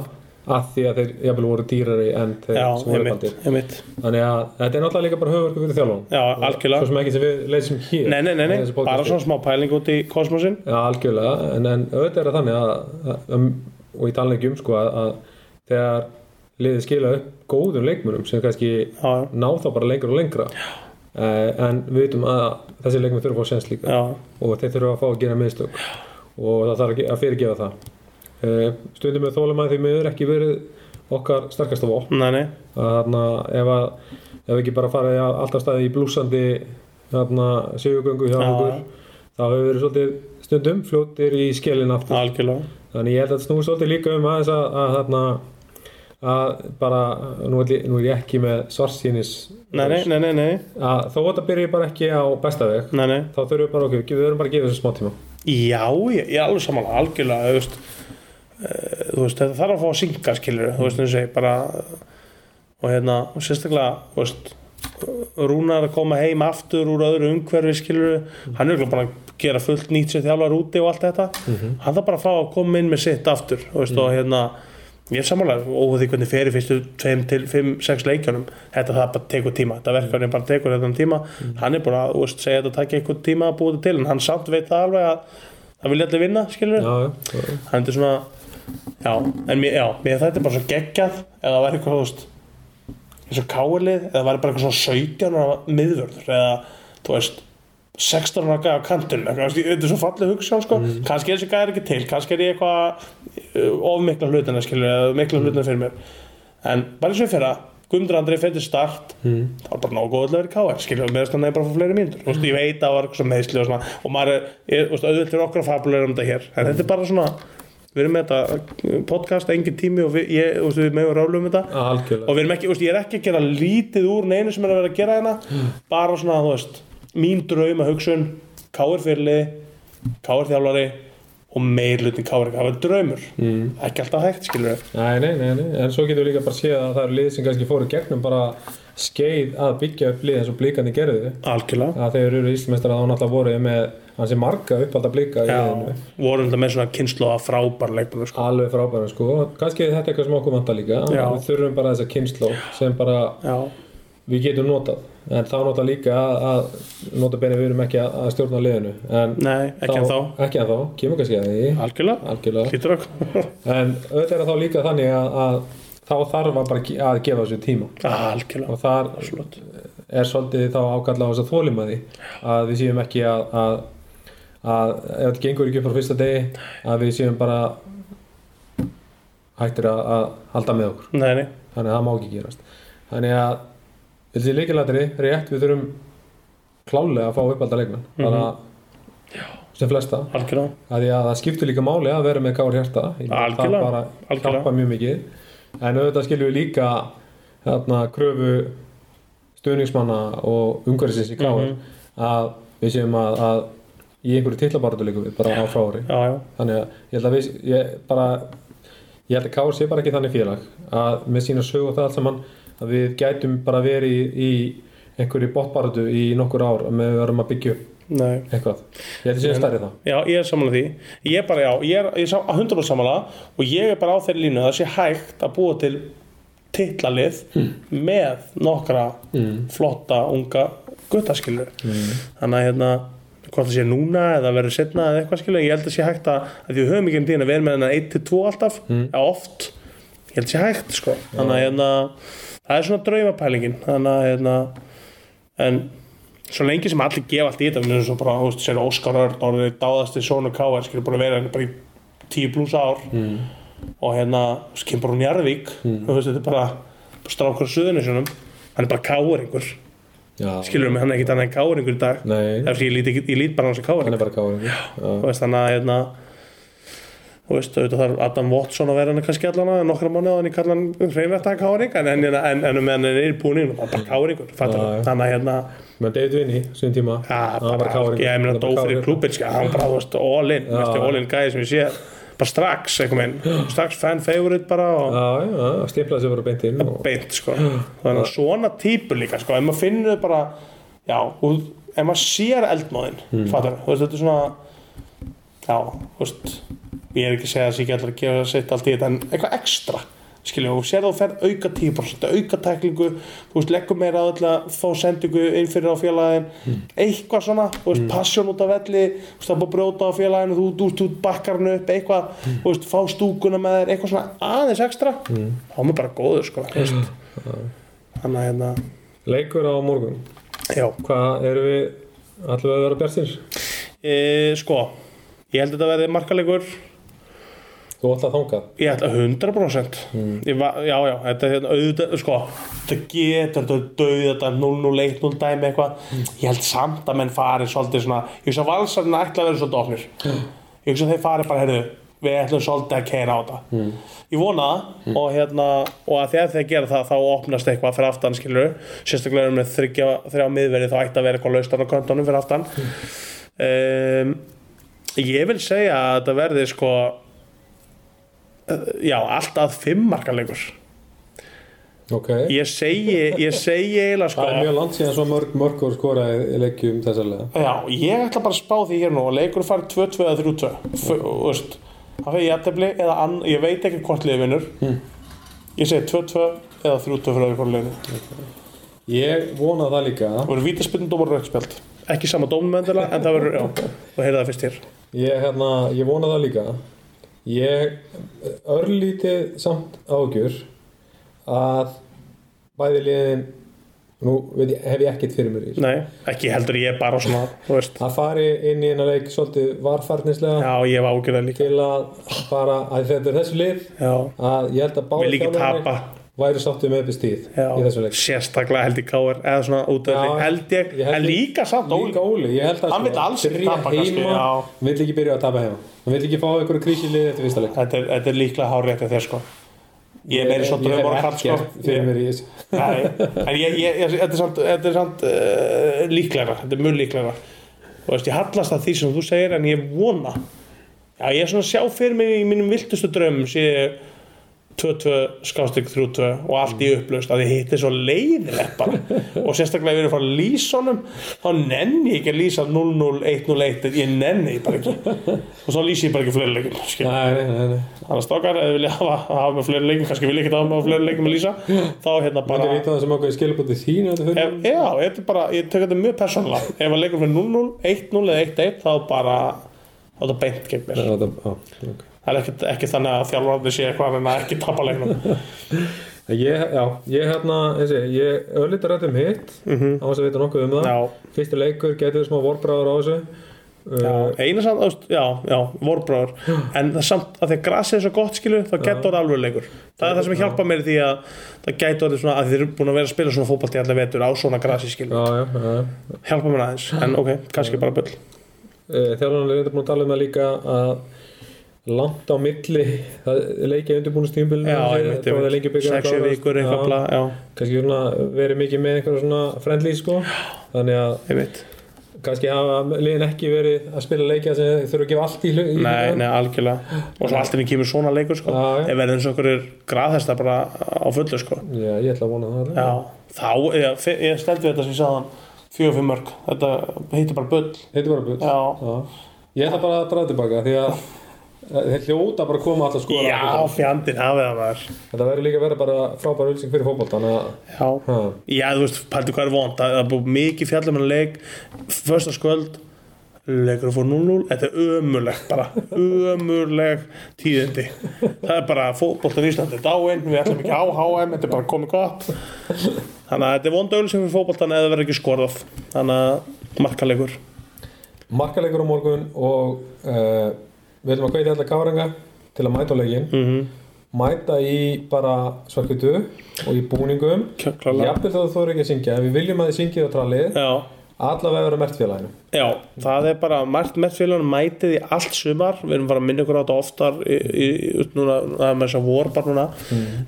Speaker 2: að því að þeir jafnvel voru dýrari en þeir
Speaker 5: Já,
Speaker 2: sem voru bandir
Speaker 5: einmitt, einmitt
Speaker 2: þannig að þetta er náttúrulega líka bara höfverku fyrir þjálfum
Speaker 5: Já,
Speaker 2: svo
Speaker 5: algjörlega
Speaker 2: sem ekki sem við leysum hér
Speaker 5: Nei, nei, nei, nei,
Speaker 2: Þessi podcast
Speaker 5: bara
Speaker 2: er-
Speaker 5: svona smá pæling út í kosmosin
Speaker 2: Já, algjörlega, en, en auðvitað er það þannig að, að um, og ég tala ekki um sko að, að þegar liðið skila upp góðum leikmönum sem kannski
Speaker 5: Já, já.
Speaker 2: ná þá bara lengra og lengra uh, en við vitum að þessi leikmön þurfa að fá sens líka
Speaker 5: Já,
Speaker 2: og þeir þurfa að fá að gera mistök og það þarf ekki að fyrirgefa það uh, stundum við þólum að því miður ekki verið okkar sterkasta vopn
Speaker 5: nei, nei,
Speaker 2: að þarna ef að ef ekki bara farið að alltaf staði í blúsandi þarna sigugöngu hjá
Speaker 5: Já.
Speaker 2: okkur þá hefur verið svolítið stundum fljóttir í skelin aftur
Speaker 5: algjörlega
Speaker 2: þannig ég held að þetta snúi svolítið líka um aðeins að, að þarna að bara, nú er, nú er ég ekki með svarsýnis
Speaker 5: Nei, nei, nei, nei, nei,
Speaker 2: að þó að þetta byrja bara ekki á besta veg
Speaker 5: nei, nei
Speaker 2: þá þurfum við bara okkur, við verðum bara að gefa þessu smá tíma
Speaker 5: Já, ég ég er alveg samanlega, algjörlega, þú veist, uh, þú veist, þetta þarf að fá að synga, skilur, þú veist, eins og ég bara, og hérna, og sérstaklega, þú veist, Rúnar að koma heim aftur úr öðru umhverfi, skilur, hann er ekki bara að gera fullt nýtt sér þjálfar úti og allt þetta, hann þarf bara að fá að koma inn með sitt aftur, þú veist, og hérna, ég er samanlega, og því hvernig fyrir fyrstu 5 til 5-6 leikjunum, þetta það bara tekur tíma, þetta verkefni bara tekur þetta tíma, hann er búin að, þú veist, segja þetta að taka eitthvað tíma að búa þetta til, en hann samt veit það alveg að það vilja allir vinna, skilur
Speaker 2: já, já,
Speaker 5: þannig er svona já, en mér, já, mér þetta er bara svo geggjað eða það væri eitthvað, þú veist eins og káilið, eða það væri bara eitthvað svona 17 ára miðvörður, eða þú veist 16 ára gæði á kantinu þetta er svo fallið hugsa sko. kannski er þessi gæði ekki til kannski er ég eitthvað uh, of mikla hlutina skilur eða mikla hlutina fyrir mér en bara eins og í fyrra Guðmundur Andrið fyrir start þá er bara nógu góð að vera í KR skilur meðast hann er bara að fá fleiri mínútur mm. ég veit að það var eitthvað sem meðsli og, svona, og maður er, er þú veist, auðvitað fyrir okkur að fabuleira um þetta hér en þetta er bara svona við erum með þetta uh, podcast engin tími og við, ég, þú veist, við meðum rálu um þetta
Speaker 2: algjörlega
Speaker 5: og við erum ekki, þú veist, ég er ekki að gera lítið úr neinu sem er að vera að gera hérna bara svona, þú veist, mín drauma hugsun káir fyrirli káir þjálfari og meirlutin káir það var draumur, mm. ekki alltaf hægt skilur við,
Speaker 2: Nei, nei, nei, nei, en svo getum við líka bara séð að það eru lið sem kannski fóru gegnum bara skeið að byggja upp lið eins og blíkandi gerðu
Speaker 5: algjörlega
Speaker 2: að þeir eru íslmestrar að hún alltaf voru með hansi marga uppalda blíka í liðinu
Speaker 5: já, vorum þetta með svona kynslu að frábær leikmennu sko,
Speaker 2: alveg frábæra sko, Og kannski þetta er eitthvað sem okkur vantar líka
Speaker 5: Já.
Speaker 2: við þurfum bara þessa kynnsló sem bara
Speaker 5: já,
Speaker 2: við getum notað en þá nota líka að, að nota beinir við erum ekki að, að stjórna liðinu en
Speaker 5: nei, ekki en þá
Speaker 2: ekki en þá, kemur kannski að því
Speaker 5: algjörlega,
Speaker 2: algjörlega
Speaker 5: hlýtur okkur
Speaker 2: en auðvitað er það þá líka þannig að, að þá þarf að bara ge- að gefa þessu tíma
Speaker 5: (laughs) algjörlega,
Speaker 2: og þar
Speaker 5: slott
Speaker 2: er svolítið þá ákalla á þess að þólima því að við séum ekki að, að, að ef þetta gengur ekki upp frá fyrsta degi að við séum bara hættir að, að halda með okkur
Speaker 5: nei, nei,
Speaker 2: þannig að það má ekki gerast þannig að þetta er líkilætri rétt við þurfum klálega að fá uppalda leikmenn bara sem flesta
Speaker 5: algjörlega
Speaker 2: að því að það skiptir líka máli að vera með Kár Hjarta Ég meina,
Speaker 5: Algjörlega,
Speaker 2: það bara
Speaker 5: algjörlega.
Speaker 2: hjálpa mjög mikið en auðvitað skiljum við líka þarna, kröfu stöðningsmanna og umhverfisins í Kár
Speaker 5: Mhm.
Speaker 2: að við séum að, að í einhverju titlabaratu líka við bara á frá ári
Speaker 5: já, já,
Speaker 2: þannig að ég held að við ég bara ég held að Kár sé bara ekki þannig félag að með sína sög og það allt saman að við gætum bara verið í, í einhverju bóttbaratu í nokkur ár með við verum að byggja upp
Speaker 5: nei
Speaker 2: eitthvað ég held að séum stærri það
Speaker 5: Já, ég er samanlega því Ég er bara, já, ég er, ég er sam- 100% samanlega og ég er bara á þeirri línu að það sé hægt að búa til titlalið með nokkra flotta unga guttaskilu mm. þannig að hérna hvort það sé núna eða verður setna eða eitthvað skilu ég held að sé hægt að, að því við höfum ekki um tíðin að vera með hennar 1-2 alltaf, eða oft ég held að sé hægt sko þannig að hérna, það er svona draumapælingin þannig að hérna en svo lengi sem allir gefa allt í þetta minnum svo bara, þú veist, sér Óskar Örn orðið dáðasti sonu K.R. skilur búin að vera hérna bara í tíu pluss ár
Speaker 2: Mm.
Speaker 5: og hérna, svo kemur bara hún Jarvík þú veist, þetta er bara, bara strákur á suðunisunum, hann er bara K.R.ingur
Speaker 2: Já,
Speaker 5: skilur mig, hann er ekkert annað en K.R.ingur í dag
Speaker 2: Nei.
Speaker 5: það er því ég lít, ekki- ég lít bara á hans að
Speaker 2: hann
Speaker 5: K.R.
Speaker 2: er bara káringur
Speaker 5: þú veist, þannig að hérna þú veist, auðvitað þarf Adam Watson að vera hann kannski allan að nokkra mánu að hann kalla hann hreinrætt að K.R.ing en, en, en, en um meðan hann er búin inn, hann er bara K.R.ingur
Speaker 2: Já, já.
Speaker 5: þannig að hérna
Speaker 2: menn David Vinny, síðan tíma
Speaker 5: Já,
Speaker 2: hann var bara káringur
Speaker 5: ég meina dó fyrir klúbin sko, hann bara, þú veist, all in, mest all in gæði sem ég sé bara strax, einhvern veginn, strax fan favorite bara og
Speaker 2: já, já, stiflaði sér bara beint inn og...
Speaker 5: beint, sko þannig að svona típur líka, sko, ef maður finnur bara já, og ef maður sér eldmóðin,
Speaker 2: Hmm.
Speaker 5: fattar, þú veist, þetta er svona já, þú veist ég er ekki að segja að ég gætlar að gefa sitt allt í þetta en eitthvað ekstra skiljum, og sér þú fer auka típur, auka tæklingu þú veist, leggum meira að öll að fá sendingu inn fyrir á félagin eitthvað svona, þú veist, passjón út af velli þú veist, það er búið að brjóta á félaginu þú, þú, þú bakkar hann upp, eitthvað þú veist, fá stúkuna með þér, eitthvað svona aðeins ekstra, þá er maður bara góður sko, þú veist þannig að hérna,
Speaker 2: leikur á morgun
Speaker 5: já
Speaker 2: hvað erum við, ætlum við að vera bjartir
Speaker 5: e, sko, ég held að þetta verði markalegur
Speaker 2: þú ætla að þangað
Speaker 5: Ég ætla 100% Ég va- Já, já, þetta er hérna auðvitað sko, Mm. þetta getur, þetta er döð þetta er 0-0, 1-0 dæmi eitthvað Ég held samt að menn fari svolítið svona Ég hugsa að valsarinn ætla að vera svolítið ofnir Ég hugsa að þeir fari bara, heyrðu Við ætlum svolítið að keira á þetta Ég vona það og, hérna, og að þegar þeir gera það þá opnast eitthvað fyrir aftan skilur Sérstaklega erum við þryggja, þrjá miðverði þá ætti að vera eitthvað laustan á köntunum fyrir aftan um, Ég vil segja að þetta verði sko Já, allt að fimm markanleikur
Speaker 2: ok,
Speaker 5: Ég segi, ég segi eiginlega sko
Speaker 2: það er mjög langt síðan svo mörg mörg voru skoraði í leikjum þessar lega
Speaker 5: Já, ég ætla bara að spá því hér nú að leikur fari 2-2 eða 3-2 F- Þú veist, það fyrir jættefli eða ann, ég veit ekki hvort liðið vinnur
Speaker 2: Hmm.
Speaker 5: Ég segi 2-2 eða 3-2 fyrir öðru hvort liðinu
Speaker 2: ég vona það líka
Speaker 5: Það verður vítaspilnum dómar og rauðspjöld Ekki sama dómum endilega, en það verður, já, og heyrðu það fyrst hér
Speaker 2: ég, hérna, ég vona það líka ég örlítið samt ágjur að bæði liðin nú veit ég, hef ég ekkert fyrir mér í þessu.
Speaker 5: Nei, ekki heldur ég bara svona, þú veist
Speaker 2: að fari inn í hennar leik svolítið varfarnislega
Speaker 5: Já, ég hef ágjörða líka
Speaker 2: til að bara að þetta er þessu lið
Speaker 5: Já,
Speaker 2: að ég held að
Speaker 5: Vil
Speaker 2: báði
Speaker 5: ekki
Speaker 2: þjálfarnir
Speaker 5: tapa.
Speaker 2: væri sáttu með uppi stíð
Speaker 5: já,
Speaker 2: í þessu leik
Speaker 5: sérstaklega held ég káir eða svona útöðli,
Speaker 2: Já,
Speaker 5: held ég,
Speaker 2: ég held
Speaker 5: en
Speaker 2: ég-
Speaker 5: líka samt
Speaker 2: Líka
Speaker 5: ólíka
Speaker 2: Óli, ég held að
Speaker 5: Hann vill alls ekki
Speaker 2: byrja
Speaker 5: tapa kannski,
Speaker 2: heima,
Speaker 5: já.
Speaker 2: hann vill ekki byrja að tapa heima hann vill ekki fá einhverju krísilið eftir fyrsta leik
Speaker 5: Þetta er, þetta er líklega hárétt eftir þér sko Ég er meiri svona
Speaker 2: Ég
Speaker 5: draumur
Speaker 2: hef
Speaker 5: og kraft sko
Speaker 2: ekkert fyrir mér í þessu
Speaker 5: Nei, en ég, ég, ég, þetta er samt, þetta er samt uh, líklegra, þetta er mjög líklegra og veist, ég hallast að því sem þú segir en ég vona já, ég er svona að sjá fyrir mig í mínum viltustu draumum sé ég 2-2, skástrík 3-2 og allt í upplaust að ég hitti svo leiðilegt bara og sérstaklega ef ég er að fara að lýsa honum þá nenni ég ekki að lýsa 0-0, 1-0-1 ég nenni ég bara ekki og svo lýsi ég bara ekki fleiri leikum skilur.
Speaker 2: Nei, nei, nei, nei.
Speaker 5: þannig að stokkar, ef þið vilja hafa, hafa með fleiri leikum kannski vil ég ekki hafa með fleiri leikum að lýsa þá hérna
Speaker 2: Þetta
Speaker 5: bara
Speaker 2: er eitt af það sem okkur skilabóti þín þetta fyrir
Speaker 5: Ef, já, þetta er bara, ég tek þetta mjög persónulega Ef að leikur með 0-0, 1-0 eða 1-1 þá bara, þá er það beint gegn mér
Speaker 2: Já, þetta- já, ok.
Speaker 5: Það er ekki, ekki þannig að þjálfarandi sé eitthvað en að ekki tapa leiknum
Speaker 2: (laughs) Ég, já, ég hérna, eins og ég, ég öllítið rætt um hitt á þess að vita nokkuð um það
Speaker 5: Mhm. Já,
Speaker 2: Fyrsti leikur getur smá vorbráður á þessu
Speaker 5: já,
Speaker 2: Uh,
Speaker 5: einu samt, þú veist, já, já, vorbráður En það samt, að því að grasið er svo gott skilu þá getur það alveg leikur Það er það sem hjálpa mér í því að það getur orðið svona að þið eru búin að vera að spila svona fótballt í alla vetur á svona grasi skilu
Speaker 2: Já, já, já, já.
Speaker 5: Hjálpa mér aðeins, en ok, kannski bara bull
Speaker 2: Þjálfarnar Eh, er búin að tala um það líka að langt á milli það leikja undirbúinustímbilinu
Speaker 5: Já, ég veit, ég veit, 6 vikur eitthvað bla, já,
Speaker 2: kannski svona verið mikið með einhverja svona friendly sko þannig að
Speaker 5: ég veit
Speaker 2: kannski hafa liðin ekki verið að spila leikja sem þeir þurfa að gefa allt í hlut
Speaker 5: Nei, nei, algjörlega og svo allt henni kemur svona leikur sko.
Speaker 2: Já, já.
Speaker 5: ef verður eins og okkur er graðhesta bara á fullu sko.
Speaker 2: Já, ég ætla að vona það
Speaker 5: já, þá, ég, ég steldi við þetta sem ég sagðan fjögur fyrir mörg, þetta heitir bara bull
Speaker 2: Þetta er bara bull
Speaker 5: já,
Speaker 2: Já. Ég ætla bara að draða tilbaka því að að þeir hljóta bara að koma alltaf skora
Speaker 5: já fjandinn hafið það var
Speaker 2: Þetta verður líka að vera bara frábær ulsing fyrir fótboltan að
Speaker 5: já,
Speaker 2: Ha.
Speaker 5: já þú veist, pæltu hvað er vond það það er búið mikið fjallum en leik första skvöld leikur fór 0-0, þetta er ömurlegt bara, ömurleg tíðindi það er bara fótboltan í Íslandi er dáinn, við ætlum ekki á HM þetta er bara komið gott þannig að þetta er vondaugl sem við fótboltan eða verður ekki skorðað þannig að markalegur
Speaker 2: markaleikur á morgun og uh, við ætlum að hveita alla káringa til að mæta á leikinn
Speaker 5: Mhm.
Speaker 2: mæta í bara svarkutu og í búningum
Speaker 5: Kjöklarlega.
Speaker 2: jafnvel þá þú eru ekki að syngja en við viljum að þið syngið á trallið
Speaker 5: já,
Speaker 2: allavega vera mert félaginu
Speaker 5: já, það er bara margt með félagunum mætið í allt sumar við erum bara að minna ykkur á þetta oftar í, í, í, núna, það er með þess að vor bara núna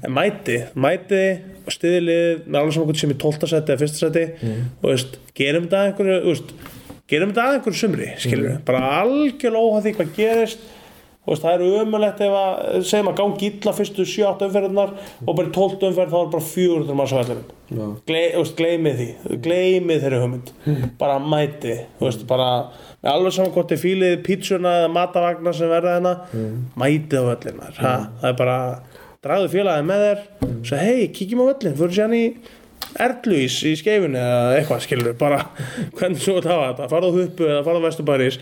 Speaker 5: en mæti, mæti og stiðilið með alveg saman hvort sem í 12. seti eða 1. seti og veist, gerum þetta að einhverju þú veist, gerum þetta að einhverju sumri skilur bara algjörlega óháð því hvað gerist Þú veist, það eru ömulegt ef að eh, segjum að gangi illa fyrstu 7-8 umferðarnar og bara í 12 umferð þá er bara 400 manns á vellinum Gle, þú veist, gleymið því gleymið þeirri hugmynd bara mæti þú veist, bara með alveg saman hvort þið fílið pítsuna eða matavagna sem verða hérna mætið á vellinar ha, það er bara dragðu félagið með þér svo hei, kíkjum á vellin fyrir sér hann í Erdluís í skeifinu eða eitthvað skilur bara (laughs) hvernig svo það var þetta farðu á huppu eða farðu á Vesturbaris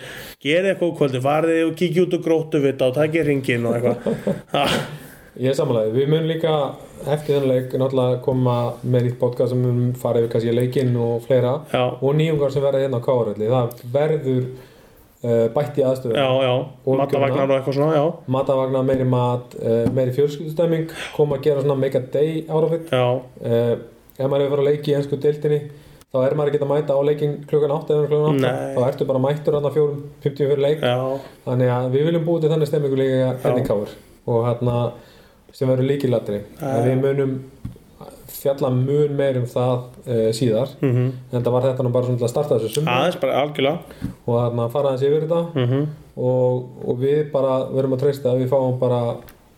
Speaker 5: gera eitthvað úr kvöldi, farði og kíkja út og gróttu við þetta og takja ringin og eitthvað Ah, Ha,
Speaker 2: Ég er samanlega, við munum líka eftir þennan leik náttúrulega koma með nýtt podcast sem munum fara yfir kannski leikinn og fleira
Speaker 5: Já.
Speaker 2: og nýjungar sem verða hérna á káralli það verður uh, bætt í aðstöðu
Speaker 5: já, já,
Speaker 2: Og
Speaker 5: matavagnar og eitthvað svona já,
Speaker 2: matavagna, meiri mat, uh, meiri fjölskyldustemming koma að gera svona make a day out of it
Speaker 5: já,
Speaker 2: uh, ef maður hefur verið að leiki í ennsku deildinni þá er maður ekki að mæta á leikin klukkan 8 eða klukkan 8,
Speaker 5: Nei.
Speaker 2: þá ertu bara mættur hann að fjórum, 50 fyrir leik
Speaker 5: já
Speaker 2: þannig að við viljum búið til þannig stemmingu líka henni káur og hérna sem verður líkilatri að við munum fjalla mun meir um það uh, síðar
Speaker 5: mhm.
Speaker 2: en það var þetta nú bara svona til að starta þessu sumri
Speaker 5: aðeins bara algjörlega
Speaker 2: og þarna fara aðeins yfir þetta
Speaker 5: Mhm.
Speaker 2: og, og við bara verum að treysta að við fáum bara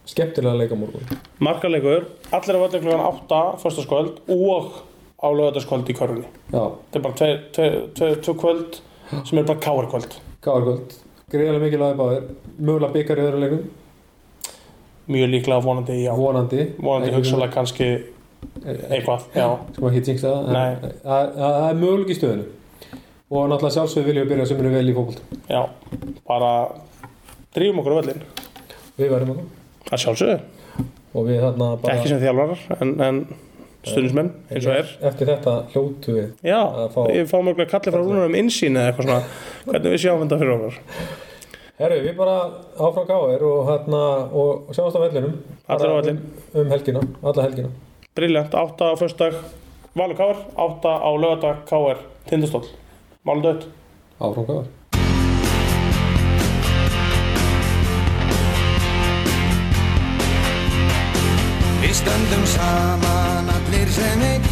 Speaker 2: skemmtilega leikamorgun
Speaker 5: markalegur, allir að völdu klukkan 8 fyrstaskvöld og á lögataskvöld í körfunni
Speaker 2: Já,
Speaker 5: þetta er bara tveir- tveir- tveir- tvö kvöld sem er bara káarkvöld
Speaker 2: káarkvöld greiðlega mikilvæði báðir, mögulega byggar í öðru leikum
Speaker 5: mjög líklega vonandi já
Speaker 2: vonandi
Speaker 5: vonandi hugsalega kannski
Speaker 2: Eh,
Speaker 5: eitthvað, já,
Speaker 2: sko ekki tjengsa
Speaker 5: Nei.
Speaker 2: það en það- það- það er möguleik í stöðinu og náttúrulega sjálfsög viljum við byrja sömurinn vel í fókbalt
Speaker 5: já bara drífum okkur á völlin
Speaker 2: við verðum okkur
Speaker 5: að sjálfsögðu,
Speaker 2: og við þarna bara
Speaker 5: ekki sem þjálfarar en, en stundismenn eins og er
Speaker 2: eftir þetta hljótu við
Speaker 5: já,
Speaker 2: að fá-
Speaker 5: ég fá mörgulega kallið frá rúnar um innsýn eða eitthvað svona hvernig við sjáum þetta fyrir okkur
Speaker 2: herru, við bara áfram gáðir og hérna og sjáumst á vellinum
Speaker 5: Allir á
Speaker 2: Bara
Speaker 5: vellinn.
Speaker 2: um, um helgina, alla helgina
Speaker 5: briljant, 8 á föstudag Valur Káar, 8 á lögadag Káar Tindastól, málum dött
Speaker 2: áfram gáðir
Speaker 1: Við stöndum saman allir sem einn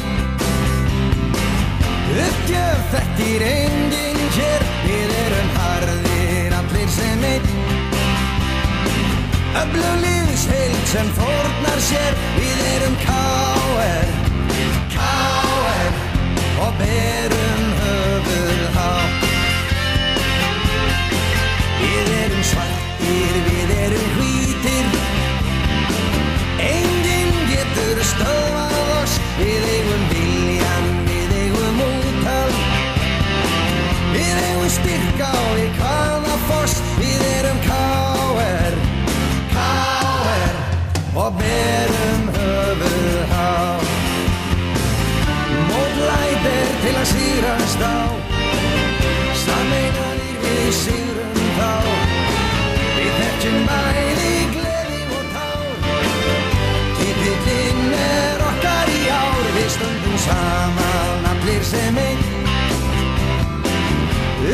Speaker 1: Uppgjöf þekkir enginn hér Við erum harðir allir sem einn Öflug lífsheild sem fórnar sér Við erum káer, káer Og berum höfuð hátt Við erum svartir, við erum hvítir Enginn getur stöðvað oss Við eigum viljan, við eigum útal Við eigum styrka og við hvaða foss Við erum káer, káer Og berum höfuð há Mótlæt er til að sírast á Sammeinaðir við sírum þá Við þekkjum bæði gleði og tár Titillinn er okkar í ár, við stöndum saman allir sem einn.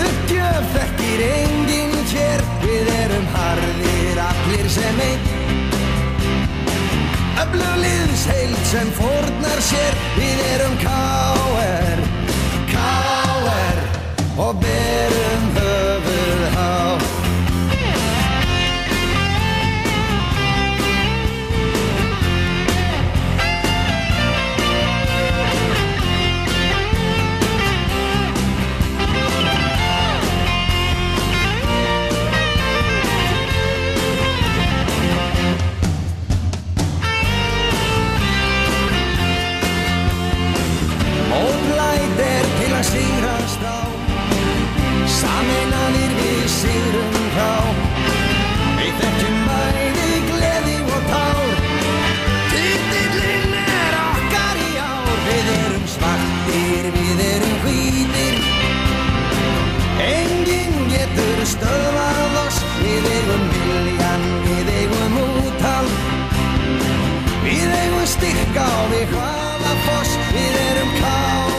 Speaker 1: Uppgjöf þekkir enginn hér, við erum harðir allir sem einn. Öflug liðsheild sem fórnar sér, við erum káer, káer og berum höfuð hátt. Mótlæt er til að sigrast á Sameinaðir við sigrum þá Við þekkjum bæði gleði og tár Titillinn er okkar í ár Við erum svartir, við erum hvítir Enginn getur stöðvað oss Við eigum viljan, við eigum úthald Við eigum styrka og við hvaða foss Við erum káir